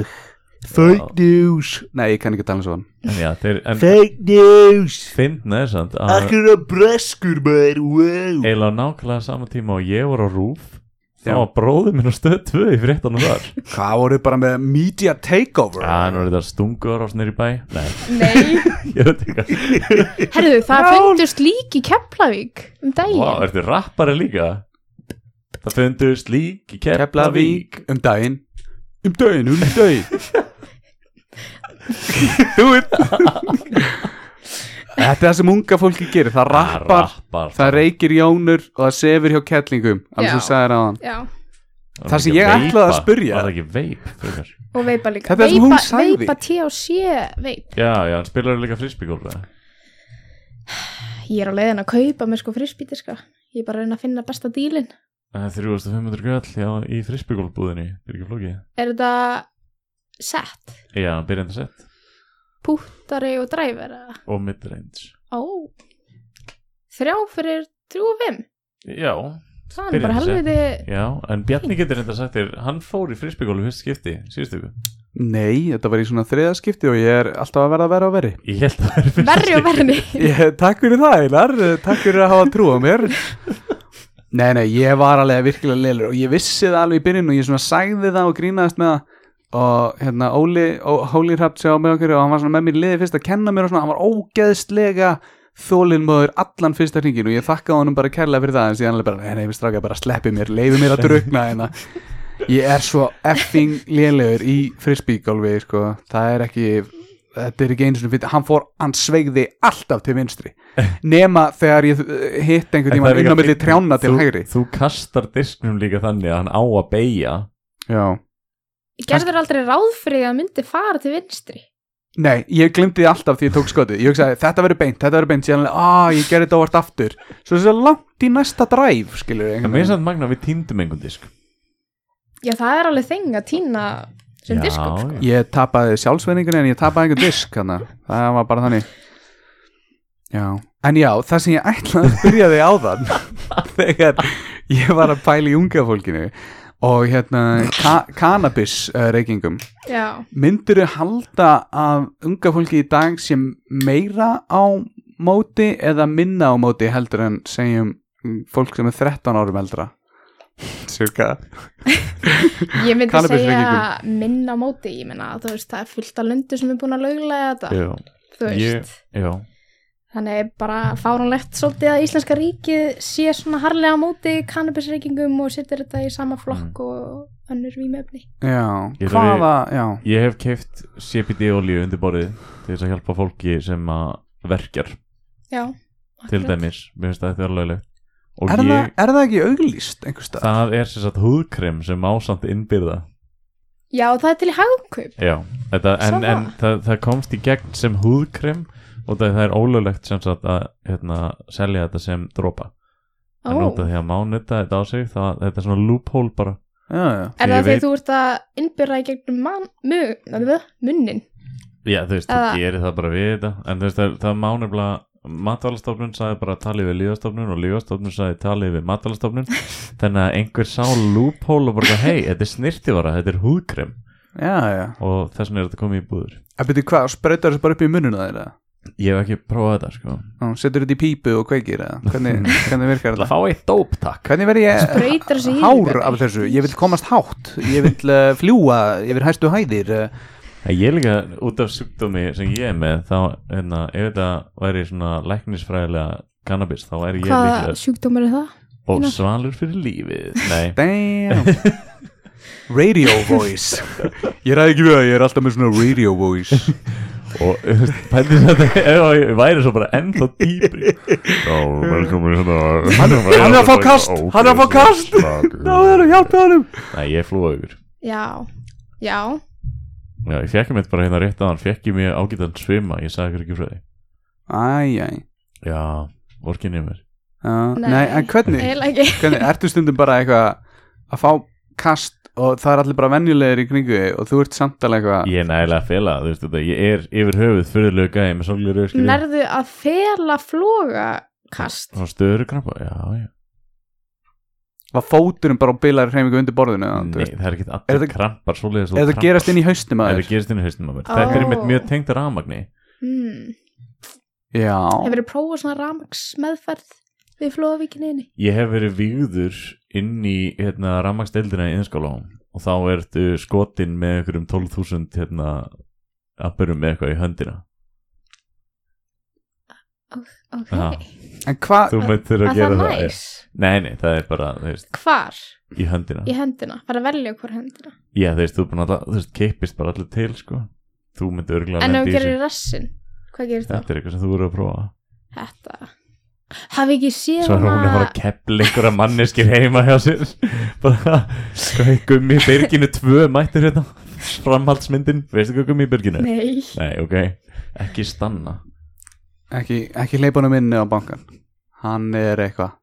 S6: Fake news
S5: nei, ég kann ekki tala svona
S3: en já, þeir, en
S6: Fake news
S3: finna er samt að
S6: Akkur að breskur maður wow.
S3: eiginlega á nákvæmlega sama tíma og ég var á rúf þá
S5: Já.
S3: var bróðið minn á stöð 2 í fréttanum þar
S5: hvað voru bara með media takeover
S3: Já, nú er þetta stungur á snir í bæ Nei,
S4: nei,
S3: ég veit ekki
S4: herruðu, það fundust lík í Keflavík um daginn
S3: Vá, ertu rappari líka? Það fundust lík í Keflavík
S5: Keflavík um daginn um daginn, um daginn þú veit þetta er það sem unga fólki gerir það rappar,
S3: rappar.
S5: það reykir jónur og það sefur hjá kettlingum alveg sem
S4: Já.
S5: sagðir á hann
S4: já,
S3: Var
S5: það sem
S3: ekki
S5: ég
S3: veipa?
S5: ætlaði að spyrja.
S3: Var það ekki veip frekar?
S4: og veipa líka
S5: Þetta er það sem hún
S4: Veipa-
S5: sagði.
S4: veipa THC veip
S3: Já, já, hann spilar líka frisbygól
S4: ég er á leiðin að kaupa mér sko frisbíti sko ég er bara að reyna að finna besta dílin
S3: 3500 göll já, í frisbygólbúðinni Það er ekki flókið
S4: er þetta sett,
S3: Já, byrjandi sett
S4: púttari og dræver
S3: og midrange
S4: ó þrjá fyrir þrjú og fimm
S3: Já,
S4: það er
S3: Byrjandi
S4: bara helviti
S3: já, en Bjarni getur þetta sagt þér Hann fór í frisbygólu fyrst skipti, síðustu ykkur
S5: nei, þetta var í svona þriðaskipti og ég er alltaf að verða að vera að veri
S3: Ég held að það er fyrst
S4: verri og verri
S5: Ég, takk fyrir það, Einar Takk fyrir að hafa trú á mér Nei, nei, ég var alveg virkilega leilur og ég vissi það alveg í byrjun og ég svona sagði það og grínaðist með það og hérna Óli, Ó, Óli hrapt sér á með okkur og hann var svona með mér í liði fyrst að kenna mér og svona hann var ógeðslega þólinmöður allan fyrsta hringin og ég þakkaði honum bara kærlega fyrir það en síðan alveg bara, nei, nei, við stráka bara sleppi mér leiði mér að drukna hérna Ég er svo effing lélegur í frisbíkálfi, sko, það er ekki þetta er ekki eins og fyrir, hann fór hann sveigði alltaf til vinstri nema þegar ég eh, hitt einhvern
S3: En það
S5: tímann
S3: er líka
S5: inn á milli
S3: fyndið,
S5: trjána til
S3: þú-
S5: hægri
S3: Þú kastar disknum líka þannig að hann á að beigja
S5: Já.
S4: gerður aldrei ráð fyrir því að myndi fara til vinstri
S5: Nei, ég glemdi því alltaf því ég tók skotið Ég hugsaði, þetta verður beint, þetta verður beint Síðan, alveg, að, ég gerði þetta óvart aftur Svo þess að langt í næsta dræf, skilur
S3: En mér er samt magna að við týndum einhvern disk
S4: já það er alveg þing að týna sem
S3: Já,
S4: diskur
S3: já.
S4: sko.
S5: Ég tapaði sjálfsveiningunni en ég tapaði einhver disk hana. Það var bara þannig Já, en já, það sem ég ætlaði að spyrja þig á þann Þegar ég var að pæla í unga fólkinu Og hérna, ka cannabis uh, reykingum
S4: já,
S5: myndirðu halda að unga fólki í dag sé meira á móti eða minna á móti heldur en segjum mm, fólk sem er 13 árum eldra Sjöka
S4: ég myndi segja
S5: Kannabisreykingum.
S4: minna á móti, ég menna þú veist það er fullt af löndu sem er búin að löglega þetta
S3: Já,
S4: þú veist
S3: Ég- já
S4: Þannig er bara fáránlegt svolítið að Íslenska ríkið sé svona harlega á móti kannabisreikingum og setjar þetta í sama
S3: Mm.
S4: flokk og önnur vímöfni.
S5: Já,
S3: Ég ætla
S5: hvaða, já
S3: Ég hef keift CBD olíu undir borðið til þess að hjálpa fólki sem að verkjar
S4: Já.
S3: til dæmis, mér finnst það þetta alveg lög Og
S5: er, það,
S3: ég,
S5: er það ekki auglýst einhvers stað?
S3: það er sem sagt húðkrem sem ásamt innbyrða
S4: Já, það er til í hagkaup.
S3: Já, þetta, en,
S4: Sama.
S3: en það, það komst í gegn sem húðkrem og það, það er ólöglegt sem sagt að hérna, selja þetta sem dropa
S4: Ó,
S3: en út af því að mánutta þetta á sig það, þetta er svona loophole bara
S5: Já, já,
S3: ég
S4: er það því
S3: veit-
S4: að þú ert að innbyrra í gegnum man, mun, nefnir, munnin?
S3: Já, þú veist,
S4: Eða-
S3: þú gerir það bara við þetta En þú veist, það, það má nefnilega Matvælastofnun sagði bara talið við líðastofnun og líðastofnun sagði talið við matvælastofnun þannig að einhver sá loophole og bara, hei, þetta er snirtivara, þetta er húðkrem
S5: já, já
S3: og þess vegna er þetta komið í búður
S5: En byrju hvað, sprautar þessu bara upp í mununa þeirra?
S3: Ég hef ekki prófað þetta sko
S5: Ná, Setur þetta í pípu og kveikir eða? Hvernig, hvernig virkar
S3: Það
S5: þetta?
S3: fá eitt dóp takk
S5: Hvernig verð ég
S4: Breytar þessu í
S5: hár af þessu? Ég vil komast hátt, ég vil uh, fljúa, ég vil hæstu hæðir uh,
S3: En Ég er líka út af sjúkdómi sem ég er með þá, hérna, ef þetta væri svona læknisfræðilega cannabis þá er ég
S4: Hvaða
S3: líka
S4: sjúkdómar er það?
S3: og svalur fyrir lífið Nei,
S5: Damn Radio voice Ég ræði ekki við það, ég er alltaf með svona radio voice
S3: og pælir þetta ef að ég væri svo bara ennþá dýpri Já, velkomin hérna Hann
S5: hann er að fá kast, hann er að fá kast. Ná, það er að hjálpa honum
S3: Nei, ég flúa yfir
S4: Já, já
S3: Já, ég fekk mér bara hérna rétt að hann fekk ég mjög ágætan svima, ég sagði ykkur ekki frá því
S5: Æj, æj
S3: Já, vorkinni mér
S5: Já,
S4: Nei.
S5: Nei, en hvernig,
S4: Eða ekki
S5: hvernig Ertu stundum bara eitthvað að fá kast og það er allir bara venjulegir í kringu þig og þú ert samt alveg eitthvað
S3: Ég er nægilega að fela, þú veist þetta, ég er yfir höfuð fyrirlega gæði með svolítið rauðskil
S4: Nærðu að fela flógakast
S3: Svona stöður krampa, já, já
S5: var fóturinn bara á bilar hreifingu undir borðinu eða, þú
S3: Nei,
S5: veist.
S3: það er ekki
S5: Er
S3: allir
S5: þetta-
S3: krampar svolítið
S5: Eða það gerast inn í haustum
S3: Ef
S5: að
S3: það gerist inn í haustum á mér
S4: Ó.
S3: Þetta er mitt mjög tengt rafmagni
S4: hmm.
S5: Já,
S4: Hefur þið prófað svona ramags meðferð við flóðavíkininni?
S3: Ég hef verið vígður inn í hérna, rafmagsdeildina í innskólahóm og þá ertu skotin með einhverjum 12.000 hérna, appurum með eitthvað í höndina
S4: Ok,
S3: Já,
S5: en hvað
S3: Þú myndir
S4: að
S3: að
S4: það
S3: gera það,
S4: næs
S3: það Nei, nei, það er bara, þú veist,
S4: Hvar?
S3: í höndina
S4: Í hendina, bara velja hvort hendina
S3: Já, þú veist, þú, bara, náttúrulega- þú veist, keipist bara allir til, sko Þú myndir örgulega
S4: En ef
S3: lenda
S4: hún
S3: í þessu.
S4: gerir rassin, hvað gerir það?
S3: Þetta er eitthvað sem þú eru að prófa
S4: Þetta Hafið ekki séð
S3: Svo er hún að fara að kepla einhverja manneskir heima hjá sér Bara, hvað er gummi byrginu tvö mættur hérna Framhaldsmyndin, veistu hvað gummi byrginu?
S4: Nei,
S3: Nei, ok, ekki stanna
S5: Ekki, ekki leipa honum inn á bankan Hann er eitthvað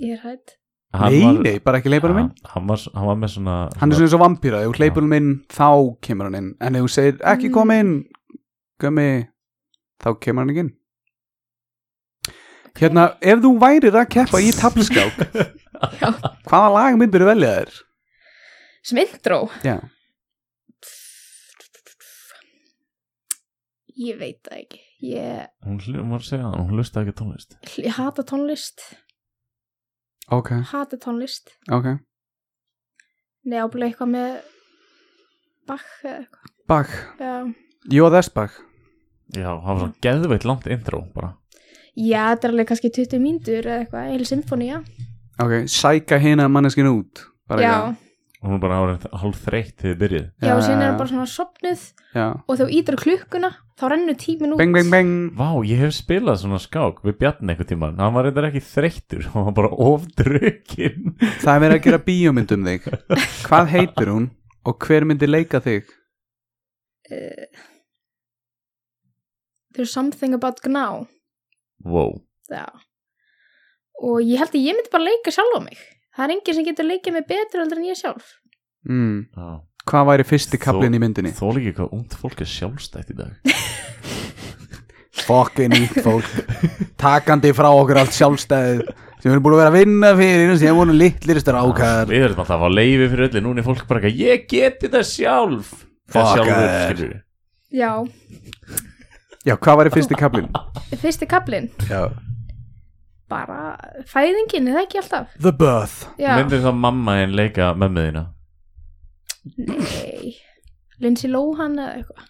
S4: ég er hætt
S5: Nei, nei, bara ekki leipa honum inn
S3: hann, hann, var, hann var með svona
S5: Hann er svona eins og vampýra, ef þú hleypur hann inn þá kemur hann inn, en ef þú segir ekki
S4: Mm.
S5: koma inn, gummi þá kemur hann ekki inn Hérna, ef þú værir að keppa í tabliskák hvaða lag myndir þú velja þér?
S4: Sem intro
S5: Já,
S4: Ég veit það ekki Ég,
S3: Hún, hlu- hún var að segja það, hún hlusta ekki á tónlist
S4: ég hata tónlist
S5: ok,
S4: Hata tónlist
S5: ok
S4: Nei, ábúinlega eitthvað með Bach eða eitthvað
S5: Bach,
S4: Já.
S5: jó þess Bach
S3: Já, hann var svona geðveitt langt intro bara
S4: Já, þetta er alveg kannski 20 mínútur eða eitthvað, heil symfóni, já.
S5: Ok, sæka hina manneskin út bara
S4: Já,
S3: Hún var bara árið hálf þreytt til þið byrjuð
S4: já, og síðan
S5: Já,
S4: er
S5: já,
S4: það
S5: já.
S4: bara svona sopnuð
S5: eitthvað. Já,
S4: og þá ítur klukkuna, þá rennur tímin út.
S5: beng, beng, beng
S3: Vá, ég hef spilað svona skák við Bjarni einhvern tímann, hann var reyndar ekki þreyttur hann var bara ofdrukkin
S5: Það er verið að gera bíómynd um þig Hvað heitir hún og hver myndir leika þig?
S4: Eh, There's something about now,
S3: Wow,
S4: já. Og ég held að ég myndi bara leika sjálfa mig. Það er enginn sem getur leikað mig betur heldur en ég sjálf.
S5: Mm.
S3: já
S5: Hvað væri fyrsti kaplinn í myndinni?
S3: Þó líka hvað ungt fólk er sjálfstætt í dag
S5: Fokkin ítt fólk Takandi frá okkur allt sjálfstæðið sem við erum búin að vera að vinna fyrir sem voru litlir strákar
S3: Við erum alltaf að leifi fyrir öllu Núna er fólk bara ekki Ég geti það sjálf
S5: Fuck it.
S3: sjálfur
S4: Já,
S5: Já, hvað væri fyrsti kaplinn?
S4: fyrsti kaplinn,
S5: Já.
S4: bara fæðingin, er það ekki alltaf?
S5: The birth
S4: Já,
S3: Myndir þá mamma en leika mömmu þína
S4: nei, Lindsay Lohan eða eitthvað.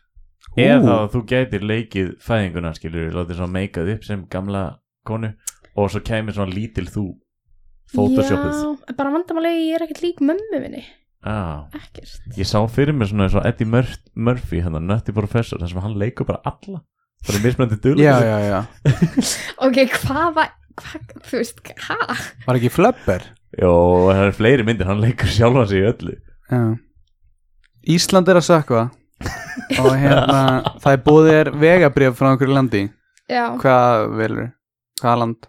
S3: Eða þá
S5: Ú,
S3: að þú gætir leikið fæðinguna skilur Látið svona meikað upp sem gamla konu Og svo kæmir svona lítil þú Photoshopuð
S4: Já, bara vandamálegi, ég er ekkert lík mömmu minni,
S3: ah,
S4: ekkert.
S3: Ég sá fyrir mér svona eins og Eddie Mur Murphy Þannig Nutty Professor Þannig sem hann leikur bara alla Það er mismöndi dul
S5: já, já, já
S4: Ok, hvað var, hvað, þú veist, hæ?
S5: Var ekki flöpper?
S3: Jó, það er fleiri myndir Hann leikur sjálfa sig í öllu
S5: Já Ísland er að sökva og hérna, það er búið er vegabrif frá einhverju landi
S4: Já,
S5: Hvað velur? Hvaða land?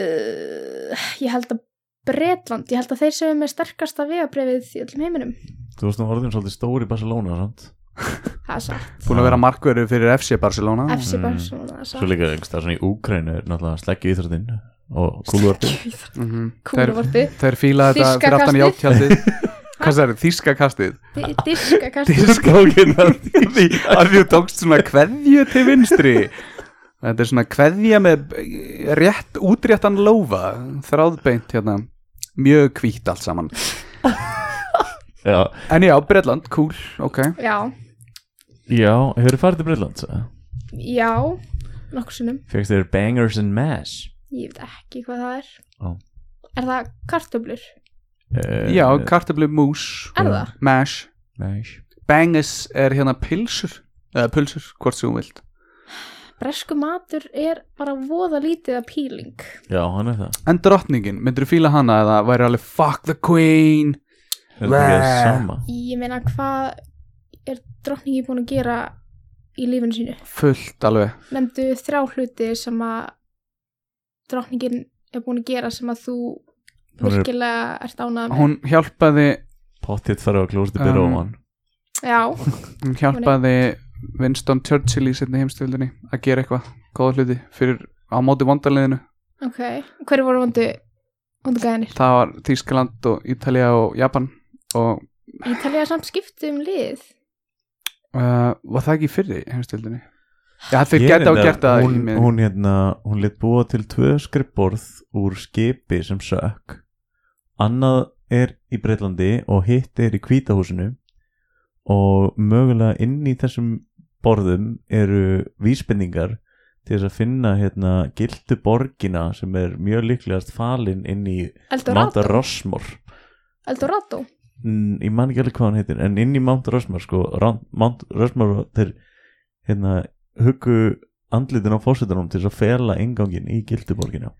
S4: uh, ég held að Bretland, ég held að þeir sem er með sterkasta vegabrefið í öllum heiminum.
S3: Þú veist nú orðin svolítið stór í Barcelona sant?
S4: Það er satt.
S5: Búin að vera markverður fyrir FC Barcelona
S4: FC
S3: Mm.
S4: Barcelona, það er
S3: Svo
S4: satt.
S3: líka einhvers það svona í Úkrænu er náttúrulega sleggju íþróttinn og kúluvarpið
S5: mm -hmm. Þeir,
S4: Kúluvorti.
S5: þeir fíla þetta fyrir aftan
S4: Þýska
S5: játjaldið hvað það er, þíska kastið
S4: Di- Diska kannski
S5: Diskókin að því að því þú tókst svona kveðju til vinstri Þetta er svona kveðja með eh, rétt, útréttan lófa þráðbeint hérna mjög hvítt allt saman
S3: Já,
S5: En já, Bretland, cool, ok
S4: Já,
S3: já hefur farið til Breitlands
S4: já, nokkur sinnum
S3: Fegst þér bangers and mash
S4: Ég veit ekki hvað það er
S3: Ó.
S4: Er það kartöblur?
S3: uh,
S5: Já, kartöflu mús, eh,
S4: Er það?
S5: mash
S3: Mash
S5: Bangus er hérna pilsur eða pulsur, hvort sem þú vilt
S4: Bresku matur er bara voða lítið að píling
S3: Já, hann er það
S5: En drottningin, myndirðu fíla hana eða væri alveg fuck the queen
S3: Er það ekki
S5: Bleh.
S3: það sama?
S4: Ég meina hvað er drottningi búin að gera í lífinu sínu?
S5: fullt alveg
S4: Nefndu þrjá hluti sem að drottningin er búin að gera sem að þú
S3: Hún er-
S4: virkilega ert ánað með.
S5: hún hjálpaði
S3: Pottitt farið á klósti byrja
S5: Um,
S3: um, hann
S4: Já,
S5: hún hjálpaði Winston Churchill í setni heimstöldinni að gera eitthvað góða hluti fyrir á móti vondarliðinu
S4: ok. Hverju voru vondu, vondu gæðinir?
S5: það var Þýskaland og Ítalía og Japan og
S4: Ítalija samt skipti um lið.
S5: uh, var það ekki fyrir heimstöldinni já þeir
S3: Ég
S5: geta
S3: reyndar-
S5: og gert það
S3: hún,
S5: í miðjunni.
S3: hún hérna, hún lit búa til tvö skrifborð úr skipi sem sökk annað er í Breitlandi og hitt er í kvítahúsinu og mögulega inn í þessum borðum eru vísbendingar til þess að finna hérna gildu borgina sem er mjög líklegast falin inn í Mount
S4: Eldorado.
S3: Rushmore
S4: Eldorado.
S3: Mm, ég man ekki alveg hvað hann heitir en inn í Mount Rushmore sko Ran- Mount Rushmore þeir hérna huggu andlitin á fórsetunum til þess að fela ingangin í gilduborginu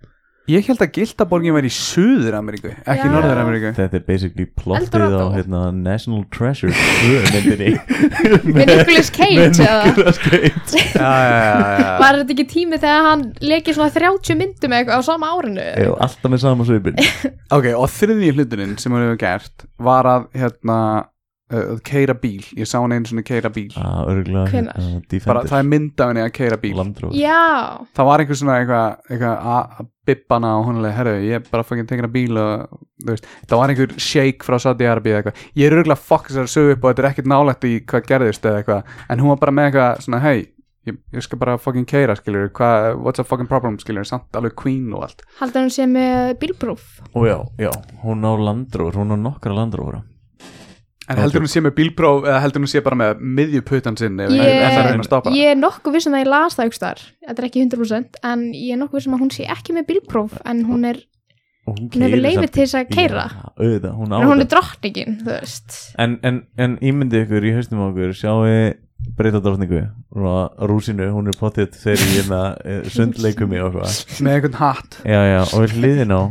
S5: ég held að Gildaborgin væri í Suður Ameríku ekki
S4: Já.
S5: í Norður Ameríku
S3: þetta er basically plottið á
S4: Eldorado.
S3: hérna, National Treasure 2 myndinni
S4: Með Nicolas Cage
S3: með
S4: eða?
S3: Nicolas Cage
S5: já,
S4: Var þetta ekki tími þegar hann leikir svona 30 myndum eða eitthvað á sama árinu?
S3: Já, alltaf með sama svipin
S5: ok og þriðji hluturinn sem hún hefur gert var að hérna uh, keira bíl, ég sá hann einu svona keira bíl
S3: að örgulega
S4: Hvenær?
S5: bara það
S3: Ah, hérna, Defenders
S5: er mynd af henni að keira bíl
S3: Landróð
S4: Já,
S5: það var einhver svona eitthvað eitthva, að bibba hana og hún alveg, herru, ég er bara fangin tengina bíl og þú veist, það var einhver shake frá Saudi Arabia eða eitthvað, ég er örgulega fokk þessar sögu upp og þetta er ekkert nálægt í hvað gerðist eða eitthvað, en hún var bara með eitthvað svona, hei ég, ég skal bara fucking keira, skiljur hvað, what's a fucking problem, skiljur, samt alveg queen og allt,
S4: haldur hann sé með bílpróf.
S3: og já, já, hún á landróður hún á nokkra landróður
S5: en heldur hún sé með bílpróf eða heldur hún sé bara með miðjuputan sinn ef
S4: Ég-
S5: það er að reyna að stoppa
S4: Ég er nokkuð vissum að ég las það ykkur þetta er ekki 100% en ég er nokkuð vissum að hún sé ekki með bílpróf en hún er,
S3: og hún
S4: hún hefur
S3: keyrir
S4: leifið
S3: samt-
S4: til þess að keira
S3: já, auðvitað, hún á
S4: en
S3: þetta.
S4: hún er drottningin, þú veist
S3: En, en, en ímyndi ykkur í haustum á okkur sjáu breyta drottningu rúsinu, hún er pottitt þegar í hérna eh, sundleikumi og eitthvað
S5: með einhvern hatt
S3: já, já, og við hliðin á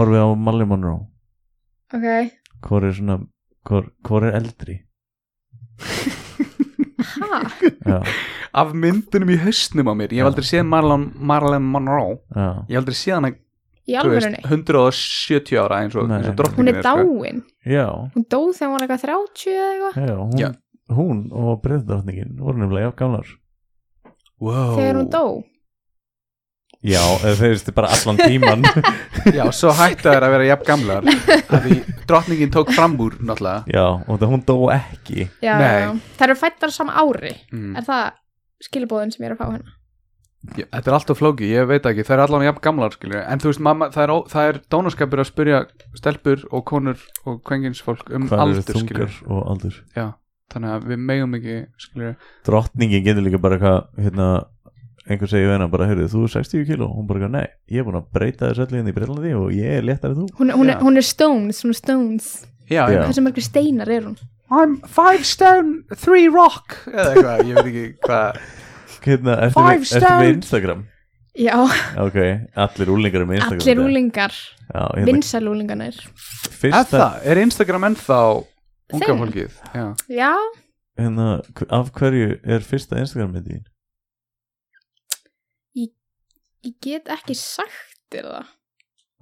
S3: horfið á Marley Monroe
S4: ok,
S3: hvor er svona, hvor, hvor er eldri
S4: ha,
S3: já,
S5: af myndunum í hausnum á mér, ég hef aldrei séð Marlon, Marlon Monroe,
S3: já,
S5: ég hef aldrei séð hana
S4: í
S5: þú veist,
S4: alvörunni
S5: 170 ára eins og,
S3: Nei.
S5: eins og
S4: hún
S5: drottningin sko.
S4: er dáin,
S3: já,
S4: hún dóð þegar hún var eitthvað 30 eða eitthvað,
S3: já, hún,
S5: Já.
S3: hún og breyta drottningin voru nefnilega jafn gamlar
S5: wow.
S4: þegar hún dó
S3: já, eða þeir veistu bara allan tíman
S5: Já, svo hættu þær að vera jafn gamlar af Því drottningin tók fram úr náttúrulega
S3: já, og það hún dó ekki
S4: já,
S5: Nei.
S4: já. það eru fættar sama ári
S5: mm.
S4: er það skilabóðin sem ég er að fá hérna
S5: Já, Þetta er alltaf flóki, ég veit ekki, það er allan jafn gamlar skilur. En þú veist, mamma, það er, ó- það er dónaskapur að spyrja stelpur og konur og kvenginsfólk um
S3: hvað eru
S5: aldur
S3: þungar
S5: skilur.
S3: og aldur
S5: Já, þannig að við megum ekki skilur.
S3: drottningin getur líka bara eitthvað hérna, einhver segir við hennar bara, heyrðu, þú er 60 kíló hún bara, eitthvað, nei, ég er búin að breyta þessu öllu hérna í Breitlandi og ég er léttari en þú
S4: hún, hún,
S5: Já.
S4: er, hún er stones, hún er stones
S5: Já,
S3: Já.
S5: já.
S4: hversu mörgur steinar er hún
S5: I'm five stone, three rock eða eitthvað, ég veit ekki hvað
S3: hérna, ertu,
S5: Five
S3: með, ertu
S5: stone.
S3: með Instagram?
S4: já,
S3: ok, allir úlingar er með Instagram
S4: allir úlingar
S3: já, hérna,
S4: vinsælúlingarnir,
S5: Er
S3: fyrsta,
S5: það, er Instagram ennþá unga
S4: Þinn?
S5: fólkið? Já.
S4: já
S3: hérna, hv- af hverju er fyrsta Instagram með þín?
S4: ég get ekki sagt þér það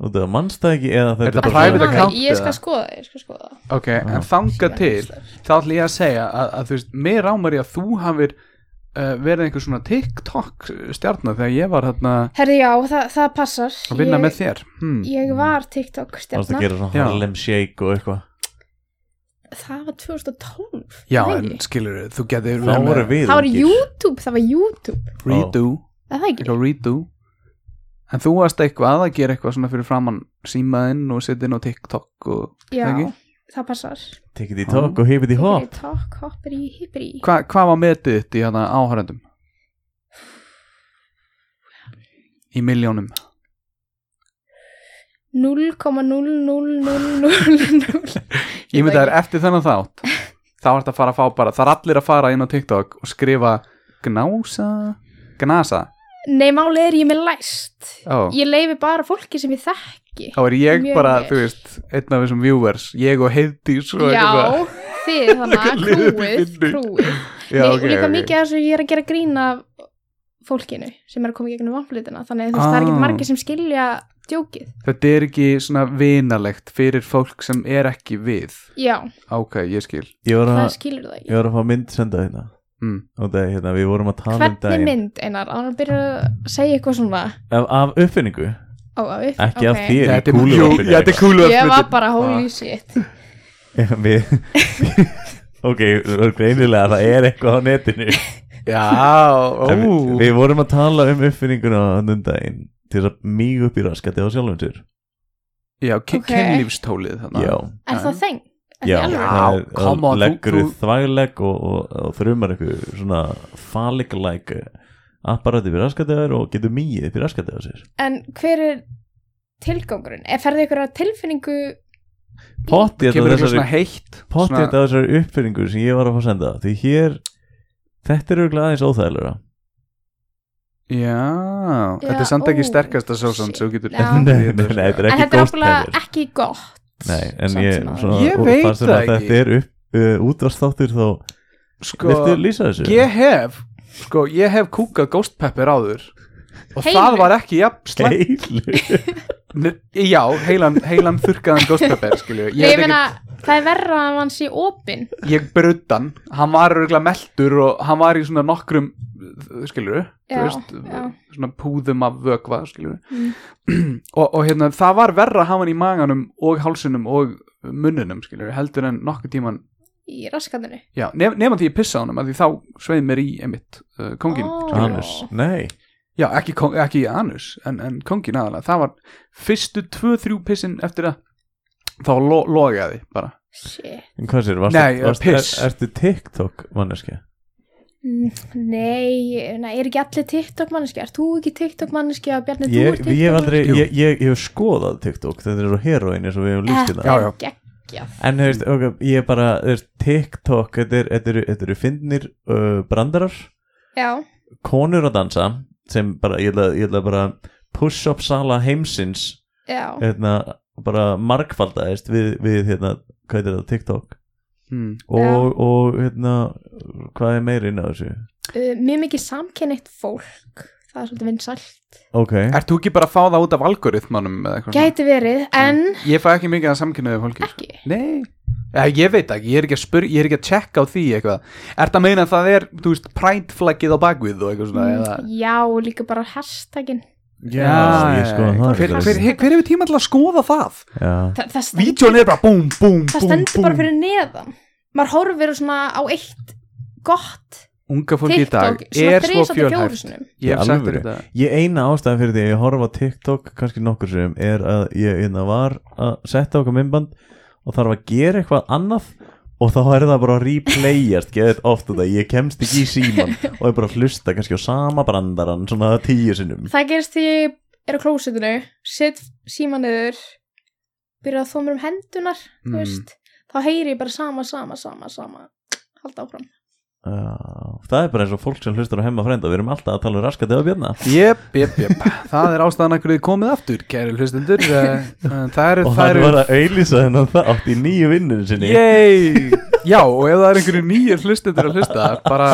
S3: og það mannst það ekki eða
S5: Er
S3: þetta
S5: það
S3: er
S5: private
S3: bara
S5: account?
S4: ég
S5: eða?
S4: skal skoða, ég skal skoða
S5: Ok,
S3: Já.
S5: en þangað til þá ætlum ég að segja að, að þú veist, mér rámar ég að þú hafir uh, verið einhver svona TikTok stjarnar þegar ég var hérna
S4: Herri já, það, það passar
S5: að vinna
S4: ég,
S5: með þér hmm.
S4: Ég var TikTok
S3: mannst að
S4: stjarnar
S3: gera svona
S5: Já.
S3: Harlem Shake og eitthvað
S4: það var 2012
S5: Já,
S4: það
S5: en
S4: ekki?
S5: skilur, þú getur
S3: Þá voru við
S4: það var
S3: ungir.
S4: YouTube, það var YouTube
S5: redo,
S4: er það ekki,
S5: eitthvað redo En þú varst eitthvað að gera eitthvað svona fyrir framann símaðinn og setja inn á TikTok og
S4: já,
S5: ekki?
S4: það passar
S3: Take it í tók og hipið í
S4: Hippity
S3: hopp
S4: Talk, hoppir í, hippir í
S5: Hva, hvað var metið þitt í hana áhærendum? Í miljónum
S4: 0,0000
S5: Ég myndi að það er eftir þennan þátt þá er þetta að fara að fá bara, það er allir að fara inn á TikTok og skrifa Gnása Gnasa,
S4: Nei, málið er ég er með læst
S5: ó,
S4: Ég leifi bara fólki sem ég þekki
S5: þá er ég
S4: mjög
S5: bara
S4: vel.
S5: þú veist, einn af þessum viewers ég og Heiðdís og eitthvað.
S4: Já, þið þannig að
S5: Liðið upp í
S4: krúið,
S5: vinnu.
S4: krúið.
S5: Já,
S4: Nei,
S5: ok,
S4: og líka
S5: ok.
S4: mikið af þessu ég er að gera grín af fólkinu sem er að koma í gegnum vamplitina þannig að þú veist, það
S5: Ah.
S4: er ekkert margir sem skilja djókið.
S5: Þetta er ekki svona vinalegt fyrir fólk sem er ekki við
S4: Já,
S5: Ok, ég skil
S3: Ég var
S4: það
S3: að,
S4: skilur það
S3: ég
S4: ekki.
S3: var að fá mynd hérna. senda þérna
S5: mm.
S3: Og það er hérna, við vorum að tala um
S4: Hvernig
S3: daginn
S4: mynd, Einar, að hann byrja að segja eitthvað svona
S3: af, af uppfinningu,
S4: á að upp?
S3: ekki af
S4: ok.
S3: þér
S5: Þetta
S3: í
S5: er
S3: kúlu
S5: mjög- já, þetta er kúlu
S4: Ég var bara holy shit.
S3: Við Ok, greinilega það er eitthvað á netinu
S5: Já, ó
S3: En við, við vorum að tala um uppfinninguna þannig daginn til þess að mýg upp í raskati á sjálfum sér
S5: Já, ki-
S4: Ok.
S5: kynlífstólið þarna
S3: Já,
S4: Er
S5: Já.
S4: það þeng? Er
S3: já,
S4: það í alvöru?
S3: það er-
S5: Já, come on,
S3: þá leggur
S5: þú-
S3: þú þvæglegg og, og, og þrumar eitthvað svona faliklæk apparati fyrir raskati á þér og getur mýið fyrir raskati á sér
S4: En hver er tilgangurinn? Er ferðið ykkur að tilfinningu
S3: Potti þetta
S5: Kemur eitthvað
S3: þessari
S5: svona heitt
S3: pottið
S5: svona-
S3: þetta á þessari uppfinningu sem ég var að fá að senda því hér, þetta er auðvitað aðeins óþægilega
S5: Já,
S4: Já,
S5: þetta er samt ekki
S4: ó,
S5: sterkasta sósan
S4: shit.
S5: sem þú getur
S4: Já.
S3: Nei, nei, nei, þetta er
S4: en
S3: ekki
S4: þetta er
S3: góðstæðir
S4: áfælega ekki gott
S3: Nei, en
S4: samt
S3: ég,
S4: sem áður.
S3: svona,
S5: Ég
S3: og
S5: veit
S3: fannst
S5: það
S3: að
S5: ekki.
S3: Þetta er upp uh, útvarstáttur þá
S5: Sko,
S3: Viltu lýsa þessu?
S5: ég hef sko, ég hef kúkað ghost pepper áður og
S4: Heilu?
S5: það var ekki jafn slæmt
S3: Heilu
S5: N- já, heilan, heilan þurrkaðan ghost pepper skilju,
S4: Nei,
S5: ég,
S4: ég
S5: veit
S4: meina, það er verra að hann sé opinn
S5: ekki, ég bruddan hann var örgulega meltur og hann var í svona nokkrum skilju,
S4: Já,
S5: þú veist
S4: já.
S5: svona púðum af vökva skilju og, og hérna, það var verra að hafa hann í maganum og hálsunum og mununum skilju, heldur en nokkuð tíman
S4: í raskandinu
S5: já, nef, nefnum því ég pissa á hann því þá sveið mér í emitt uh, kongin
S4: Ó.
S5: skilurðu.
S3: Annars, nei
S5: Já, ekki, kong, ekki anus, en, en kongin aðalega. Það var fyrstu tvö, þrjú pissin eftir það, þá lo, logaði bara.
S4: Shit.
S3: En Hvað sér, varstu,
S5: Nei,
S3: varstu
S5: piss.
S3: er, Ertu TikTok manneski?
S4: Mm, Nei, nei, er ekki allir TikTok manneski? Er þú ekki TikTok manneski að Bjarni, þú
S3: Ég,
S4: ert
S3: ég hef aldrei,
S5: Jú.
S3: ég, ég, ég hef skoðað TikTok Þetta er svo heroin eins og við hefum líst í
S4: Þetta
S3: það
S5: Já,
S4: er
S5: já.
S4: geggjað
S3: En þú veist, ok, ég er bara, þú veist, TikTok Þetta er- þetta eru þetta eru fyndnir uh, brandarar
S4: Já,
S3: Konur að dansa Sem bara, ég ætla, ég ætla bara Push-up sala heimsins
S4: já,
S3: hérna, Bara margfaldaðist Við, við hérna, hvað er það, TikTok Hmm.
S5: Mm.
S3: og, og hérna hvað er meira inn á þessu
S5: Eh.
S4: Uh, mjög mikið samkennitt fólk Það er svolítið vinsælt
S3: ok,
S5: Ert þú ekki bara að fá það út af algoritmanum eða eitthvað? svona?
S4: Gæti verið, en
S5: Ég fæ ekki mikið að samkynnaðu fólki. sko.
S4: ekki
S5: Nei. Já, ég veit ekki, ég er ekki að spur, ég er ekki að checka á því eitthvað. Ert að meina að það er, þú veist, præntflaggið á bakvið og eitthvað svona, eða...
S4: Mm, Já, líka bara hashtaggin
S3: já, ég skoða það sko.
S5: Hver,
S3: reyndar.
S5: hver, hver, hver hefur tíma til að skoða það?
S3: já,
S4: Þa, Það stendur
S5: Vídeón er bara búm, búm,
S4: það
S5: búm,
S4: stendur bara
S5: búm.
S4: fyrir neðan maður horfir svona á eitt gott
S5: Unga fólki í dag er
S4: TikTok
S5: svo
S4: þrisvar til fjórum
S5: fjölhæft.
S4: sinnum.
S5: Ég hef
S3: Í
S5: sagt þér
S3: alvöru?
S5: þetta.
S3: ég eina ástæðan fyrir því að ég horfa á TikTok kannski nokkur sem er að ég hérna, var að setja okkar myndband og þarf að gera eitthvað annað og þá er það bara að replayast geðið ofta það, ég kemst ekki í síman og ég bara að hlusta kannski á sama brandaran svona tíu sinnum
S4: það gerist því ég er á klósitinu set síma niður byrja að þómur um hendunar
S5: Mm.
S4: þú veist, þá heyri ég bara sama, sama, sama, sama halda áfram
S3: Já, það er bara eins og fólk sem hlustar á hemma frænda við erum alltaf að tala um raskat eða björna
S5: Jep, jep, jep, það er ástæðan að hverju þið komið aftur, kæri hlustendur Eh, eh, Það eru,
S3: og
S5: það
S3: hann var
S5: eru,
S3: að auðlýsa þennan þátt í nýju vinnunni sinni
S5: yey Já, og ef það eru einhverju nýjir hlustendur að hlusta bara,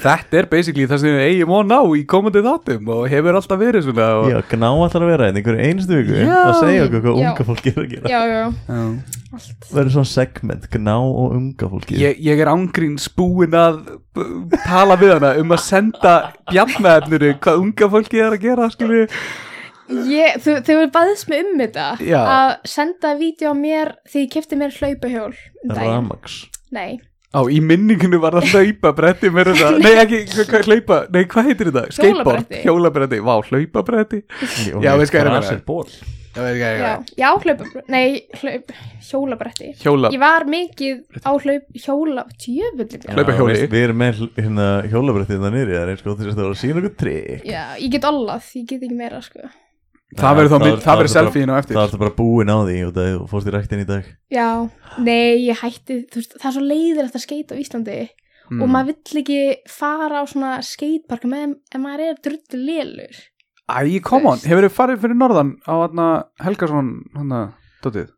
S5: þetta er basically það sem við eigum og ná í komandi þáttum og hefur alltaf verið svona og,
S3: Já, gná ætlar að vera einn einhverju einstu viku
S5: Já.
S3: og segja okkur hvað
S4: Já.
S3: unga fólki er að gera
S4: já, já, já,
S5: Já.
S4: allt
S3: Það verður svona segment, gná og unga fólki
S5: Ég, ég er ángríns búinn að eh, b- tala við hana um að senda bjarnaefninu hvað unga fólki er að gera skilju
S4: Ég, þú, þau eru baðist mig um þetta
S5: Já.
S4: að senda vídeo á mér því ég kefti mér hlaupahjól um daginn.
S3: Ramax
S4: Nei,
S5: Á, í minninginu var það hlaupa bretti með þetta Nei, ekki, hva- hvað hlaupa, nei, hvað heitir þetta? Skateboard,
S4: Hjólabretti.
S5: hjólabretti, vá, hlaupa bretti Já, hérna veist hvað er að meina.
S3: ból
S4: já, já hlaupa, nei, hlaup, hjólabretti.
S5: Hjóla,
S4: Ég var mikið á hlaup, hjóla, djöfullin.
S5: Hlaupa
S3: Já,
S5: hjóli.
S3: veist, Við erum með hl- hérna, hjólabrættið það nýri Það er eins og þess að það var að sína okkur trikk
S4: Já, ég get allað, ég get ekki meira, sko.
S5: það verður þá,
S3: Það-
S5: mynd- það verður
S3: það-
S5: selfie inn á
S3: Það
S5: eftir
S3: er þetta bara búin á því og það þú fórst í ræktin í dag
S4: Já, nei, ég hætti, þú veist, það er svo leiðilegt að skeita á Íslandi
S3: Mm.
S4: og
S5: Mm.
S4: maður vill ekki fara á svona skeitparka með þeim ef maður er drullu lélur.
S5: Æ, come on, hefur þið farið fyrir norðan á hana, Helgason, hana, dotið,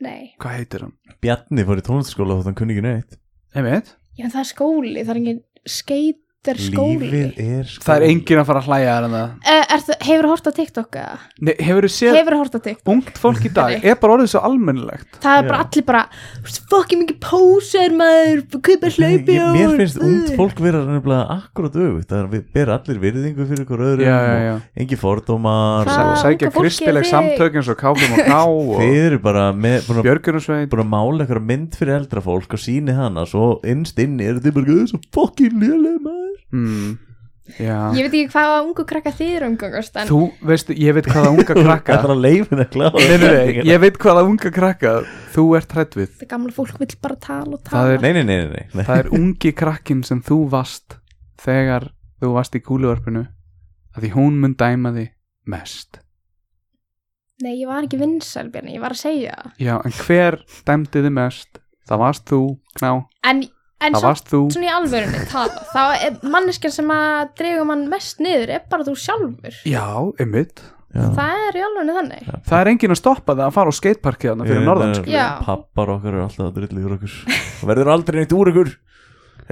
S4: Nei,
S5: hvað heitir hann?
S3: Bjarni fór í tónlistaskóla þótt hann kunni ekki neitt
S5: Einmitt,
S4: já, en það er skóli, það er engin skeitar skóli.
S3: Lífið er skóli
S5: það er enginn að fara að hlæja að hana
S4: Uh, er, hefur hort á TikTok eða?
S5: Nei, hefur þið séð,
S4: Hefur hort á TikTok?
S5: ungt fólk í dag,
S4: Nei.
S5: er bara orðið svo almennilegt
S4: Það er bara allir bara, þú veist, fokkin mikið pósar maður, kaupa
S3: Nei,
S4: hlaupi
S3: ég- Mér finnst ungd fólk vera nefnilega akkurat auðvitt Það er við ber allir virðingu fyrir ykkur öðrum
S5: Já, já, já.
S3: og Engi fordómar
S4: Hvað-
S3: og-
S4: unga
S5: Sækja
S4: fólkið,
S5: kristileg
S4: þið-
S5: samtökin svo káfum og ká og
S3: Þið eru bara með, búin að
S5: Björgunarsveit
S3: búin að mála eitthvað mynd fyrir eldra fólk og síni hana svo innst inni eru þið bara "Þau eru svo fokkin lélega maður
S5: mm. Já
S4: Ég veit ekki hvaða ungu krakka þið eru umgangast, en
S5: Þú veist, ég veit hvaða unga krakka
S3: Það er að leifin að klára
S5: Nei, nei, nei, ég veit hvaða unga krakka Þú ert hrætt við
S4: það gamla fólk vill bara tala og
S5: Það
S4: tala.
S5: er,
S3: nei, nei, nei, nei, nei.
S5: það er ungi krakkin sem þú varst Þegar þú varst í kúluvarpinu að Því hún mun dæma því mest
S4: Nei, ég var ekki vinsæl, Bjarni, ég var að segja. það.
S5: Já, en hver dæmdi þið mest? Það varst þú, kná
S4: En, en
S5: Það
S4: samt
S5: varst þú
S4: svona í alvörunni tala, þá er manneskjan sem að dregur mann mest niður er bara þú sjálfur.
S5: Já, einmitt
S3: Já.
S4: Það er í alvörunni þannig.
S5: Það er enginn að stoppa það að fara á skateparkið þarna fyrir norðan sko.
S4: Já.
S3: Pappar okkar eru alltaf að drilla yfir okkur Það verður aldrei neitt úr okkur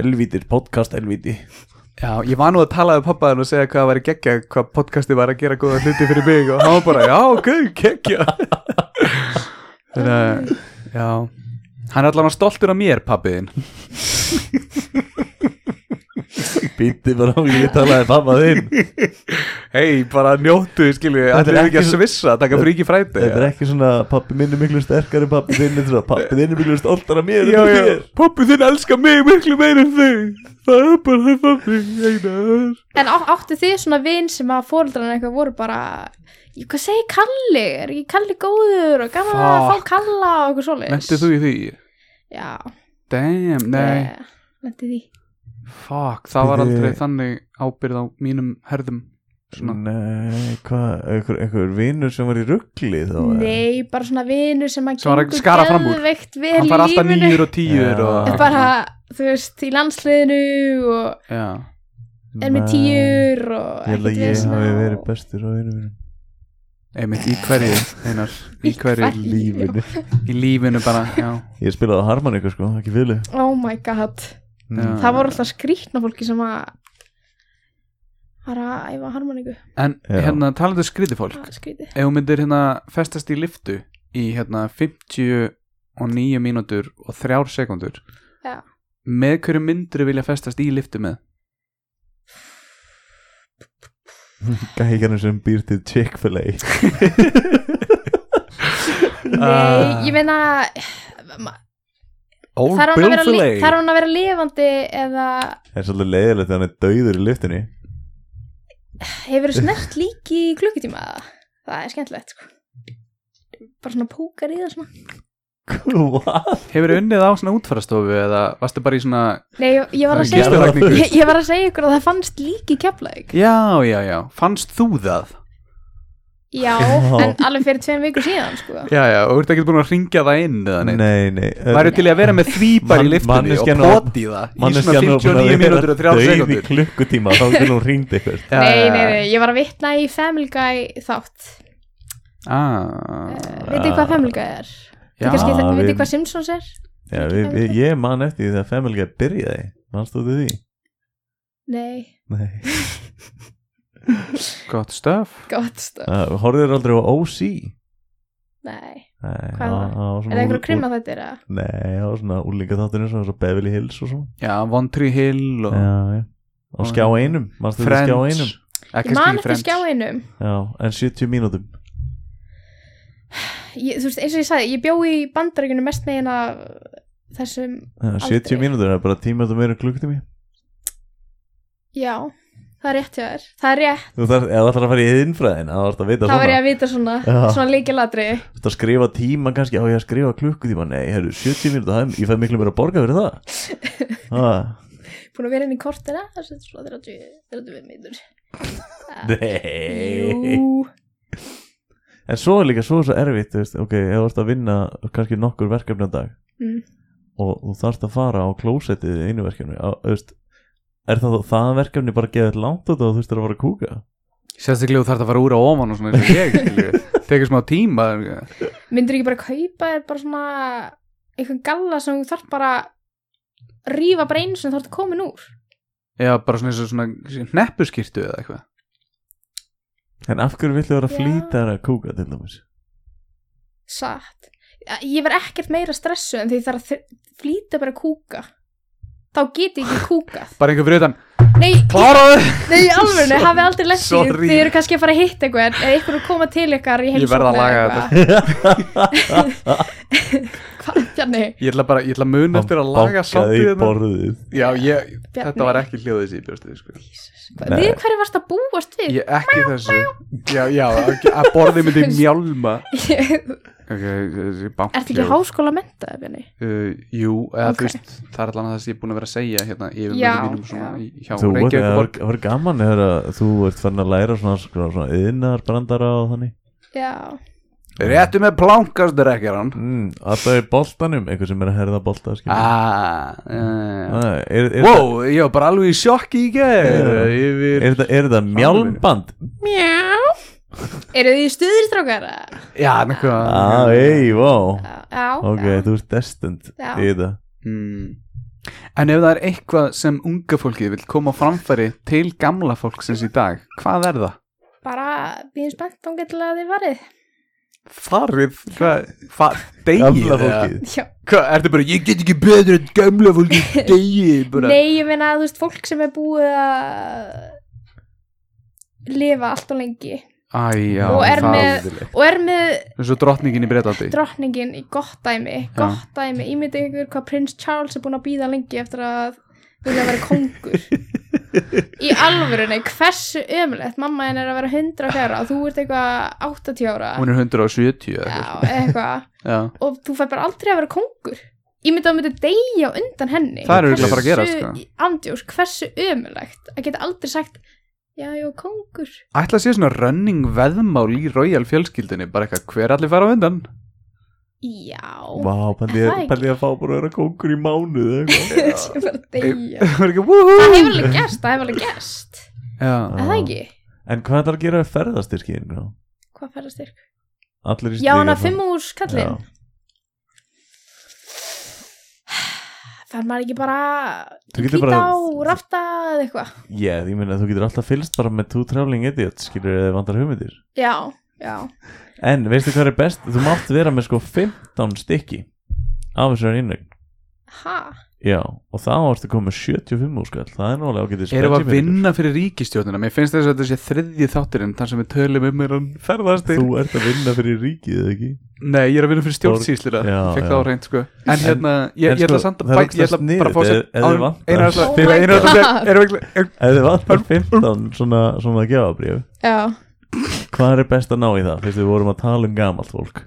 S3: Helvítir, podcast helvíti
S5: Já, ég var nú að tala við pappaðin og segja hvað það væri geggja hvað podcastið var að gera góða hluti fyrir mig og hann var bara, já, ok, geggja Þannig að, já Hann er allavega stoltur af mér, pappiðin
S3: Býtti bara á ég talaði pappa þinn
S5: Hei, bara njóttu, skilju,
S3: Þetta er
S5: allir ekki að
S3: ekki-
S5: svissa taka fríki fræti
S3: Þetta er ekki svona pappi minn er miklu sterkari en pappi þinn Þetta er svona pappi þinn er miklu stoltar af mér
S5: Já,
S3: en
S5: já,
S3: þér."
S5: pappiðin elskar mig miklu meir en þig Það er bara þannig, einar
S4: En á- áttu þið svona vin sem að fóreldrarna eitthvað voru bara "Í, Hvað segir Kalli? Er ekki Kalli góður og gaman að fá
S5: Fuck.
S4: Kalla og eitthvað svoleiðis?
S5: Mentið þú í því?
S4: Já,
S5: Damn, nei,
S4: ég Nennti því
S5: fuck, það var
S3: Bíddu.
S5: aldrei þannig ábyrð á mínum herðum Svona.
S3: Nei, hvað, einhver, einhver vinnur sem var í ruggli þá eða?
S4: Nei, bara svona vinur sem að
S5: Sem var að skara fram úr.
S4: geðveikt vel
S5: Hann
S4: í
S5: fær alltaf
S4: lífinu.
S5: nýjur og tíur
S3: Já.
S5: og,
S4: Bara, þú veist, í landsliðinu og
S5: Já
S4: er með
S3: Nei.
S4: tíur og
S3: Ég held að
S4: ekkert
S3: ég
S4: vesen
S3: hafi
S4: á-
S3: verið bestur á einu vinnum
S5: einmitt í hverju einar, í
S4: Í
S5: hverju
S4: hverju?
S3: Lífinu
S5: í lífinu bara, já,
S3: Ég spilaði á harmoniku sko, ekki fjölu
S4: Oh my god
S5: já.
S4: Það voru alltaf skrýtna fólki sem að var að æfa harmoníku
S5: en
S3: Já.
S5: hérna talandu skrýti fólk
S4: Það er skrýtið
S5: ef hún myndir hérna festast í liftu í hérna 59 mínútur og 3 sekundur
S4: Já.
S5: með hverju myndir vilja festast í liftu með
S3: Gækjarnir sem býr til Chick-fil-A
S5: Ah.
S4: Nei, ég meina ma- þarf hann, að vera li- þarf hann að vera lifandi eða
S3: Það er svolítið leiðilegt þegar hann er dauður í liftinni
S4: hefur verið snert lík í klukkutíma eða? það er skemmtilegt sko. bara svona pókar í það svona
S3: Hvað?
S5: hefur unnið á svona útfærastofu eða varstu bara í svona
S4: Nei, ég, ég, var að
S5: Gerðu
S4: segja,
S5: það ekki.
S4: ég, ég var að segja ykkur að það fannst lík í keflaug
S5: já, já, já, fannst þú það
S4: Já,
S3: Já.
S4: en alveg fyrir tveim vikur síðan sko.
S5: já, já, og þú ert ekki búin að ringja það inn eða neitt
S3: Nei, nei
S5: Væru til í að vera með því bara í
S3: Mann-
S5: lyftunni og
S3: manneskjan var-
S5: poti það í svona
S3: Manneskjan var búin að
S5: 59 mínútur og 3
S3: dauð í
S5: sekundur
S3: klukkutíma þá til hún ringdi ykkur
S5: Já,
S4: nei,
S5: já,
S4: nei,
S5: já.
S4: nei, ég var að vitna í Family Guy þátt
S5: Ah,
S4: Veitir hvað Family Guy er?
S5: já,
S4: Þið kannski
S3: við-
S4: veitir hvað Simpsons er?
S3: Já, við, við, ég man eftir því þegar Family Guy byrjaði Manstu þú því?
S4: Nei,
S3: Nei
S5: gott stöf
S4: gott stöð
S3: uh, Horður aldrei á OC?
S4: Nei,
S3: Nei,
S4: Hvað
S3: það- það var
S4: var? er
S3: svona
S4: það einhverju
S3: úl-
S4: krimma þetta er að?
S3: úl- Nei, það var svona úlinga þátturinn svona svo Beverly Hills og svona
S5: Já, Von Tree Hill og
S3: Já, já Á
S5: Og-
S3: skjá einum, manstu því skjá
S5: Friends
S3: einum
S5: Eða
S4: Ég man
S5: kannski í
S4: eftir
S5: Friends.
S4: skjáinum
S3: Já, en 70 mínútum
S4: ég, Þú veist, eins og ég sagði, ég bjó í bandaríkunum mest megin af þessum,
S3: Já, 70
S4: Aldrei.
S3: mínútur er bara tímatum meira klukkutími
S4: já Það er rétt hjá þér, það er rétt
S3: Þú þarf, eða ætlar að fara í innfræðin Það þarf að vita
S4: Það var
S3: svona
S4: ég að vita svona,
S3: Já.
S4: svona líkilatri
S3: Þú þarf að skrifa tíma kannski Á ég að skrifa klukkutíma Nei, herru, 70 mínútur það er- Ég fæ miklu meira að borga fyrir það ah,
S4: Búin að vera inn í kortina, það er svona 30, 30 mínútur
S3: Nei
S4: Jú,
S3: En svo er líka svo, svo erfitt þú veist, Ok, eða þú ert að vinna kannski nokkur verkefni á dag
S4: Mm.
S3: Og þú þarfst að fara á klósettið í einu verkefni á, þú veist, Er það, það verkefni bara geðið langt út og þú þurftir að fara að kúka?
S5: Sérstaklega þú þarf að fara úr á ofan og svona eins og ég, skilju. Tekur smá tíma.
S4: myndir ekki bara kaupa þér bara svona einhvern galla sem þú þarf bara að rífa bara einu sem þú þarf að koma úr
S5: Eða bara svona eins og svona neppuskirtu eða eitthvað.
S3: En af hverju villu vera að
S4: Já.
S3: flýta þér að kúka til dæmis?
S4: satt ég verð ekkert meira stressu en því ég þarf að þr- flýta bara að kúka þá get ég ekki kúkað
S5: Bara einhver fyrir utan.
S4: nei,
S5: Klaraðu!
S4: nei alveg, nei, hafi aldrei lett því
S5: Sorry.
S4: þið eru kannski að fara að hitta einhvern eða einhvern að koma til ykkar í
S5: Ég verð að
S4: heimsókn eða
S5: laga
S4: eitthvað. hvað, Bjarni,
S5: Ég ætla bara, ég ætla að muna eftir að laga
S3: Bankaði
S5: sáttið
S3: í borðið
S5: Já, ég,
S4: Bjarni.
S5: þetta var ekki hljóðið sem ég bjóst við, sko.
S3: Nei.
S4: við hverju varst að búast við
S5: Ég ekki þessu. Já, já, að- að borðið myndi mjálma. Ok, þessi bank.
S4: ert ekki háskóla að menta Bjarni
S5: Uh, jú, eða
S4: Ok.
S5: þú veist, það er allan að það sem ég er búin að vera að segja hérna yfir
S4: Já,
S5: mjög mínum svona
S4: já.
S5: í- hjá
S3: Þú var,
S5: Reykjavík
S3: var, var gaman þegar að þú ert farin að læra svona, svona, svona yðnar brandara og þannig
S4: já,
S5: Réttu með plánkastrekjaran.
S3: mm, Alltaf í boltanum, einhver sem er að herða bolta skilur.
S5: Ah, uh,
S3: Æ, Mm. Er, er, wow.
S5: wow, ég var bara alveg í sjokki í
S3: Já.
S5: gerð yfir,
S3: er, er, er þetta mjálmband?
S4: mjá eru þið í stuðir strákar eða?
S5: já, nekvað
S3: Ah, ei, vá
S4: já, já,
S3: Ok,
S4: já.
S3: þú ert destined
S4: Já.
S3: í þetta
S5: Mm. En ef það er eitthvað sem unga fólkið vil koma á framfæri til gamla fólksins í dag, hvað er það?
S4: bara býðum spennt ángeð til að þið varðið
S5: Farið? Hvað? Far,
S3: Gamla
S5: eða?
S3: fólkið
S4: já
S5: Hvað, ertu bara, ég get ekki betur en gamla fólkið degið bara
S4: Nei, ég meina þú veist, fólk sem er búið að lifa allt og lengi
S5: Æ, já,
S4: Og er
S5: það-
S4: með- og er með
S5: Eins og drottningin í Breitlandi
S4: drottningin í gott dæmi gott dæmi, ímyndið ykkur hvað prins Charles er búin að býða lengi eftir að vilja vera kongur í alvörunni, hversu ömulegt mamma henn er að vera 100 fjara og þú ert eitthvað 80 ára
S5: Hún er 170 eða
S4: Ah. já, eitthvað,
S5: eitthvað. Já,
S4: og þú fær bara aldrei að vera kongur ég myndi að þú myndi deyja á undan henni
S5: Það er örugglega bara að
S4: Hversu-
S5: gerast, sko.
S4: andjós, hversu ömulegt að geta aldrei sagt já, já, kongur
S5: ætla að sé svona running veðmál í Royal fjölskyldinni Bara eitthvað, hver allir fara á undan?
S4: já,
S3: Vá, pældi
S4: Það
S3: ég
S4: ekki.
S3: pældi ég að fá bara að vera kókur í mánuð eða eitthvað.
S4: það er bara að deyja
S5: Það er ekki,
S4: það
S5: woohoo
S4: hefur alveg gerst, það hefur alveg gerst
S5: Já,
S4: er það ekki,
S3: En hvað er það að gera við ferðastyrkin?
S4: hvað færa styrk
S3: Allir í
S4: já,
S3: stíga
S4: hann að
S3: fram-
S4: fimm úr skallin
S3: hérna. Já.
S4: fær maður ekki bara
S3: Þú
S4: í
S3: getur
S4: hvítá,
S3: bara-
S4: rafta eða eitthvað
S3: Já, ég meina þú getur alltaf fylst bara með two traveling idiots skilur eða vandar hugmyndir
S4: já, já,
S3: En veistu hvað er best? Þú mátt vera með sko 15 stykki af þessari innögn
S4: ha
S3: Já, og þá varstu komið með 75 úrskall Það er nálega ágætið
S5: erum við að vinna fyrir ríkistjórnina Mér finnst þess að þetta sé þriðji þátturinn Þar sem við tölum um er hann ferðastir
S3: Þú ert að vinna fyrir ríkið, eða ekki?
S5: Nei, ég er að vinna fyrir stjórnsýslina
S3: Já,
S5: Ég fekk
S3: já.
S5: það á reynd, sko En hérna, ég,
S3: en
S5: ég ætla
S3: sko,
S5: samt að
S3: það er
S5: bæta Ég ætla
S3: ógeðslega
S5: bara að fá
S3: sniðugt,
S5: sér Einar
S3: ef- ef þið vantar.
S5: ætla
S4: Oh my
S5: Einar ætla að segja
S4: God.
S5: Erum við ekki
S3: Ef þið vantar 15 svona, svona gefabrif
S4: já,
S3: Hvað er best að ná í það? Fyrst við vorum að tala um gamalt fólk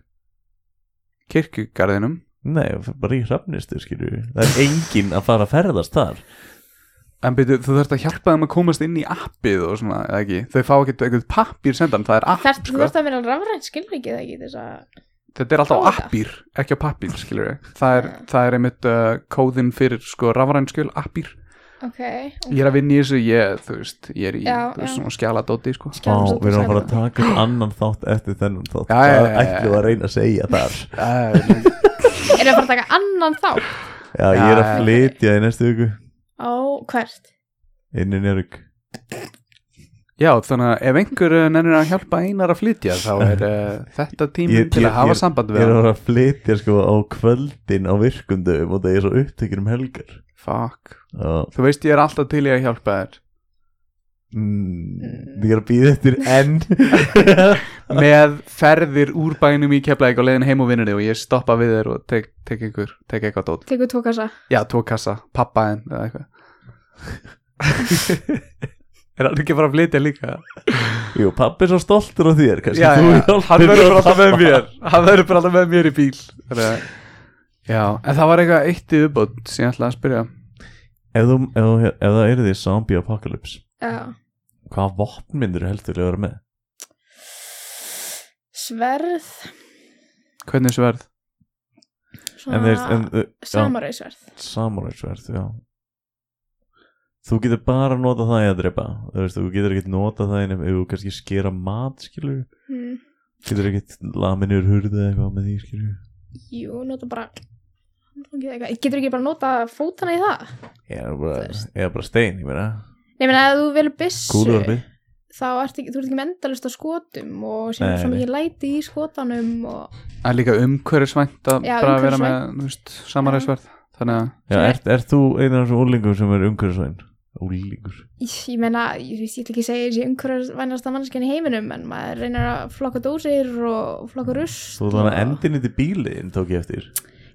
S5: Kirkugarðinum
S3: Nei, bara í hrafnistu, skilur Það er enginn að fara að ferðast þar
S5: En byrju, þú þarft að hjálpa þeim að komast inn í appið og svona, eða ekki? Þau fá ekkert eitthvað pappír sendan, það er app,
S4: Þert, þú
S5: sko.
S4: ert að vera rafrænt skilrikið eða ekki til þess að
S5: Þetta er alltaf á
S4: Prófa þetta.
S5: appír, ekki á pappír, skilur við. Það er, það er einmitt uh, kóðin fyrir, sko, rafrænskjöl, appír.
S4: ok,
S5: Ég er að vinna í þessu, ég, þú veist, ég er í
S4: Já,
S5: þú veist,
S4: já.
S5: svona skjaladóti, sko.
S3: Á,
S4: Skjálfsöld
S3: við erum að fara að taka upp annan þátt eftir þennan þátt
S5: Já,
S3: Það
S5: já, já, já.
S3: ætlum við að reyna að segja þar
S5: Uh,
S4: Erum að fara að taka annan þá?
S3: Já, ég er að
S5: Já, já.
S3: flytja í næstu viku
S4: Ó, hvert?
S3: inn í Njörg
S5: já, þannig að ef einhver eh, nennir að hjálpa einar að flytja, þá er uh, þetta tíminn
S3: Ég-
S5: til
S3: ég-
S5: að hafa
S3: ég-
S5: samband
S3: Ég er
S5: við
S3: að
S5: hann.
S3: fara að flytja sko á kvöldin á virkundum og það er svo upptekir um helgar
S5: Fuck.
S3: Já,
S5: Þú veist, ég er alltaf til í að hjálpa þér.
S3: mm, ég er að býða eftir enn
S5: með ferðir úr bænum í Keflæk og leiðin heim og vinninni og ég stoppa við þér og tek, tek einhver, tek eitthvað dót
S4: tekur tvo kassa
S5: já, tvo kassa, pappa en eða eitthvað er hann ekki að fara að flytja líka
S3: Jú, pappi er svo stoltur á þér kannski
S5: já,
S3: þú
S5: já,
S3: hjálpir
S5: hann verður bara alltaf
S3: pappa.
S5: með mér hann verður bara alltaf með mér í bíl Þannig að- já, en það var eitthvað eitt í uppbót sem ég ætlaði að spyrja
S3: Ef, þú, ef, þú- ef það eru því zombie apocalypse
S4: já.
S3: Hvaða vopn myndir heldur að vera með?
S4: sverð
S5: hvernig sverð,
S3: En þeir, en,
S4: svona
S3: uh,
S4: samaræsverð
S3: Samuraisverð, já Þú getur bara að nota það í að drepa Þú veist, þú getur ekkert nota það ef þú kannski skera mat, skilur
S4: hmm.
S3: Getur ekkert laminur hurðu eða eitthvað með því, skilur
S4: jú, nota bara getur ekki bara nota fótana í það
S3: Eða
S4: Þú
S3: bara,
S4: veist.
S3: eða bara stein, ég meina
S4: Nei, menn að þú velur byssu
S3: Kúluvarpi
S4: þá ert ekki, þú ert ekki mendalist á skotum og sem
S3: Nei,
S4: er svo
S3: nei.
S4: mikið læti í skotanum og
S5: það er líka umhverfisvænt að
S4: Já,
S5: bara vera með þú veist, samaræðsverð þannig að
S3: Já, ert, ert þú einar af þessum úlingum sem er umhverfisvæn? Úlingur
S4: ég, ég meina, ég veist ég ætla ekki að segja þessi umhverfisvænasta mannskjan í heiminum en maður reynir að flokka dósir og flokka rusl
S3: Þú þannig
S4: og-
S3: að endin í bílinn tók ég eftir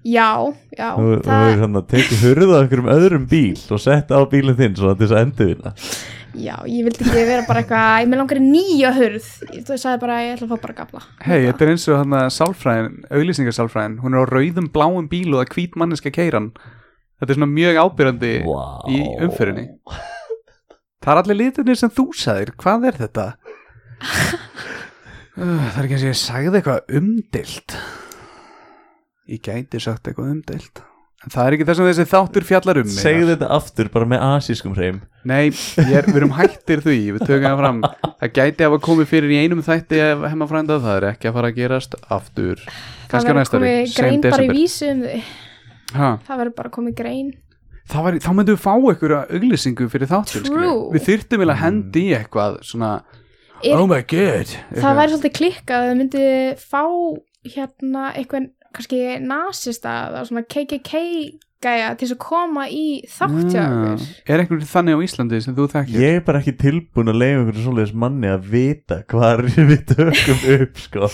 S4: Já, já,
S3: Þú þú
S4: það,
S3: hefur svona tekið hurðu af einhverjum öðrum bíl og sett á bílinn þinn svona til þess að endur þína
S4: já, ég vildi ekki vera bara eitthvað, ég með langar í nýja hurð Ég- Þú sagði bara, ég ætla að fá bara gafla
S5: Hei, þetta er eins og hann að sálfræðin, auglýsingasálfræðin, hún er á rauðum bláum bíl og það er hvít manneska keiran. Þetta er svona mjög ábyrjandi
S3: Vá.
S5: í umfyrinni. Það er allir litinir sem þú sagðir, hvað er þetta? Ugh, það er ekki eins og ég sagði eitthvað umdilt. Ég gæti sagt eitthvað umdilt. En það er ekki það sem þessi þáttur fjallar um. Einar.
S3: Segðu þetta aftur bara með asískum hreim
S5: Nei, ég er, við erum hættir því, við tökum það fram Það gæti að koma fyrir í einum þætti ef hemmafrænda, það er ekki að fara að gerast aftur,
S4: Það
S5: kannski á
S4: verður
S5: næsta ári,
S4: komið
S5: sem
S4: grein bara í
S5: desember
S4: vísu um þau
S5: ha,
S4: Það verður bara komið grein
S5: það var, Þá myndum við fá einhverja auglýsingu fyrir þáttur, skilju.
S4: True.
S5: Við þyrftum eiginlega að hendi í eitthvað svona,
S4: Er-
S5: oh my god
S4: það væri svolítið klikkað að þau myndi fá hérna eitthvað kannski nasista eða svona KKK gæja til þess að koma í þáttja okkur
S5: Er einhverjum þannig á Íslandi sem þú þekkir?
S3: Ég er bara ekki tilbúin að leiða einhverjum svoleiðis manni að vita hvað er við tökum upp sko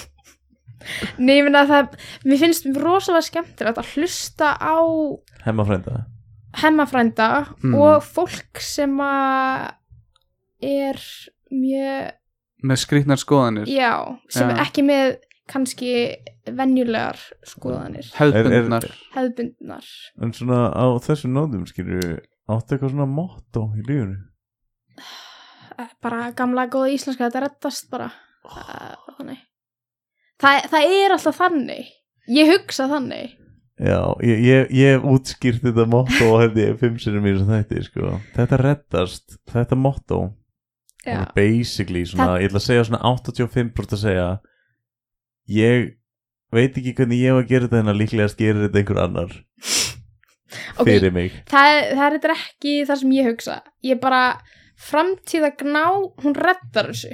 S4: Nei, ég meina að það, mér finnst rosalega skemmtilegt að hlusta á
S3: Hemma frænda
S4: hemmafrænda
S5: Mm.
S4: og fólk sem að er mjög,
S5: Með skrýtnar skoðanir,
S4: já, sem
S5: Já.
S4: er ekki með kannski venjulegar skoðanir,
S5: hefðbundnar
S4: hefðbundnar
S3: En svona á þessum nótum skilur við áttu eitthvað svona motto í lífunu
S4: Eh, bara gamla góða íslenska þetta reddast bara oh. þannig það, það er alltaf þannig ég hugsa þannig
S3: Já, ég, ég, ég hef útskýrt þetta motto og hefði ég fimm sinni mér sem þætti sko Þetta reddast, þetta motto
S4: já,
S3: Það er basically svona, ég ætla að segja svona 85% að segja ég veit ekki hvernig ég var að gera þetta en að líklegast gerir þetta einhver annar
S4: Ok.
S3: fyrir mig
S4: það, er- það er þetta ekki það sem ég hugsa ég bara framtíða gná hún reddar þessu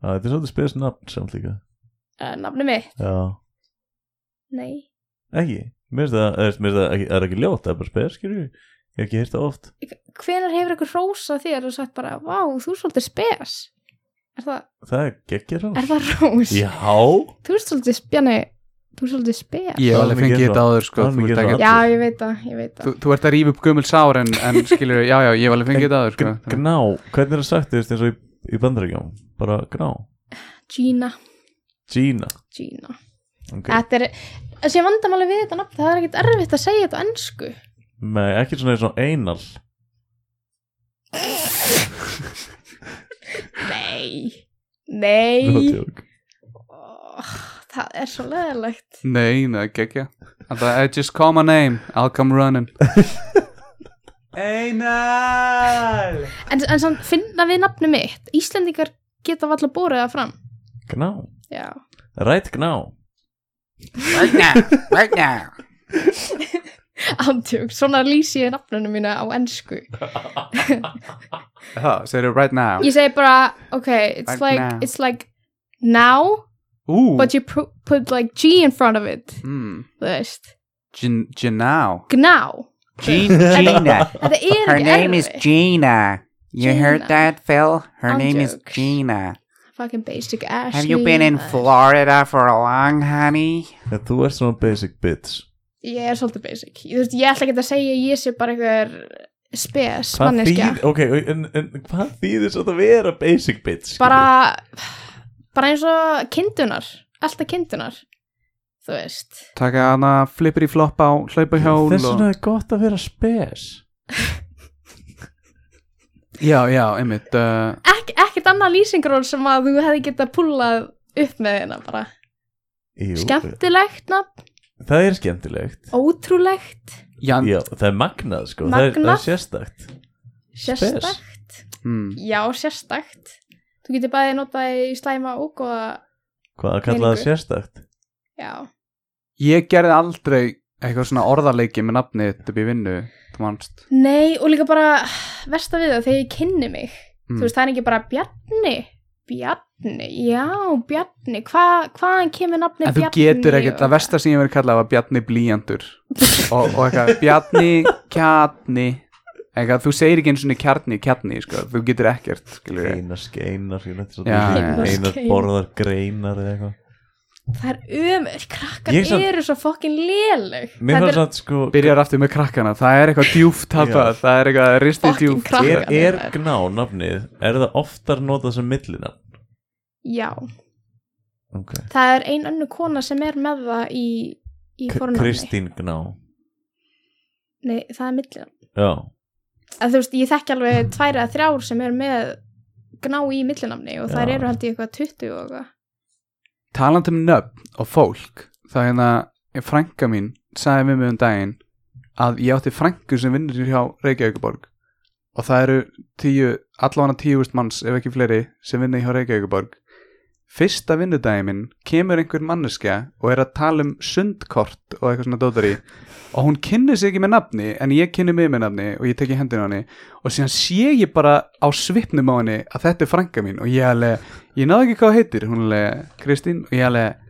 S3: að þetta er svolítið spes nafn samt líka
S4: uh, nafni mitt,
S3: já,
S4: nei
S3: ekki, mér finnst það, eða, mér finnst það ekki, það er ekki ljótt, það er bara spes, skilju ég hef ekki heyrt það oft,
S4: hvenær hefur ykkur rósa þér og sagt bara vá, þú er svolítið spes er það,
S3: það er geggir hann
S4: er það rós
S3: já,
S4: þú er svolítið spjani þú er svolítið spes
S5: Ég hef
S3: Það
S5: alveg
S3: er mikið
S5: fengið þetta
S3: svona.
S5: áður, sko,
S3: Það er
S5: þú
S3: mikið
S5: ert
S3: svona.
S5: ekki
S4: já, ég veit það, ég veit
S5: Þú,
S4: það
S5: þú ert að rífa upp gömul sár en, en skilur, já, já, ég var alveg fengið þetta áður, sko.
S3: Gn- gná, hvernig er það sagt þú veist eins og í, í bandaríkjum, bara gná
S4: Gina,
S3: Gina,
S4: Gina
S3: ok
S4: Þetta er, þessi vandamáli við þetta nafn, það er ekkert erfitt að segja þetta á ennsku.
S3: Nei, ekki svona eins og einal
S4: Nei, nei,
S3: Nótjók.
S4: oh, það er svo leðilegt.
S5: Nei, það er gekkja I just call my name, I'll come running Einar
S4: En, en samt, finna við nafnum mitt, Íslendingar geta valla bórið það fram.
S3: gná,
S4: Já,
S3: rætt gná
S1: Right now, right now.
S4: andjók, svona lýsi ég nafnunum mína á ennsku.
S5: Það, segir right now
S4: Ég segi bara, ok, it's
S5: Right
S4: like,
S5: now.
S4: it's like now,
S5: Ú,
S4: but you pu- put like G in front of it,
S5: mm,
S4: þú veist.
S5: Gin- Ginau
S4: Gná,
S1: Gina.
S4: þetta er
S1: Her
S4: ekki
S1: name is
S4: erfitt.
S1: Gina. You
S4: Gina.
S1: heard that, Phil? Her
S4: I'll
S1: name
S4: joke.
S1: is Gina.
S4: Fucking basic Ashley
S1: Have you been in
S4: maður.
S1: Florida for long, honey?
S3: En þú ert svona basic bitch
S4: Ég er svolítið basic Ég, þú veist, ég ætla ekki að segja að ég sé bara einhver spes,
S3: Hvað
S4: manneskja
S3: þýð, ok, en, en hvað þýðir svo að vera basic bitch? skilur?
S4: bara, bara eins og kindunar Alltaf kindunar Þú veist
S5: Taka hana flippir í floppa á hlaupa hjól
S3: Þess
S5: og...
S3: vegna er gott að vera spes
S5: Já, já, einmitt uh,
S4: Ek, Ekkert annað lýsingról sem að þú hefði getað púlað upp með þeirna bara
S3: Jú,
S4: Skemmtilegt nafn,
S3: Það er skemmtilegt
S4: ótrúlegt
S5: Jan,
S3: Já, það er magnað sko það er- Það
S4: Magnað.
S3: er sérstakt
S4: Sérstakt
S5: mm,
S4: Já, sérstakt Þú getur bæði notað í slæma og góða
S3: Hvað að kalla það
S4: Peningur.
S3: sérstakt?
S4: Já,
S5: Ég gerði aldrei eitthvað svona orðarleiki með nafni upp í vinnu, þú manst
S4: Nei, og líka bara versta við það þegar ég kynni mig
S5: Mm.
S4: þú veist, það er ekki bara Bjarni Bjarni, já, Bjarni Hva, hvaðan kemur nafni
S5: En þú
S4: Bjarni
S5: getur ekkert,
S4: og-
S5: það versta sem ég verið kallað var Bjarni Blíjandur og, og eitthvað, Bjarni, Kjarni eitthvað, þú segir ekki einu svona kjarni, kjarni, sko, þú getur ekkert skilur ég,
S3: Einar skeinar skilur, þetta er
S5: Já,
S3: svolítið
S5: já,
S3: svona
S4: já.
S3: Einar borðar greinar eða eitthvað
S4: Það er ömur, krakkar
S3: Ég samt-
S4: eru svo fokkin léleg
S3: Mér
S4: Þetta
S3: fannst að sko
S5: byrjar aftur með krakkana það er eitthvað djúft tapað, það er eitthvað ristið
S4: Fucking
S5: djúft
S4: krakkarnir
S3: Er, er
S4: þar.
S3: gná nafnið, er það oftar notað sem millina?
S4: Já,
S3: Ok
S4: það er ein önnu kona sem er með það í, í
S3: K-
S4: fornámi
S3: Kristín Gná
S4: Nei, það er millinafn
S3: Já,
S4: að Þú veist, ég þekki alveg tvær eða þrjár sem er með gná í millinafni og þær
S3: Já.
S4: eru held ég eitthvað 20 og eitthvað
S5: talandi um nöfn og fólk það er hérna, frænka mín sagði við mig um daginn að ég átti frænku sem vinnur hjá Reykjavíkuborg og það eru tíu, allavega tíust manns ef ekki fleiri sem vinnur hjá Reykjavíkuborg fyrsta vinnudaginn minn kemur einhver manneskja og er að tala um sundkort og eitthvað svona dótari og hún kynni sig ekki með nafni en ég kynni mig með nafni og ég teki hendina á henni og síðan sé ég bara á svipnum á henni að þetta er frænka mín og ég alveg, ég náðu ekki hvað hún heitir hún alveg, Kristín, og ég alveg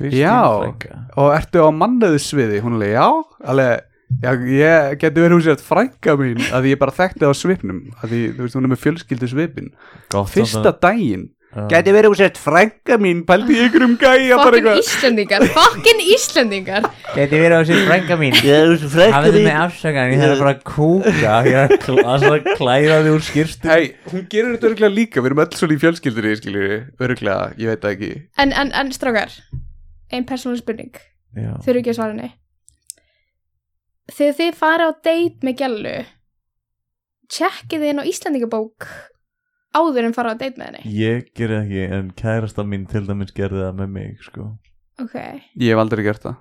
S3: Kristín
S5: Já.
S3: frænka
S5: og ertu á mannöðu sviði, hún alveg, já alveg, já, ég geti verið hún sér frænka mín, að ég bara þekkti það á svipnum, að því, þú veist, hún er með fjölskyldu svipin,
S3: Gott
S5: fyrsta daginn
S3: samt að- Já.
S5: gæti verið hún sér frænka mín, pældi í ykkur um gæja bara
S4: Fokkin
S5: eitthvað
S4: Íslendingar, fokkin Íslendingar
S1: Geti verið á sér frænga mín.
S6: Já, þessu
S1: Hafið
S6: frækkari
S1: þið með afsökan, ég þarf bara að kúka. Ég er að
S3: Það er svona klæðaði úr skýrstu
S5: Hei, hún gerir þetta örgulega líka, við erum öll svolítið í fjölskyldur í skilju, örgulega, ég veit það ekki
S4: En, en, en strákar Ein persónuleg spurning
S3: Já,
S4: Þau eru ekki að svara henni Þegar þið fara á date með gælu Tjekkið þið inn á Íslandingabók Áður en fara á date með henni
S3: ég gerði ekki en kærasta mín til dæmis gerði það með mig sko.
S4: Ok
S5: Ég hef aldrei gert það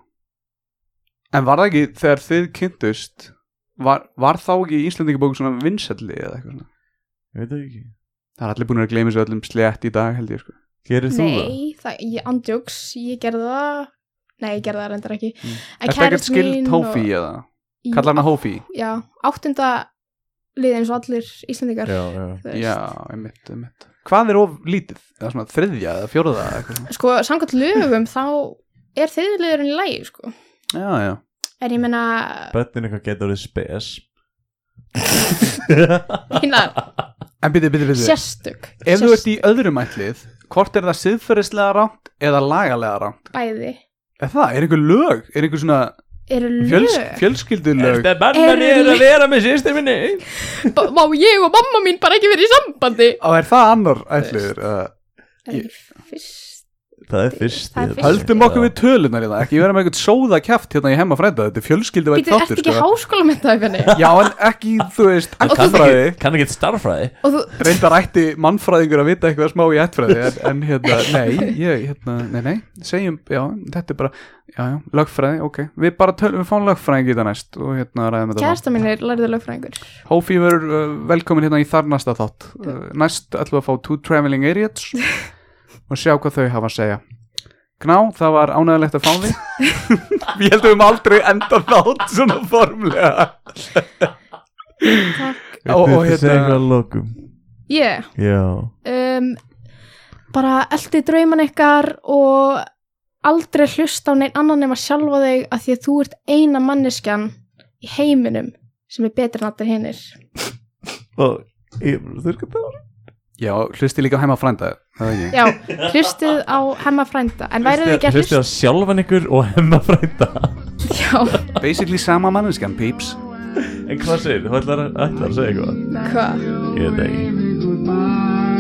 S5: En var það ekki, þegar þið kynntust var, var þá ekki í Íslandingabók svona vinsælli eða eitthvað svona
S3: Ég veit það ekki
S5: Það er allir búin að gleyma sér öllum slétt í dag held ég sko
S3: Gerir þú það?
S4: Nei, það, ég andjóks Ég gerði það Nei, ég gerði það reyndar ekki
S5: Mm.
S4: En
S5: Er það ekkert
S4: kærastan mín
S5: skild Hófi
S4: og-
S5: eða? Kallar hana Hófi?
S4: Já, áttunda lið eins og allir Íslandingar
S3: Já, já
S4: þú veist.
S5: Já, einmitt, einmitt Hvað er of lítið? Það er svona þriðja eða fjóruða eða eitthvað svona?
S4: Sko, samkvæmt lögum þá er þriðliðurinn í lægi, sko
S5: Já, já
S4: En ég meina,
S3: Bötnin eitthvað getur orðið spes
S4: Einar,
S5: En byrju, byrju, byrju
S4: hérna, sérstök
S5: Ef þú ert
S4: Sérstök.
S5: í öðrum ætlið, hvort er það siðferðislega rámt eða lagalega rámt?
S4: Bæði
S5: Er það, er einhver lög, er einhver svona
S4: Eru
S5: fjöls,
S4: lög
S5: fjölskyldulög?
S4: banna niður að
S3: vera með sýstir minni
S4: Ba- Má ég og mamma mín bara ekki verið í sambandi
S5: Og er það annar ætliður? Uh,
S4: Það er ekki fyrst
S3: Það er fyrst
S4: Það er fyrsti.
S5: höldum okkur við tölunar í það, ekki vera með einhvern sóða kæft hérna í heima frænda, þetta er fjölskylduvægt
S4: Býtu, ert
S5: þáttur,
S4: ekki
S5: sko.
S4: háskóla með það
S5: Já, en ekki, þú veist,
S4: þú-
S5: ættfræði,
S3: Kann ekki starffræði
S4: Og þú,
S5: reyndar ætti mannfræðingur að vita eitthvað smá í ættfræði, en, en hérna, nei, ég, hérna, nei, nei, segjum, já, þetta er bara, já, já, lögfræði, ok, við bara tölum, við fáum lögfræðing í það næst og hérna ræðum þetta þá.
S4: kærasta mín er lærið lögfræðingur
S5: Hófi verður uh, velkomin hérna í þar næsta þátt uh, Næst ætlum við að fá Two Traveling Idiots og sjá hvað þau hafa að segja Gná, það var ánægilegt að fá því Við heldum við höfum aldrei enda þátt svona formlega
S4: Takk
S5: Og- og
S3: Viltu segja
S5: hérna-
S3: eitthvað að lokum
S4: Ég,
S3: Já
S4: um Bara eldi drauman ykkar og aldrei hlusta á neinn annan nema sjálfa þig að því að þú ert eina manneskjan í heiminum sem er betri en allir hinnir
S3: Og Ég er bara að þurrka það
S5: Já, hlusti líka á heima frænda Það er ekki
S4: Já, hlustið á hemma frænda En værið þið ekki að
S3: Hlustið á
S4: hlusta
S3: sjálfan ykkur og hemma frænda
S4: Já,
S5: Basically sama manneskan, peeps
S3: En hvað segir, þú ætlar, að- ætlar að segja eitthvað
S4: hvað?
S3: Ég veit það ekki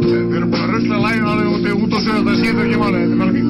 S7: Við erum búin að rusla lægin á þig út á sögðu, það skiptir ekki máli, þetta er bara fínt.